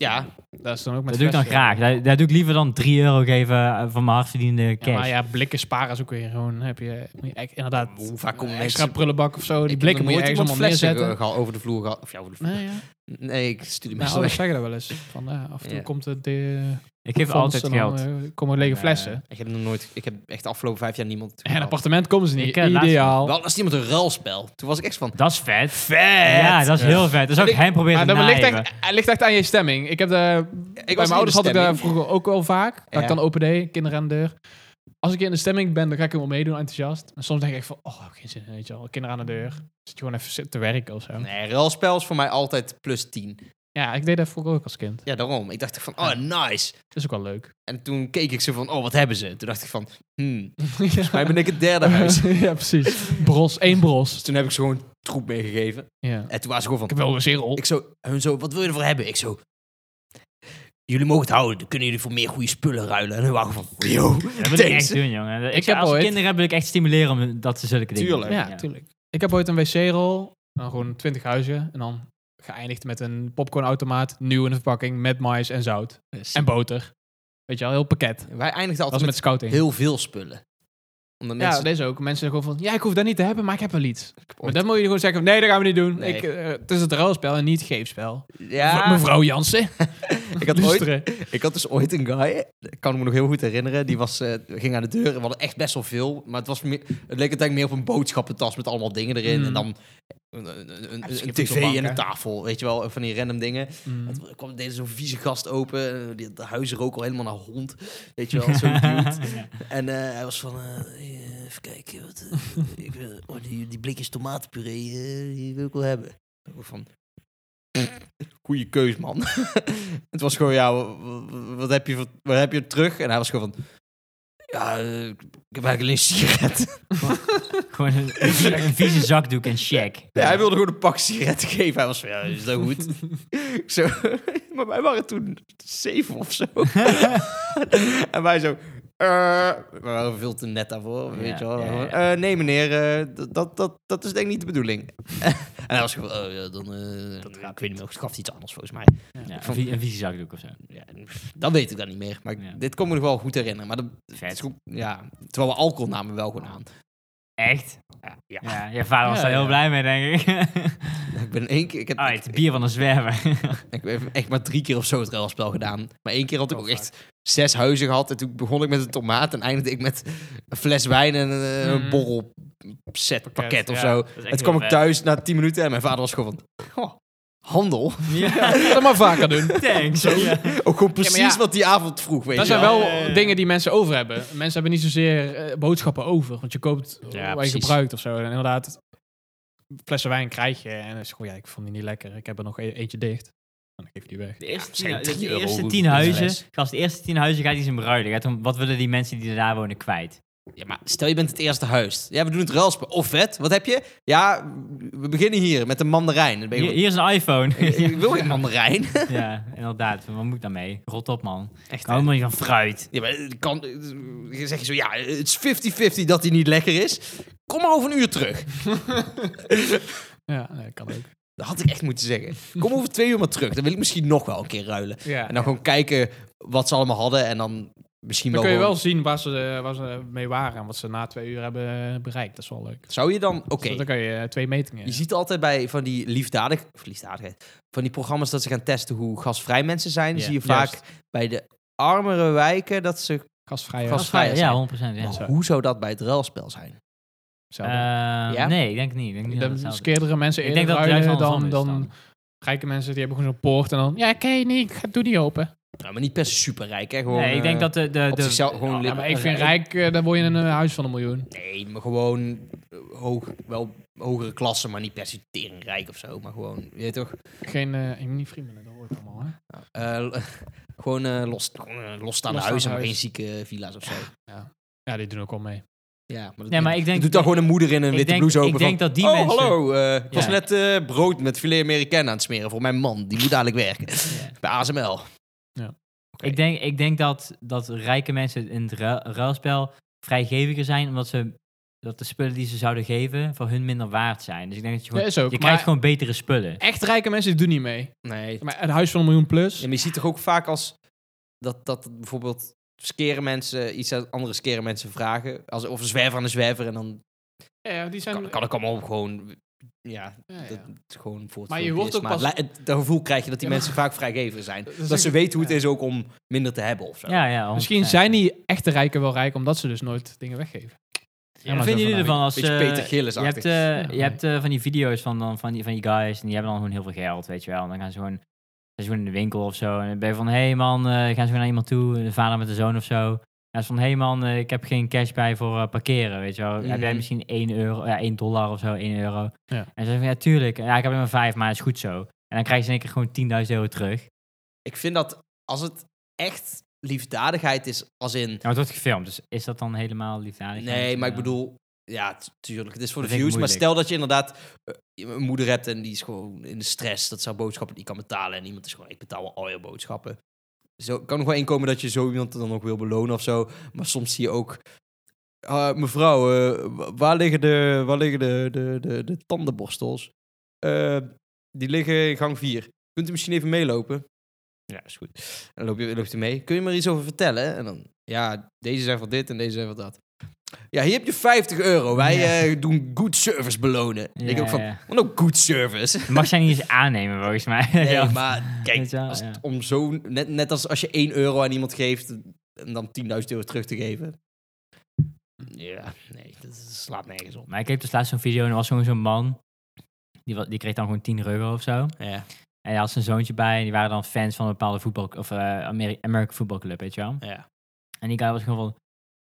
Speaker 3: Ja, dat is dan ook met
Speaker 2: Dat doe ik dan
Speaker 3: flessen.
Speaker 2: graag. Daar, daar doe ik liever dan 3 euro geven eh, van mijn hardverdiende
Speaker 3: Ja, maar
Speaker 2: cash.
Speaker 3: ja, blikken sparen is ook weer gewoon... Heb je, moet je echt- inderdaad
Speaker 4: Hoe vaak
Speaker 3: een
Speaker 4: komen
Speaker 3: extra
Speaker 4: mensen...
Speaker 3: prullenbak of zo. Die blikken moet je ergens allemaal neerzetten.
Speaker 4: over de vloer eh, gehad. Of ja, over de vloer.
Speaker 3: Nee, ja.
Speaker 4: Nee, ik stuur die
Speaker 3: Nou,
Speaker 4: mensen
Speaker 3: ouders
Speaker 4: weg.
Speaker 3: zeggen dat wel eens. Van, ja, af en toe
Speaker 4: Ja.
Speaker 3: komt het... eh, De,
Speaker 2: ik geef
Speaker 3: fonds
Speaker 2: altijd
Speaker 3: en dan,
Speaker 2: geld.
Speaker 3: eh, komen lege
Speaker 2: En,
Speaker 3: flessen.
Speaker 2: eh,
Speaker 4: Ik heb nog nooit... Ik heb echt de afgelopen vijf jaar niemand...
Speaker 3: en een
Speaker 4: gehad.
Speaker 3: appartement komen ze niet.
Speaker 2: Oh. Ik, eh, laatst-
Speaker 3: Ideaal.
Speaker 4: Wel, als iemand een ruilspel. Toen was ik echt van...
Speaker 2: Dat is vet.
Speaker 4: Vet!
Speaker 2: Ja, dat is heel vet. Dat zou ik
Speaker 3: Maar
Speaker 2: hem proberen
Speaker 3: Maar
Speaker 2: te
Speaker 3: dat ligt
Speaker 2: naaien.
Speaker 3: echt, het ligt echt aan je stemming. Ik heb de, bij
Speaker 4: was
Speaker 3: mijn ouders had ik eh, daar
Speaker 4: daar
Speaker 3: vroeger ook wel vaak. Dat
Speaker 4: Ja.
Speaker 3: ik dan open deed, kinderen aan de deur. Als ik in de stemming ben, dan ga ik hem wel meedoen, enthousiast. En soms denk ik echt van, oh, geen zin in, weet je wel. Kinderen aan de deur. Zit je gewoon even zitten te werken of zo.
Speaker 4: Hm? Nee, ruilspel is voor mij altijd plus 10.
Speaker 3: Ja, ik deed dat vroeger ook als kind.
Speaker 4: Ja, daarom. Ik dacht van, oh, nice.
Speaker 3: Dat is ook wel leuk.
Speaker 4: En toen keek ik ze van, oh, wat hebben ze? Toen dacht ik van, hmm,
Speaker 3: ja.
Speaker 4: mij ben ik het derde huis.
Speaker 3: ja, precies. Bros, één
Speaker 4: Dus
Speaker 3: bros.
Speaker 4: toen heb ik ze gewoon een troep meegegeven.
Speaker 3: Ja.
Speaker 4: En toen was ze gewoon
Speaker 3: Ik heb
Speaker 4: van,
Speaker 3: wel een zero.
Speaker 4: ik zo, hun zo, wat wil je ervoor hebben? Ik zo, jullie mogen het houden. Dan kunnen jullie voor meer goede spullen ruilen. En hun waren van, yo,
Speaker 2: Dat wil ik
Speaker 4: thanks.
Speaker 2: echt doen, jongen. Ik,
Speaker 3: Ik
Speaker 2: zou-
Speaker 3: heb
Speaker 2: als ik
Speaker 3: ooit-
Speaker 2: kinderen heb, wil ik echt stimuleren om dat ze zulke dingen
Speaker 4: Tuurlijk.
Speaker 2: doen.
Speaker 3: Ja, tuurlijk. Ik heb ooit een wc-rol, dan gewoon 20 huizen. En dan geëindigd met een popcornautomaat, nieuw in de verpakking, met mais en zout. En boter. Weet je wel, heel pakket. Dat
Speaker 4: Wij eindigden
Speaker 3: was
Speaker 4: altijd
Speaker 3: met
Speaker 4: met
Speaker 3: scouting.
Speaker 4: heel veel spullen. Omdat
Speaker 3: ja,
Speaker 4: mensen,
Speaker 3: deze ook. Mensen zeggen gewoon van, ja, ik hoef dat niet te hebben, maar ik heb wel iets. Maar
Speaker 4: ooit-
Speaker 3: dan moet je gewoon zeggen, nee, dat gaan we niet doen.
Speaker 4: Nee.
Speaker 3: Ik, eh, het is het ruilspel en niet geefspel.
Speaker 4: ja,
Speaker 3: V- Mevrouw Jansen.
Speaker 4: ik had ooit
Speaker 3: Luisteren.
Speaker 4: Ik had dus ooit een guy, ik kan me nog heel goed herinneren, die was, eh, ging aan de deur en we hadden echt best wel veel. Maar het, was meer, het leek uiteindelijk meer op een boodschappentas met allemaal dingen erin.
Speaker 3: Mm.
Speaker 4: En dan een, een- een- een-
Speaker 3: schiet
Speaker 4: een
Speaker 3: op de
Speaker 4: tv
Speaker 3: bank,
Speaker 4: en
Speaker 3: hè?
Speaker 4: een tafel, weet je wel, van die random dingen.
Speaker 3: Mm.
Speaker 4: En toen kwam deze zo'n vieze gast open, eh, die, de huizen rook al helemaal naar hond, weet je wel, zo'n dude. En eh, hij was van, eh, eh, even kijken, wat, eh, ik, wil- oh, die, die blikjes tomatenpuree, eh, die wil ik wel hebben. Ik was van, goeie keus, man. het was gewoon, ja, wa- wa- wat heb, je, voor- wat heb je terug? En hij was gewoon van, ja, eh, ik heb eigenlijk alleen een sigaret.
Speaker 2: Gewoon een, een vie- een vieze zakdoek en check.
Speaker 4: Ja, hij wilde gewoon een pak sigaretten geven. Hij was van, ja, is dat goed? Ik zo, maar wij waren toen zeven of zo. en wij zo, eh, we waren veel te net daarvoor, weet
Speaker 2: Ja,
Speaker 4: je wel.
Speaker 2: ja, ja.
Speaker 4: Eh, nee meneer, eh, d- dat, dat, dat is denk ik niet de bedoeling. en hij was gewoon, oh ja, dan, eh ik weet niet meer, ik gaf iets anders volgens mij.
Speaker 2: Ja, een, vie- een vieze zakdoek of zo.
Speaker 4: Ja, dat weet ik dan niet meer, maar ik-
Speaker 2: Ja.
Speaker 4: dit kon me nog wel goed herinneren. Maar dat, het
Speaker 2: Vet.
Speaker 4: is goed, ja, terwijl we alcohol namen wel gewoon aan.
Speaker 2: Echt?
Speaker 4: Ja, ja.
Speaker 2: Ja, je vader was
Speaker 3: Ja,
Speaker 2: daar heel
Speaker 3: ja.
Speaker 2: blij mee, denk ik.
Speaker 4: Ik ben één keer, ik heb,
Speaker 2: Uit, bier van een zwerver.
Speaker 4: Ik heb echt maar drie keer of zo het ruilspel gedaan. Maar één keer had
Speaker 3: Oh,
Speaker 2: Oh,
Speaker 4: ik ook echt zes huizen gehad. En toen begon ik met een tomaat en eindigde ik met een fles wijn en een,
Speaker 3: Mm.
Speaker 4: een borrel set Mhm. pakket of
Speaker 3: ja.
Speaker 4: zo.
Speaker 2: Dat is echt
Speaker 4: En toen kwam
Speaker 2: heel
Speaker 4: ik
Speaker 2: vet.
Speaker 4: thuis na tien minuten en mijn vader was gewoon van... "Goh, handel?
Speaker 2: Ja,
Speaker 3: Dat maar vaker doen.
Speaker 2: thanks. Ja.
Speaker 4: Ook gewoon precies
Speaker 3: ja.
Speaker 4: wat die avond vroeg, weet
Speaker 3: Dat
Speaker 4: je
Speaker 3: zijn wel
Speaker 2: Ja, ja, ja.
Speaker 3: dingen die mensen over hebben. Mensen hebben niet zozeer eh, boodschappen over. Want je koopt
Speaker 4: Ja,
Speaker 3: waar je
Speaker 4: precies.
Speaker 3: gebruikt of zo. En inderdaad, flessen wijn krijg je. En dan is het gewoon, ja, ik vond die niet lekker. Ik heb er nog e- eentje dicht. En dan geef je die weg.
Speaker 2: De eerste,
Speaker 4: misschien
Speaker 2: tien,
Speaker 4: drie
Speaker 2: de
Speaker 4: euro
Speaker 2: eerste
Speaker 4: voor
Speaker 2: tien
Speaker 4: een
Speaker 2: huizen,
Speaker 4: fles.
Speaker 2: als de eerste tien huizen gaat hij ze bruilen. Gaat om, wat willen die mensen die daar wonen kwijt?
Speaker 4: Ja, maar stel je bent het eerste huis. Ja, we doen het ruilspel. Of vet, wat heb je? Ja, we beginnen hier met een mandarijn. Dan ben je gewoon,
Speaker 2: Hier, hier is een iPhone.
Speaker 4: "Ik- ik wil geen mandarijn.
Speaker 2: ja, inderdaad. Van, Wat moet ik daarmee? Rot op, man.
Speaker 4: Echt,
Speaker 2: Ik hou helemaal niet van fruit.
Speaker 4: Ja, maar het kan, eh, zeg je zo, ja, het is 50-50 dat hij niet lekker is. Kom maar over een uur terug.
Speaker 3: Ja, nee, kan ook.
Speaker 4: Dat had ik echt moeten zeggen. Kom over twee uur maar terug. Dan wil ik misschien nog wel een keer ruilen.
Speaker 3: Ja.
Speaker 4: En dan gewoon kijken wat ze allemaal hadden. En dan misschien
Speaker 3: Dan
Speaker 4: wel,
Speaker 3: kun je wel
Speaker 4: gewoon-
Speaker 3: zien waar ze, eh, waar ze mee waren en wat ze na twee uur hebben bereikt. Dat is wel leuk.
Speaker 4: Zou je dan... Oké.
Speaker 3: Dus dan kan je eh, twee metingen.
Speaker 4: Je ziet altijd bij van die liefdadig... Of liefdadigheid. Van die programma's dat ze gaan testen hoe gasvrij mensen zijn.
Speaker 2: Ja,
Speaker 4: zie je vaak bij de armere wijken dat ze...
Speaker 3: Gastvrij.
Speaker 4: Gast- Gastvrij
Speaker 2: ja,
Speaker 4: zijn.
Speaker 2: 100 ja.
Speaker 4: Maar
Speaker 3: zo.
Speaker 4: hoe zou dat bij het ruilspel zijn?
Speaker 3: Uh,
Speaker 2: Eh,
Speaker 4: Ja?
Speaker 2: Nee, ik denk het niet. Ik denk niet dat
Speaker 3: dan
Speaker 2: het hetzelfde is.
Speaker 3: skeerdere mensen
Speaker 2: Ik
Speaker 3: eerder
Speaker 2: denk dat het juist
Speaker 3: ruilen
Speaker 2: andersom
Speaker 3: dan,
Speaker 2: is
Speaker 3: dan,
Speaker 2: dan.
Speaker 3: rijke mensen. Die hebben gewoon zo'n poort en dan... Ja, ken je niet. Ik ga- Doe die open.
Speaker 4: Nou, maar niet per se superrijk, hè? Gewoon,
Speaker 2: Nee, ik denk
Speaker 4: eh,
Speaker 2: dat de... de,
Speaker 4: op
Speaker 2: de
Speaker 4: zichzelf gewoon
Speaker 3: Ja, maar ik vind
Speaker 4: Eh,
Speaker 3: rijk, eh, daar word je een eh, huis van een miljoen.
Speaker 4: Nee, maar gewoon eh, hoog, wel hogere klasse, maar niet per se teringrijk of zo. Maar gewoon, je weet toch?
Speaker 3: Geen, eh, je moet niet vrienden, dat hoor ik allemaal. Hè?
Speaker 4: Eh, l- gewoon eh los, gewoon, eh, losstaande
Speaker 3: Losstaand
Speaker 4: huizen, maar
Speaker 3: huis.
Speaker 4: geen zieke villa's of zo.
Speaker 3: Ja, die doen ook al mee.
Speaker 4: Ja, maar, dat
Speaker 2: Nee, maar ik denk-
Speaker 4: doet dan gewoon een moeder in een
Speaker 2: ik
Speaker 4: witte
Speaker 2: denk-
Speaker 4: blouse open
Speaker 2: ik denk
Speaker 4: van,
Speaker 2: dat die
Speaker 4: oh,
Speaker 2: mensen-
Speaker 4: hallo, eh, ik was
Speaker 2: Ja.
Speaker 4: net eh, brood met filet Amerikaan aan het smeren voor mijn man. Die moet dadelijk werken bij ASML. Oké.
Speaker 2: Ik denk, ik denk dat, dat rijke mensen in het ruil- ruilspel vrijgeviger zijn, omdat ze dat de spullen die ze zouden geven voor hun minder waard zijn. Dus ik denk dat je
Speaker 3: Dat
Speaker 2: gewoon,
Speaker 3: is ook.
Speaker 2: je
Speaker 3: maar
Speaker 2: krijgt gewoon betere spullen.
Speaker 3: Echt rijke mensen doen niet mee.
Speaker 4: Nee.
Speaker 3: Maar een huis van een miljoen plus.
Speaker 4: En je ziet toch ook vaak als dat, dat bijvoorbeeld skere mensen iets aan andere skere mensen vragen. Als, of een zwerver aan een zwerver. En dan
Speaker 3: Ja, die zijn...
Speaker 4: kan, kan ik allemaal gewoon... Ja,
Speaker 3: Ja, ja.
Speaker 4: dat het gewoon voor het
Speaker 3: Maar je
Speaker 4: filmpje
Speaker 3: hoort
Speaker 4: is.
Speaker 3: ook
Speaker 4: Maar
Speaker 3: pas-
Speaker 4: li- het- Dat gevoel krijg je dat die
Speaker 3: Ja, maar-
Speaker 4: mensen vaak vrijgever zijn.
Speaker 3: Dat
Speaker 4: Dat,
Speaker 3: is
Speaker 4: ze
Speaker 3: ook-
Speaker 4: weten hoe het
Speaker 3: ja.
Speaker 4: is ook om minder te hebben of zo.
Speaker 2: Ja, ja, 100%.
Speaker 3: Misschien zijn die echte rijken wel rijk, omdat ze dus nooit dingen weggeven.
Speaker 2: Wat vinden jullie
Speaker 3: nou,
Speaker 2: ervan als...
Speaker 4: Beetje
Speaker 2: eh,
Speaker 4: Peter Gillis
Speaker 2: je hebt, eh,
Speaker 3: Ja,
Speaker 2: je hebt eh, van die video's van, dan, van, die, van die guys en die hebben dan gewoon heel veel geld, weet je wel. En dan gaan ze gewoon, ze gewoon in de winkel of zo. En dan ben je van, hé hey man, eh, gaan ze gewoon naar iemand toe, de vader met de zoon of zo. En ze van, hé hey man, eh, ik heb geen cash bij voor eh, parkeren, weet je wel. Heb jij
Speaker 4: Mhm.
Speaker 2: misschien 1 euro, ja, 1 dollar of zo, 1 euro.
Speaker 3: Ja.
Speaker 2: En ze zeggen van, ja tuurlijk, ja, ik heb er maar 5, maar is goed zo. En dan krijg je in één keer gewoon 10.000 euro terug. Ja,
Speaker 4: Ik vind dat als het echt liefdadigheid is, als in...
Speaker 2: maar het wordt gefilmd, dus is dat dan helemaal eh? liefdadig?
Speaker 4: Nee, maar ik bedoel... Ja, tu- tuurlijk. Het is voor de
Speaker 2: Dat vind ik
Speaker 4: views. Maar
Speaker 2: moeilijk.
Speaker 4: stel dat je inderdaad eh, een moeder hebt en die is gewoon in de stress. Dat ze haar boodschappen niet kan betalen. En iemand is gewoon, ik betaal wel al je boodschappen. Zo kan nog wel inkomen dat je zo iemand dan ook wil belonen of zo. Maar soms zie je ook... eh, mevrouw, eh, wa- waar liggen de, waar liggen de, de, de, de tandenborstels? Eh, die liggen in gang 4. Kunt u misschien even meelopen? Ja, is goed. En dan loop je, loopt hij mee. Kun je me er iets over vertellen? En dan, ja, deze zijn van dit en deze zijn van dat. Ja, hier heb je 50 euro. Wij
Speaker 2: Ja.
Speaker 4: eh, doen good service belonen. Ik denk
Speaker 2: Ja,
Speaker 4: ook van,
Speaker 2: ja.
Speaker 4: wat ook good service?
Speaker 2: Dat mag zij niet eens aannemen, volgens mij.
Speaker 4: Nee,
Speaker 2: Ja.
Speaker 4: maar
Speaker 2: Weet
Speaker 4: kijk,
Speaker 2: je wel,
Speaker 4: als het
Speaker 2: ja.
Speaker 4: om zo, net, net als als je 1 euro aan iemand geeft en dan 10.000 euro terug te geven. Ja, nee, dat slaat nergens op.
Speaker 2: Maar ik keek dus laatst zo'n video en er was gewoon zo'n man. Die, wa- die kreeg dan gewoon 10 euro of zo.
Speaker 4: Ja.
Speaker 2: En hij had zijn zoontje bij. En die waren dan fans van een bepaalde voetbal... Of eh, Ameri- American Football Club, weet je wel.
Speaker 4: Ja.
Speaker 2: En die guy was gewoon van...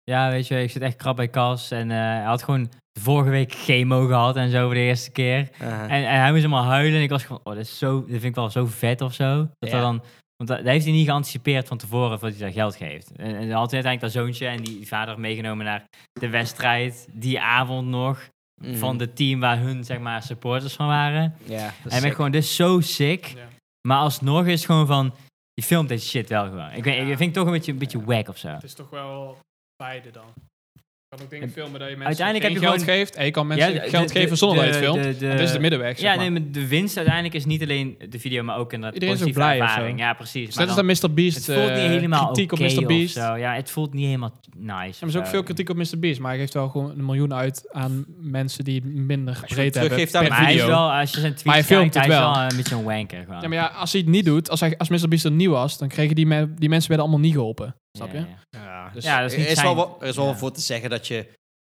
Speaker 2: Ja, weet je, ik zit echt krap bij kas. En eh, hij had gewoon vorige week chemo gehad en zo voor de eerste keer. En, en hij moest helemaal huilen. En ik was gewoon, oh, dat, is zo, dat vind ik wel zo vet of zo.
Speaker 4: Ja.
Speaker 2: Dat dat dan, want dat, dat heeft hij niet geanticipeerd van tevoren voordat hij daar geld geeft. En, en dan had hij uiteindelijk dat zoontje en die vader meegenomen naar de wedstrijd. Die avond nog.
Speaker 4: Mhm.
Speaker 2: Van de team waar hun, zeg maar, supporters van waren.
Speaker 4: ja, dat is
Speaker 2: Hij bent
Speaker 4: sick.
Speaker 2: gewoon, dit is zo sick.
Speaker 3: Ja.
Speaker 2: Maar alsnog is het gewoon van, je filmt deze shit wel gewoon. Ik, weet, ik vind het toch een beetje, een beetje whack of zo.
Speaker 3: Het is toch wel beide dan. Je kan ook dingen
Speaker 2: En-
Speaker 3: filmen dat je mensen
Speaker 2: uiteindelijk
Speaker 3: geen
Speaker 2: heb je
Speaker 3: geld
Speaker 2: gewoon-
Speaker 3: geeft. En je kan mensen
Speaker 2: Ja, de-
Speaker 3: geld
Speaker 2: de-
Speaker 3: geven zonder
Speaker 2: de-
Speaker 3: dat je het filmt.
Speaker 2: de- de-
Speaker 3: En dit is de middenweg,
Speaker 2: Ja,
Speaker 3: zeg maar.
Speaker 2: nee, maar de winst uiteindelijk is niet alleen de video, maar ook inderdaad de
Speaker 3: Iedereen is ook
Speaker 2: positieve
Speaker 3: blij of zo.
Speaker 2: ervaring. Ja, precies.
Speaker 3: Dus
Speaker 2: maar
Speaker 3: net als
Speaker 2: dan-
Speaker 3: dat Mr. Beast,
Speaker 2: Het voelt niet
Speaker 3: eh,
Speaker 2: helemaal
Speaker 3: kritiek
Speaker 2: oké
Speaker 3: op Mr.
Speaker 2: of
Speaker 3: Beast.
Speaker 2: zo. Ja, het voelt niet helemaal nice.
Speaker 3: Er is
Speaker 2: of
Speaker 3: ook
Speaker 2: zo.
Speaker 3: veel kritiek op Mr. Beast, maar hij geeft wel gewoon een miljoen uit aan mensen die minder
Speaker 4: je
Speaker 3: breed
Speaker 4: het
Speaker 3: hebben.
Speaker 4: teruggeeft aan
Speaker 3: per
Speaker 2: Maar hij is
Speaker 3: video.
Speaker 2: wel, als je zijn tweets
Speaker 3: Maar hij filmt
Speaker 2: kijkt, hij
Speaker 3: het
Speaker 2: is wel
Speaker 3: wel.
Speaker 2: een beetje een wanker gewoon.
Speaker 3: Ja, maar ja, als hij het niet doet, als, hij, als Mr. Beast er nieuw was, dan kregen die, me- die mensen werden allemaal niet geholpen. Snap je?
Speaker 2: Ja, ja.
Speaker 4: Ja,
Speaker 3: Dus
Speaker 2: Ja, dat is niet
Speaker 4: er is
Speaker 2: zijn-
Speaker 4: wel, wa- er is wel
Speaker 2: ja.
Speaker 4: voor te zeggen dat je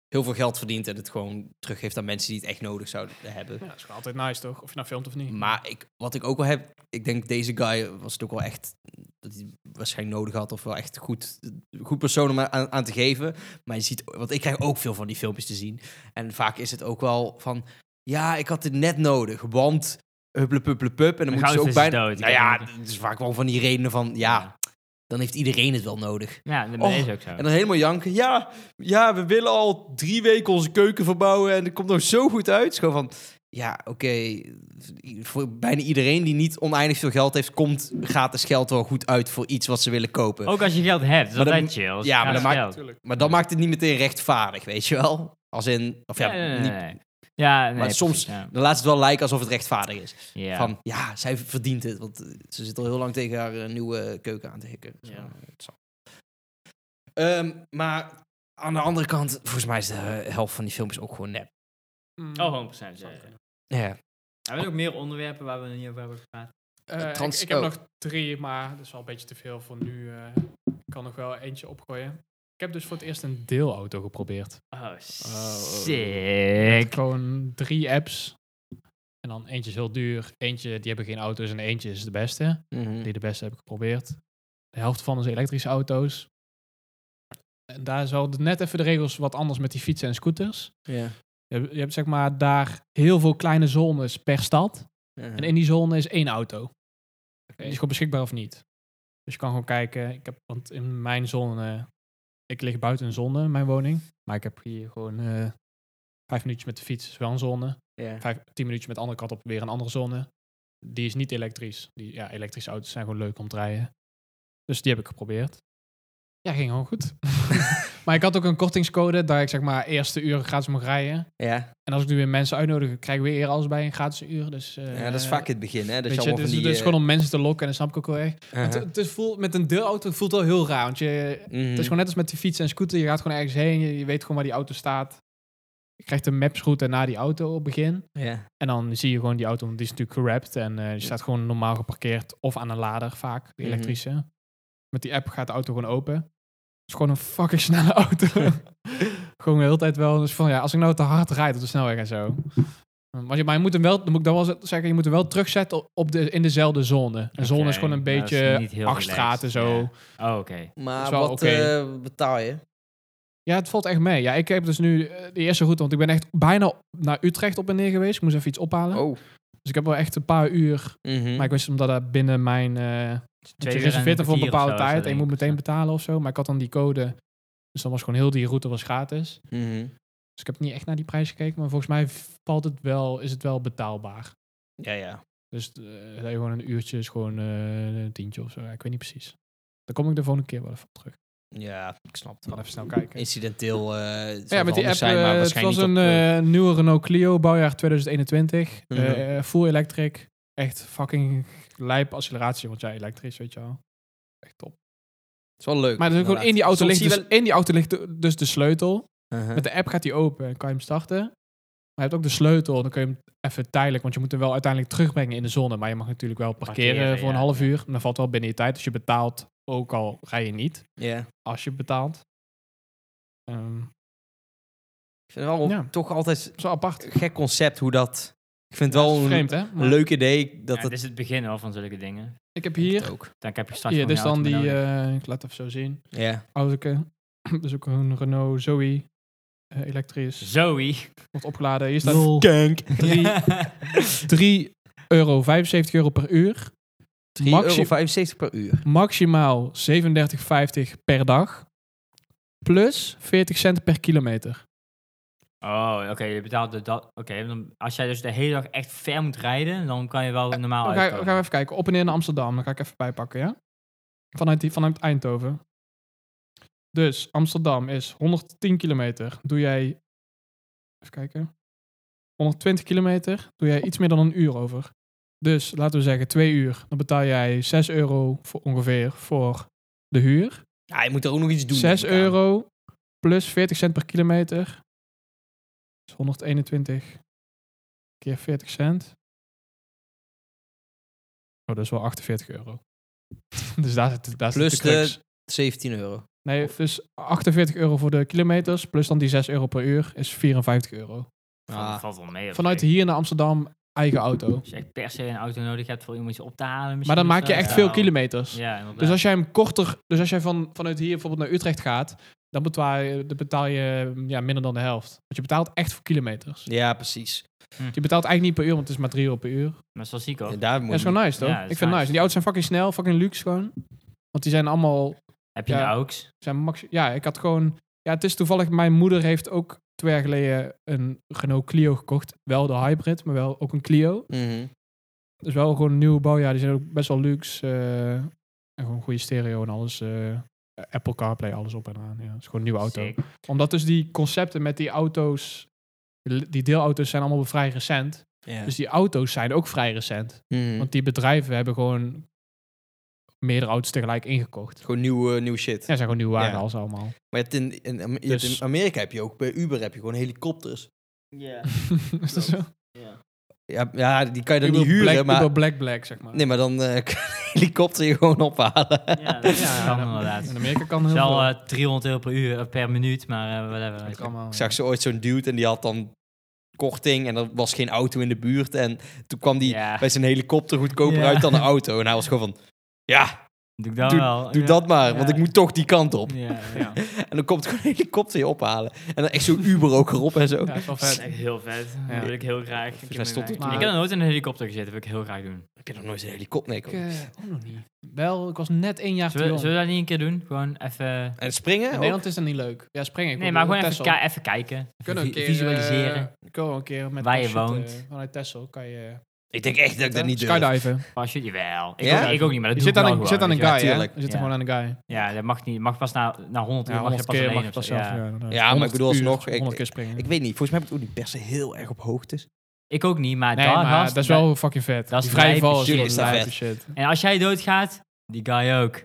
Speaker 4: heel veel geld verdient en het gewoon teruggeeft aan mensen die het echt nodig zouden hebben.
Speaker 3: Ja, dat is wel altijd nice, toch? Of je nou filmt of niet.
Speaker 4: Maar ik, wat ik ook wel heb, ik denk deze guy was het ook wel echt dat hij waarschijnlijk nodig had of wel echt goed, goed persoon om aan, aan te geven. Maar je ziet, want ik krijg ook veel van die filmpjes te zien. En vaak is het ook wel van, ja, ik had dit net nodig, want hupplepup, En dan
Speaker 2: Een
Speaker 4: moeten ze ook
Speaker 2: goudvis is
Speaker 4: bijna...
Speaker 2: dood.
Speaker 4: Nou ja, het is vaak wel van die redenen van, ja, dan heeft iedereen het wel nodig.
Speaker 2: Ja, dat
Speaker 4: Oh,
Speaker 2: is ook zo.
Speaker 4: En dan helemaal janken. Ja, ja, we willen al drie weken onze keuken verbouwen en het komt nog zo goed uit. Het is gewoon van, ja, oké. Voor bijna iedereen die niet oneindig veel geld heeft, komt gratis geld wel goed uit voor iets wat ze willen kopen.
Speaker 2: Ook als je geld hebt, is
Speaker 4: Maar dan-
Speaker 2: altijd chill.
Speaker 4: ja, maar
Speaker 2: dat
Speaker 4: dan maakt- Maar dan maakt het niet meteen rechtvaardig, weet je wel? Als in, of ja,
Speaker 2: Ja, nee, nee,
Speaker 4: niet-
Speaker 2: nee. Ja, nee,
Speaker 4: maar soms
Speaker 2: precies, ja.
Speaker 4: dan laat het wel lijken alsof het rechtvaardig is.
Speaker 2: Ja.
Speaker 4: Van, ja, zij verdient het, want eh, ze zit al heel lang tegen haar eh, nieuwe keuken aan te hikken. Dus,
Speaker 2: Ja.
Speaker 4: eh, het zal. Ehm, maar aan de andere kant, volgens mij is de eh, helft van die filmpjes ook gewoon nep.
Speaker 3: Mm.
Speaker 2: Oh, 100%. Ja, ja.
Speaker 4: Ja.
Speaker 2: Hebben we ook meer onderwerpen waar we niet over hebben gepraat?
Speaker 3: Eh, ik-
Speaker 4: trans-
Speaker 3: ik, heb
Speaker 4: oh.
Speaker 3: nog drie, maar dat is wel een beetje te veel voor nu. eh. ik kan nog wel eentje opgooien. Ik heb dus voor het eerst een deelauto geprobeerd.
Speaker 2: Oh,
Speaker 3: Met
Speaker 2: sick.
Speaker 3: gewoon drie apps. En dan eentje is heel duur, eentje die hebben geen auto's en eentje is de beste.
Speaker 1: Mhm.
Speaker 4: Hm.
Speaker 3: Die de beste heb ik geprobeerd. De helft van is elektrische auto's. En daar is wel de- net even de regels wat anders met die fietsen en scooters.
Speaker 4: Ja.
Speaker 3: Je hebt, je hebt zeg maar daar heel veel kleine zones per stad. En in die zone is één auto. Die is gewoon beschikbaar of niet. Dus je kan gewoon kijken. Ik heb, want in mijn zone Ik lig buiten een zone in mijn woning. Maar ik heb hier gewoon eh, vijf minuutjes met de fiets, is wel een zone. Vijf, tien minuutjes met de andere kant op, weer een andere zone. Die is niet elektrisch. Die, ja, elektrische auto's zijn gewoon leuk om te rijden. Dus die heb ik geprobeerd. Ja, ging gewoon goed. maar ik had ook een kortingscode dat ik zeg maar eerste uur gratis mocht rijden.
Speaker 1: Ja.
Speaker 3: En als ik nu weer mensen uitnodig, krijg ik weer eer alles bij een gratis uur. Dus, eh,
Speaker 1: ja, dat is vaak het begin, hè? Dat
Speaker 3: Weet
Speaker 1: je
Speaker 3: je,
Speaker 1: allemaal
Speaker 3: dus,
Speaker 1: van die...
Speaker 3: dus
Speaker 1: eh,
Speaker 3: gewoon om mensen te lokken en dat snap ik ook wel echt.
Speaker 1: aha.
Speaker 3: Het, het is voel, met een deurauto voelt het wel heel raar. Want je, het
Speaker 1: Mhm.
Speaker 3: is gewoon net als met die fiets en scooter. Je gaat gewoon ergens heen, je, je weet gewoon waar die auto staat. Je krijgt een mapsroute naar die auto op het begin.
Speaker 1: Ja.
Speaker 3: En dan zie je gewoon die auto, want die is natuurlijk gerapt. En eh, die staat gewoon normaal geparkeerd of aan een lader vaak, de
Speaker 1: Mhm.
Speaker 3: elektrische. Met die app gaat de auto gewoon open. Het is gewoon een fucking snelle auto. gewoon de hele tijd wel. Dus van ja, als ik nou te hard rijd op de snelweg en zo. Um, Maar je, maar je moet hem wel, dan moet ik dan wel z- zeggen, je moet hem wel terugzetten op- op de, in dezelfde zone. Een zone is gewoon een
Speaker 2: maar nou, dat is
Speaker 3: beetje
Speaker 2: niet heel
Speaker 3: acht straten
Speaker 2: relaxed,
Speaker 3: zo.
Speaker 2: ja. Oh, oké.
Speaker 1: Maar
Speaker 3: is wel
Speaker 1: wat
Speaker 3: oké.
Speaker 1: eh, betaal je?
Speaker 3: Ja, het valt echt mee. Ja, ik heb dus nu eh, de eerste route, want ik ben echt bijna naar Utrecht op en neer geweest. Ik moest even iets ophalen.
Speaker 1: Oh.
Speaker 3: Dus ik heb wel echt een paar uur.
Speaker 1: Mhm.
Speaker 3: Maar ik wist omdat dat binnen mijn... eh
Speaker 2: Twee
Speaker 3: je
Speaker 2: uur
Speaker 3: reserveert
Speaker 2: en
Speaker 3: er voor een
Speaker 2: kwartier of
Speaker 3: bepaalde
Speaker 2: zo,
Speaker 3: tijd
Speaker 2: zo
Speaker 3: en je moet
Speaker 2: denk ik.
Speaker 3: meteen betalen of zo. Maar ik had dan die code. Dus dan was gewoon heel die route was gratis.
Speaker 1: Mhm.
Speaker 3: Dus ik heb niet echt naar die prijs gekeken. Maar volgens mij valt het wel, is het wel betaalbaar.
Speaker 1: Ja, ja.
Speaker 3: Dus eh, dat je gewoon een uurtje is gewoon eh, een tientje of zo. Ja, ik weet niet precies. Daar kom ik de volgende keer wel even op terug. Ik
Speaker 1: Ja, ik snap het
Speaker 3: ga
Speaker 1: wel.
Speaker 3: even snel kijken.
Speaker 1: Incidenteel eh zal
Speaker 3: Ja,
Speaker 1: het
Speaker 3: met die
Speaker 1: handig
Speaker 3: app,
Speaker 1: zijn, maar
Speaker 3: eh, het was
Speaker 1: waarschijnlijk
Speaker 3: een
Speaker 1: niet op, eh,
Speaker 3: eh, nieuwe Renault Clio, bouwjaar 2021.
Speaker 1: Mhm.
Speaker 3: Eh, full electric. Echt fucking lijp acceleratie, want ja, elektrisch, weet je wel. Echt top.
Speaker 1: Het is wel leuk.
Speaker 3: Maar dus gewoon in die, auto ligt dus, in die auto ligt de- dus de sleutel.
Speaker 1: Mhm.
Speaker 3: Met de app gaat die open en kan je hem starten. Maar je hebt ook de sleutel. Dan kun je hem even tijdelijk, want je moet hem wel uiteindelijk terugbrengen in de zone. Maar je mag natuurlijk wel parkeren,
Speaker 2: Parkeren,
Speaker 3: voor een
Speaker 2: ja,
Speaker 3: half
Speaker 2: ja.
Speaker 3: uur. En dat valt wel binnen je tijd. Dus je betaalt, ook al rij je niet,
Speaker 1: Ja.
Speaker 3: als je betaalt. Ehm,
Speaker 1: Ik vind het wel
Speaker 3: Ja.
Speaker 1: toch altijd
Speaker 3: zo apart.
Speaker 1: een gek concept hoe dat... Ik vind het
Speaker 3: Dat
Speaker 1: wel
Speaker 3: is
Speaker 1: een
Speaker 3: vreemd, hè? Maar
Speaker 1: leuk idee dat
Speaker 2: Ja,
Speaker 1: het...
Speaker 2: Dit is het begin hoor, van zulke dingen.
Speaker 3: Ik heb hier,
Speaker 1: ook.
Speaker 2: Dan heb je straks
Speaker 3: hier
Speaker 2: gewoon
Speaker 3: dus
Speaker 2: je
Speaker 3: dan
Speaker 2: auto nou
Speaker 3: die,
Speaker 2: nodig.
Speaker 3: eh, ik laat het even zo zien.
Speaker 1: Ja.
Speaker 3: Autoke. Dus ook een Renault Zoe. eh,
Speaker 2: Dus-
Speaker 3: elektrisch.
Speaker 2: Zoe.
Speaker 3: Wordt opgeladen. Hier staat
Speaker 2: Lol.
Speaker 1: Kank.
Speaker 3: 3 euro, 75 euro per uur.
Speaker 1: 3,75
Speaker 3: Maxi-
Speaker 1: per uur.
Speaker 3: maximaal 37,50 per dag. Plus 40 cent per kilometer.
Speaker 2: Oh, oké, je betaalt de dat. Oké, dan- als jij dus de hele dag echt ver moet rijden, dan kan je wel normaal
Speaker 3: Eh, Dan ga,
Speaker 2: uitkomen.
Speaker 3: gaan we even kijken. Op en neer naar Amsterdam. Dan ga ik even bijpakken, ja? Vanuit, die, vanuit Eindhoven. Dus Amsterdam is 110 kilometer. Doe jij... Even kijken. 120 kilometer. Doe jij iets meer dan een uur over. Dus laten we zeggen twee uur. Dan betaal jij 6 euro voor ongeveer voor de huur.
Speaker 1: Ja, je moet er ook nog iets doen.
Speaker 3: 6
Speaker 1: denk ik aan.
Speaker 3: euro plus 40 cent per kilometer. Dus 121 keer 40 cent. Oh, dat is wel 48 euro. dus daar zit, daar zit
Speaker 1: Plus
Speaker 3: de crux.
Speaker 1: 17 euro.
Speaker 3: Nee, dus 48 euro voor de kilometers, plus dan die 6 euro per uur, is 54 euro.
Speaker 2: Van-
Speaker 1: Ah.
Speaker 2: valt wel mee. op
Speaker 3: Vanuit
Speaker 2: zich.
Speaker 3: hier naar Amsterdam, eigen auto.
Speaker 2: Als je echt per se een auto nodig hebt voor iemand je op te halen.
Speaker 3: Maar
Speaker 2: misschien
Speaker 3: dan
Speaker 2: of
Speaker 3: maak je
Speaker 2: zo.
Speaker 3: echt
Speaker 2: Ja.
Speaker 3: veel kilometers.
Speaker 2: Ja, inderdaad.
Speaker 3: Dus als jij hem korter, dus als jij van, vanuit hier bijvoorbeeld naar Utrecht gaat, dan betaal je, dan betaal je ja, minder dan de helft. Want je betaalt echt voor kilometers.
Speaker 1: Ja, precies.
Speaker 3: Je betaalt eigenlijk niet per uur, want het is maar 3 euro per uur.
Speaker 2: Maar zoals ik ook.
Speaker 1: En daar
Speaker 3: Dat is
Speaker 1: moet je-
Speaker 3: gewoon nice, toch?
Speaker 2: Ja, dat is
Speaker 3: ik vind het nice.
Speaker 2: nice.
Speaker 3: Die auto's zijn fucking snel, fucking luxe gewoon. Want die zijn allemaal,
Speaker 2: Heb je
Speaker 3: ja.
Speaker 2: een AUX?
Speaker 3: zijn max... Ja, ik had gewoon... Ja, het is toevallig, mijn moeder heeft ook twee jaar geleden een Renault Clio gekocht. Wel de hybrid, maar wel ook een Clio.
Speaker 1: Mhm.
Speaker 3: Dus wel gewoon een nieuw bouwjaar. Die zijn ook best wel luxe. eh, en gewoon goede stereo en alles. eh, Apple CarPlay, alles op en aan. Ja, het is gewoon een nieuwe auto.
Speaker 2: Sick.
Speaker 3: Omdat dus die concepten met die auto's... Die deelauto's zijn allemaal vrij recent.
Speaker 1: Ja.
Speaker 3: Dus die auto's zijn ook vrij recent.
Speaker 1: Mhm.
Speaker 3: Want die bedrijven hebben gewoon meerdere auto's tegelijk ingekocht.
Speaker 1: Gewoon nieuw, eh, nieuw shit.
Speaker 3: Ja, zijn gewoon nieuwe waren
Speaker 1: Ja.
Speaker 3: als allemaal.
Speaker 1: Maar je hebt in, in, Am- je hebt
Speaker 3: Dus-
Speaker 1: in Amerika heb je ook, bij Uber heb je gewoon helikopters.
Speaker 2: Ja.
Speaker 3: Is dat zo?
Speaker 1: Ja, ja die kan je dan
Speaker 3: Uber
Speaker 1: niet huren,
Speaker 3: Black,
Speaker 1: maar...
Speaker 3: Uber Black Black, zeg maar.
Speaker 1: Nee, maar dan eh kan de helikopter je gewoon ophalen.
Speaker 2: Ja, dat
Speaker 3: Ja,
Speaker 2: kan
Speaker 3: in-
Speaker 2: inderdaad.
Speaker 3: In Amerika kan
Speaker 2: Het
Speaker 3: heel
Speaker 2: is
Speaker 3: veel.
Speaker 2: wel eh, 300 euro per uur eh, per minuut, maar eh whatever.
Speaker 3: Dat
Speaker 2: weet je.
Speaker 3: kan allemaal.
Speaker 1: Ik zag ze ooit zo'n dude en die had dan korting en er was geen auto in de buurt. En toen kwam die
Speaker 2: Ja.
Speaker 1: bij zijn helikopter goedkoper
Speaker 2: Ja.
Speaker 1: uit dan een auto. En hij was gewoon van, ja,
Speaker 2: Doe ik dat wel.
Speaker 4: Doe
Speaker 2: Ja.
Speaker 4: dat maar, want
Speaker 2: Ja.
Speaker 4: ik moet toch die kant op.
Speaker 2: Ja, ja.
Speaker 1: Ja.
Speaker 4: En dan komt gewoon een helikopter je ophalen. En dan echt zo'n Uber ook erop en zo.
Speaker 3: Ja, is wel
Speaker 2: Dat is
Speaker 3: vet.
Speaker 2: echt heel vet.
Speaker 3: Ja.
Speaker 2: Dat wil ik heel graag. Ik heb,
Speaker 4: mij stond
Speaker 2: ik
Speaker 4: het
Speaker 3: toen-
Speaker 2: heb nog nooit in een helikopter gezeten. Dat wil ik heel graag doen.
Speaker 4: Ik heb nog nooit een helikopter. Nee, ik
Speaker 3: Ik,
Speaker 4: ook niet.
Speaker 3: eh, ook nog niet. Wel, ik was net één jaar te
Speaker 2: Zullen we,
Speaker 3: jong.
Speaker 2: zullen we dat niet een keer doen? Gewoon even...
Speaker 4: En
Speaker 3: In
Speaker 4: springen? Oh, ook?
Speaker 3: Nederland is dat niet leuk. Ja, springen. Ik
Speaker 2: Nee,
Speaker 3: wil
Speaker 2: maar
Speaker 3: door
Speaker 2: gewoon even,
Speaker 3: Texel.
Speaker 2: ki- even kijken.
Speaker 3: We kunnen
Speaker 2: Vi-
Speaker 3: een keer,
Speaker 2: visualiseren.
Speaker 3: eh, kunnen we een keer met
Speaker 2: Waar je
Speaker 3: parachute,
Speaker 2: woont.
Speaker 3: eh, vanuit Texel kan je...
Speaker 4: Ik denk echt dat ik dat niet durf.
Speaker 3: Skydiven.
Speaker 2: Parachute? Oh, Jawel. Ik,
Speaker 4: Ja?
Speaker 2: ook, ik ook niet, maar dat doe
Speaker 3: Je zit
Speaker 2: ik wel
Speaker 3: aan, een- je
Speaker 2: gewoon,
Speaker 3: zit aan een
Speaker 2: weet je wel.
Speaker 3: guy, hè?
Speaker 4: tuurlijk.
Speaker 3: Je zit
Speaker 2: Ja.
Speaker 3: gewoon aan een guy.
Speaker 2: Ja, dat mag niet. Mag pas na, na 100 uur
Speaker 3: Ja,
Speaker 2: mag je
Speaker 3: 100
Speaker 2: pas
Speaker 3: keer
Speaker 2: alleen
Speaker 3: mag
Speaker 2: of
Speaker 3: je pas
Speaker 2: zo.
Speaker 3: zelf.
Speaker 2: Ja.
Speaker 3: inderdaad.
Speaker 4: Ja, maar ik
Speaker 3: 100
Speaker 4: bedoel
Speaker 3: uur,
Speaker 4: alsnog, ik-
Speaker 3: 100 keer springen.
Speaker 4: Ik weet niet, volgens mij heb ik het ook niet per se heel erg op hoogtes.
Speaker 2: Ik ook niet, maar
Speaker 3: nee,
Speaker 2: daar
Speaker 3: maar
Speaker 2: gast,
Speaker 3: dat is wel fucking vet.
Speaker 2: dat is
Speaker 3: Die vrije
Speaker 2: lijpe
Speaker 3: val is
Speaker 2: shit,
Speaker 3: wel
Speaker 4: is dat
Speaker 3: lijpe
Speaker 4: vet.
Speaker 3: shit.
Speaker 2: En als jij doodgaat, die guy ook.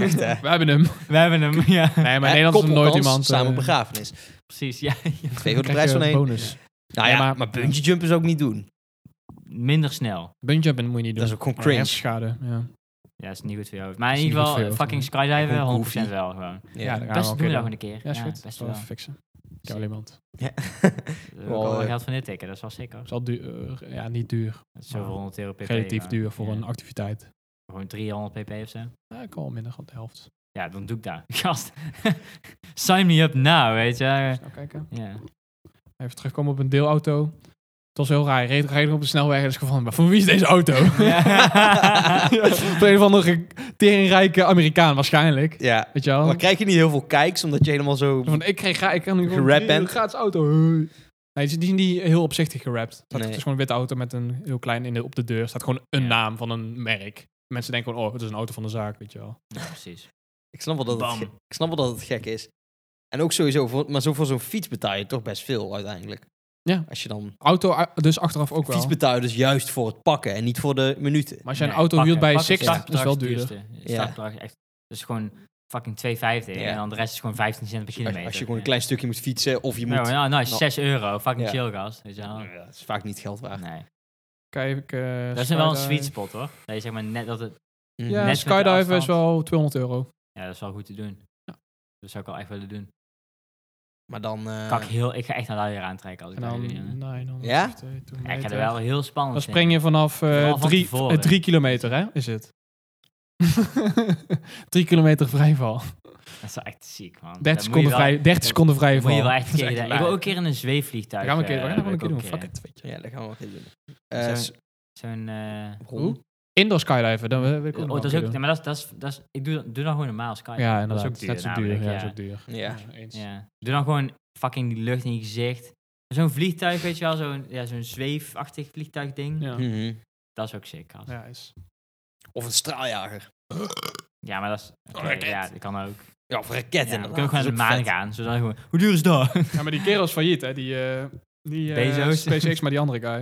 Speaker 4: Echt, hè?
Speaker 3: We hebben hem.
Speaker 2: We hebben hem, ja.
Speaker 3: Nee, maar
Speaker 4: Hè?
Speaker 3: in Nederland is er
Speaker 4: Koppelkans,
Speaker 3: nooit iemand...
Speaker 4: Samen
Speaker 3: eh,
Speaker 4: begrafenis.
Speaker 2: Precies, ja.
Speaker 4: Twee voor de
Speaker 3: krijg
Speaker 4: prijs
Speaker 3: je
Speaker 4: van één.
Speaker 3: bonus.
Speaker 4: Nou ja,
Speaker 3: Ja,
Speaker 4: maar,
Speaker 3: maar-
Speaker 4: bungee jumpen is ook niet doen.
Speaker 2: Minder snel.
Speaker 3: Bungejumping moet je niet doen.
Speaker 4: Dat is ook gewoon
Speaker 3: Ja,
Speaker 4: cringe.
Speaker 3: hersenschade, ja.
Speaker 2: Ja, is niet goed voor jou. Maar in
Speaker 3: Is
Speaker 2: ieder
Speaker 3: niet goed
Speaker 2: geval,
Speaker 3: voor jou,
Speaker 2: fucking
Speaker 4: Gewoon
Speaker 2: skydiven, 100%
Speaker 4: goofy.
Speaker 2: wel gewoon.
Speaker 3: Ja, dat gaan we
Speaker 2: Best doen
Speaker 3: wel een
Speaker 2: we
Speaker 3: keer
Speaker 2: dat gewoon
Speaker 3: doen.
Speaker 2: een keer.
Speaker 3: Ja, is goed.
Speaker 2: Best
Speaker 3: Best wel
Speaker 2: wel.
Speaker 3: even fixen. Ik heb wel iemand.
Speaker 2: We hebben ook
Speaker 4: Wel,
Speaker 2: al
Speaker 4: eh,
Speaker 2: geld van dit tikken, dat is wel sick hoor.
Speaker 3: Het is al duur. Ja, niet duur.
Speaker 2: Dat is zoveel
Speaker 3: maar
Speaker 2: 100 euro pp.
Speaker 3: Relatief
Speaker 2: maar,
Speaker 3: duur voor
Speaker 2: ja,
Speaker 3: een activiteit.
Speaker 2: Gewoon 300 pp of zo.
Speaker 3: Ja, ik al minder dan de helft.
Speaker 2: Ja, dan doe ik dat. Gast, sign me up now, weet je. Ja.
Speaker 3: Snel kijken. Even terugkomen op een deelauto. Het was heel raar. Je reed, reed op de snelweg en is gewoon van, maar voor wie is deze auto?
Speaker 2: Ja.
Speaker 3: Voor een of andere teringrijke Amerikaan waarschijnlijk.
Speaker 4: Ja.
Speaker 3: Weet je wel?
Speaker 4: Maar krijg je niet heel veel kijks, omdat je helemaal zo...
Speaker 3: Zo Van, ik, kreeg, ik kan nu gewoon
Speaker 4: Gerappt
Speaker 3: een
Speaker 4: bent.
Speaker 3: gratis auto. Hey. Nee, die is niet heel opzichtig gerapt. Het
Speaker 4: Nee.
Speaker 3: is gewoon een witte auto met een heel klein in de, op de deur. staat gewoon een
Speaker 2: Ja.
Speaker 3: naam van een merk. Mensen denken gewoon, oh, het is een auto van de zaak, weet je wel.
Speaker 2: Ja, precies.
Speaker 4: Ik snap wel dat het,
Speaker 2: Bam.
Speaker 4: ge- ik snap wel dat het gek is. En ook sowieso, voor, maar zo voor zo'n fiets betaal je toch best veel uiteindelijk.
Speaker 3: Ja.
Speaker 4: Als je dan...
Speaker 3: Auto uh, dus achteraf ook wel.
Speaker 4: Fiets betaal je dus juist voor het pakken en niet voor de minuten.
Speaker 3: Maar als je een
Speaker 2: Nee,
Speaker 3: auto
Speaker 2: pakken,
Speaker 3: huurt bij
Speaker 2: pakken,
Speaker 3: Six,
Speaker 2: ja.
Speaker 3: dat is wel
Speaker 2: Startbedrag
Speaker 3: duurder.
Speaker 2: het duurste.
Speaker 4: Ja.
Speaker 2: Startbedrag echt. Dus gewoon fucking 2,50
Speaker 4: Ja.
Speaker 2: en dan de rest is gewoon 15 cent per
Speaker 4: Als,
Speaker 2: kilometer.
Speaker 4: als je gewoon een klein stukje moet fietsen of je
Speaker 2: Ja,
Speaker 4: moet...
Speaker 2: nou, nice, 6 euro. Fucking
Speaker 4: Ja.
Speaker 2: chill, gast. Weet je wel.
Speaker 4: Ja, dat is vaak niet geld waard.
Speaker 2: Nee.
Speaker 3: Kijk, eh,
Speaker 2: Dat is wel een
Speaker 3: skydive.
Speaker 2: sweet spot, hoor. Dat je zeg maar net dat het...
Speaker 4: Mhm.
Speaker 3: Ja,
Speaker 2: Net met de
Speaker 3: skydiven is
Speaker 2: afstand.
Speaker 3: wel 200 euro.
Speaker 2: Ja, dat is wel goed te doen.
Speaker 3: Ja.
Speaker 2: Dat zou ik wel echt willen doen.
Speaker 4: Maar dan... eh,
Speaker 2: Kak heel, ik ga echt naar luier aantrekken als
Speaker 3: En
Speaker 2: ik dat
Speaker 3: dan,
Speaker 2: wil doen, jongen.
Speaker 3: nee, dan
Speaker 4: Ja?
Speaker 2: Ja, ik ga er wel heel spannend
Speaker 3: Dan spring je vanaf eh,
Speaker 2: Vooral van
Speaker 3: drie,
Speaker 2: tevoren.
Speaker 3: eh, drie kilometer, hè, is het. drie kilometer vrijval.
Speaker 2: in. Dat is wel echt ziek, man.
Speaker 3: 30 seconden,
Speaker 2: vrij.
Speaker 3: vrij, 30 seconden vrije val.
Speaker 2: Moet je wel echt
Speaker 3: Dat is
Speaker 2: een keer doen.
Speaker 3: waar.
Speaker 2: Ik wil ook een keer in een zweefvliegtuig.
Speaker 3: Dat gaan we een
Speaker 2: eh,
Speaker 3: keer, we gaan dat
Speaker 2: wil
Speaker 3: wel een keer
Speaker 2: ik
Speaker 3: doen.
Speaker 2: ook
Speaker 3: Fuck
Speaker 2: een
Speaker 3: it, weet je.
Speaker 4: Ja, dat gaan we wel geen doen.
Speaker 2: Zo-
Speaker 4: Eh, s-
Speaker 2: Zo'n... eh,
Speaker 4: Ron?
Speaker 3: Indoor skydiven, dan wil ik ook
Speaker 2: Oh,
Speaker 3: nog
Speaker 2: dat is
Speaker 3: wel
Speaker 2: ook, nee,
Speaker 3: een keer
Speaker 2: maar dat is, dat is, dat is, ik doe, doe dan gewoon normaal sky.
Speaker 3: doen. Ja, inderdaad.
Speaker 2: Dat is ook
Speaker 3: Net zo
Speaker 2: duur
Speaker 3: duur.
Speaker 2: namelijk,
Speaker 3: Ja,
Speaker 2: ja.
Speaker 3: dat is ook duur.
Speaker 4: Ja.
Speaker 3: eens.
Speaker 2: Ja. Doe dan gewoon fucking die lucht in je gezicht. Zo'n vliegtuig, weet je wel, zo'n ja, zo'n zweefachtig vliegtuigding.
Speaker 3: Ja.
Speaker 4: Mhm.
Speaker 2: Dat is ook sick. gast. Ja,
Speaker 3: Ja, is.
Speaker 4: Of een straaljager.
Speaker 2: maar dat is. oké,
Speaker 4: raket.
Speaker 2: ja, dat kan ook.
Speaker 4: Oh, Ja, of een raket
Speaker 2: Ja, we
Speaker 4: inderdaad.
Speaker 2: kunnen gewoon
Speaker 4: Dat
Speaker 2: naar de
Speaker 4: is ook
Speaker 2: maan
Speaker 4: vet.
Speaker 2: gaan. Zodat gewoon, hoe duur is dat?
Speaker 3: Ja, maar die kerel is failliet, hè. Die, eh, die eh,
Speaker 2: Bezos.
Speaker 3: SpaceX, maar die andere guy.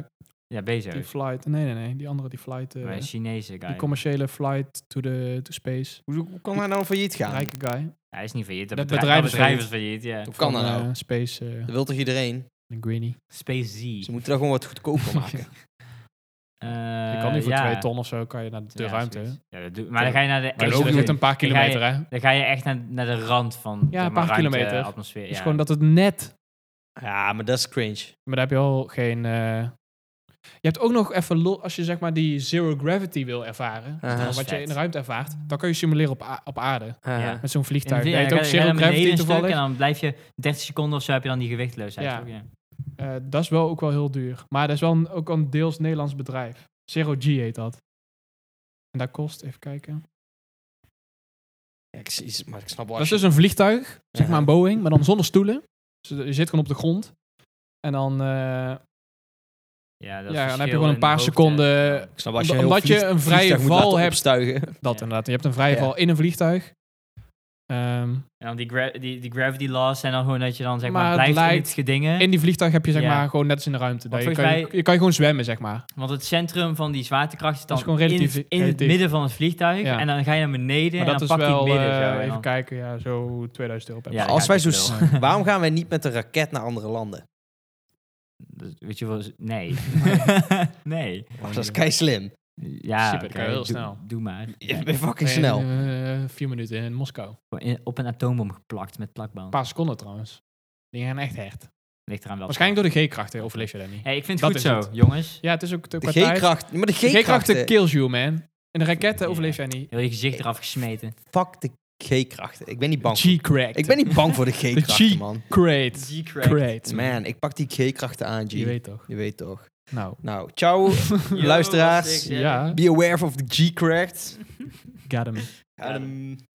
Speaker 2: ja,
Speaker 3: Die
Speaker 2: bezig.
Speaker 3: flight, nee, nee, nee. Die andere, die flight, eh,
Speaker 2: Bij een Chinese guy.
Speaker 3: die commerciële flight to, the, to space.
Speaker 4: Hoe, hoe kan hij nou failliet gaan?
Speaker 3: Rijke guy.
Speaker 2: Hij is niet failliet. Dat
Speaker 3: Dat
Speaker 2: bedrijf,
Speaker 3: bedrijf
Speaker 2: dat
Speaker 3: is
Speaker 2: bedrijf is failliet, ja.
Speaker 4: Hoe kan
Speaker 3: Van,
Speaker 4: dat nou?
Speaker 3: eh, space eh,
Speaker 4: Dat wil toch iedereen?
Speaker 3: en Greenie.
Speaker 2: Space Z.
Speaker 4: Ze moeten daar gewoon wat goedkoper maken.
Speaker 2: Eh,
Speaker 3: je kan nu voor
Speaker 2: ja.
Speaker 3: twee ton of zo, kan je naar de
Speaker 2: Ja,
Speaker 3: ruimte.
Speaker 2: zoiets.
Speaker 3: hè.
Speaker 2: Ja, dat doe, maar dan ga je naar de.
Speaker 3: Maar
Speaker 4: ook
Speaker 3: dat is
Speaker 2: dan,
Speaker 4: niet.
Speaker 3: echt een paar
Speaker 2: Dan ga je-
Speaker 3: kilometer, hè. Het
Speaker 2: ga je echt naar, naar de rand van
Speaker 3: Ja,
Speaker 2: zeg
Speaker 3: een
Speaker 2: maar,
Speaker 3: paar
Speaker 2: ruimte,
Speaker 3: kilometer.
Speaker 2: atmosfeer.
Speaker 3: is
Speaker 2: ja.
Speaker 3: gewoon dat het net
Speaker 4: ja, maar dat is cringe.
Speaker 3: Maar daar heb je al geen. eh, Je hebt ook nog even lol als je zeg maar die zero gravity wil ervaren.
Speaker 4: Aha.
Speaker 3: eh,
Speaker 2: Dat is
Speaker 3: wat je in de
Speaker 2: vet.
Speaker 3: ruimte ervaart. Dan kan je simuleren op, a- op aarde.
Speaker 2: Ja.
Speaker 3: Met zo'n
Speaker 2: In de
Speaker 3: vliegtuig.
Speaker 2: vlie-
Speaker 3: Je
Speaker 2: ja,
Speaker 3: heet
Speaker 2: dan
Speaker 3: ook
Speaker 2: ga je- ga je
Speaker 3: zero
Speaker 2: naar beneden
Speaker 3: gravity
Speaker 2: een stuk
Speaker 3: toevallig.
Speaker 2: En dan blijf je 30 seconden of zo heb je dan die gewichtloosheid.
Speaker 3: Ja.
Speaker 2: toch? Ja.
Speaker 3: Eh, dat is wel ook wel heel duur. Maar dat is wel een- ook een deels Nederlands bedrijf. Zero G heet dat. En dat kost, even kijken.
Speaker 4: Ja, ik, zie- maar ik snap wel.
Speaker 3: Dat is
Speaker 4: als
Speaker 3: dus een vliegtuig, zeg
Speaker 4: Ja.
Speaker 3: maar een Boeing, maar dan zonder stoelen. Dus je zit gewoon op de grond. En dan, eh,
Speaker 2: Ja, dat is
Speaker 4: dus
Speaker 3: ja, dan heb je
Speaker 2: verschil
Speaker 3: gewoon
Speaker 2: in
Speaker 3: een paar
Speaker 2: hoogte.
Speaker 3: seconden eh,
Speaker 4: je- ik snap wel als dus je
Speaker 3: omdat
Speaker 4: heel
Speaker 3: je een
Speaker 4: vlieg- vliegtuig
Speaker 3: vrije
Speaker 4: moet
Speaker 3: val
Speaker 4: laten
Speaker 3: hebt.
Speaker 4: opstuigen.
Speaker 3: Dat
Speaker 2: Ja.
Speaker 3: inderdaad. Je hebt een vrije
Speaker 4: Ja.
Speaker 3: val in een vliegtuig. Ehm,
Speaker 2: En dan die, gra- die, die gravity laws zijn dan gewoon dat je dan zeg
Speaker 3: Maar
Speaker 2: maar,
Speaker 3: het
Speaker 2: blijft in
Speaker 3: lijkt
Speaker 2: het gedingen.
Speaker 3: in die vliegtuig heb je zeg
Speaker 2: Ja.
Speaker 3: maar gewoon net als in de ruimte. Daar je,
Speaker 2: volgens
Speaker 3: kan, je,
Speaker 2: mij-
Speaker 3: je kan gewoon zwemmen, zeg maar.
Speaker 2: Want het centrum van die zwaartekracht is dan
Speaker 3: is gewoon relatief-
Speaker 2: in, het- in
Speaker 3: relatief.
Speaker 2: het midden van het vliegtuig.
Speaker 3: Ja.
Speaker 2: En dan ga je naar beneden
Speaker 3: Maar
Speaker 2: en dan
Speaker 3: dat is
Speaker 2: pak je
Speaker 3: wel,
Speaker 2: het midden.
Speaker 3: eh,
Speaker 2: zo, en
Speaker 3: even
Speaker 2: dan-
Speaker 3: kijken, ja, zo 2000 euro per
Speaker 2: Ja,
Speaker 3: persoon.
Speaker 4: Als wij zo...
Speaker 2: ik wil.
Speaker 4: s- Waarom gaan wij niet met een raket naar andere landen?
Speaker 2: Dus Weet je wel, nee. nee.
Speaker 4: oh, dat is kei slim.
Speaker 2: Ja,
Speaker 3: principe, dat kan
Speaker 2: oké,
Speaker 3: heel
Speaker 2: doe,
Speaker 3: snel.
Speaker 2: doe maar.
Speaker 4: Je bent fucking snel.
Speaker 3: Eh, vier minuten in Moskou. Een
Speaker 2: Gewoon in- Op een atoombom geplakt met plakband.
Speaker 3: paar seconden trouwens. Die gaan echt hard.
Speaker 2: Ligt eraan wel.
Speaker 3: Waarschijnlijk door de G-krachten overleef je dat niet.
Speaker 2: Hey, ik vind het
Speaker 3: Dat
Speaker 2: goed
Speaker 3: is
Speaker 2: zo,
Speaker 3: het.
Speaker 2: jongens.
Speaker 3: Ja, het is ook de
Speaker 4: De
Speaker 3: partij-
Speaker 4: G-kracht. Maar de
Speaker 3: De G-krachten
Speaker 4: G-krachten.
Speaker 3: kills you, man. In de raketten overleef jij niet.
Speaker 2: Heel je gezicht eraf gesmeten.
Speaker 4: Fuck de G-krachten. Ik ben niet bang. voor-
Speaker 3: G-cracked.
Speaker 4: Ik ben niet bang voor de
Speaker 3: G-
Speaker 4: G-krachten, man.
Speaker 3: Great.
Speaker 2: G-crack.
Speaker 3: Great.
Speaker 4: Man, ik pak die G-krachten aan, G.
Speaker 3: Je weet toch.
Speaker 4: Je weet toch.
Speaker 3: Nou,
Speaker 4: Nou, ciao, luisteraars.
Speaker 2: sick.
Speaker 3: ja.
Speaker 4: Be aware of the G-kracht.
Speaker 3: Got him.
Speaker 4: Adem.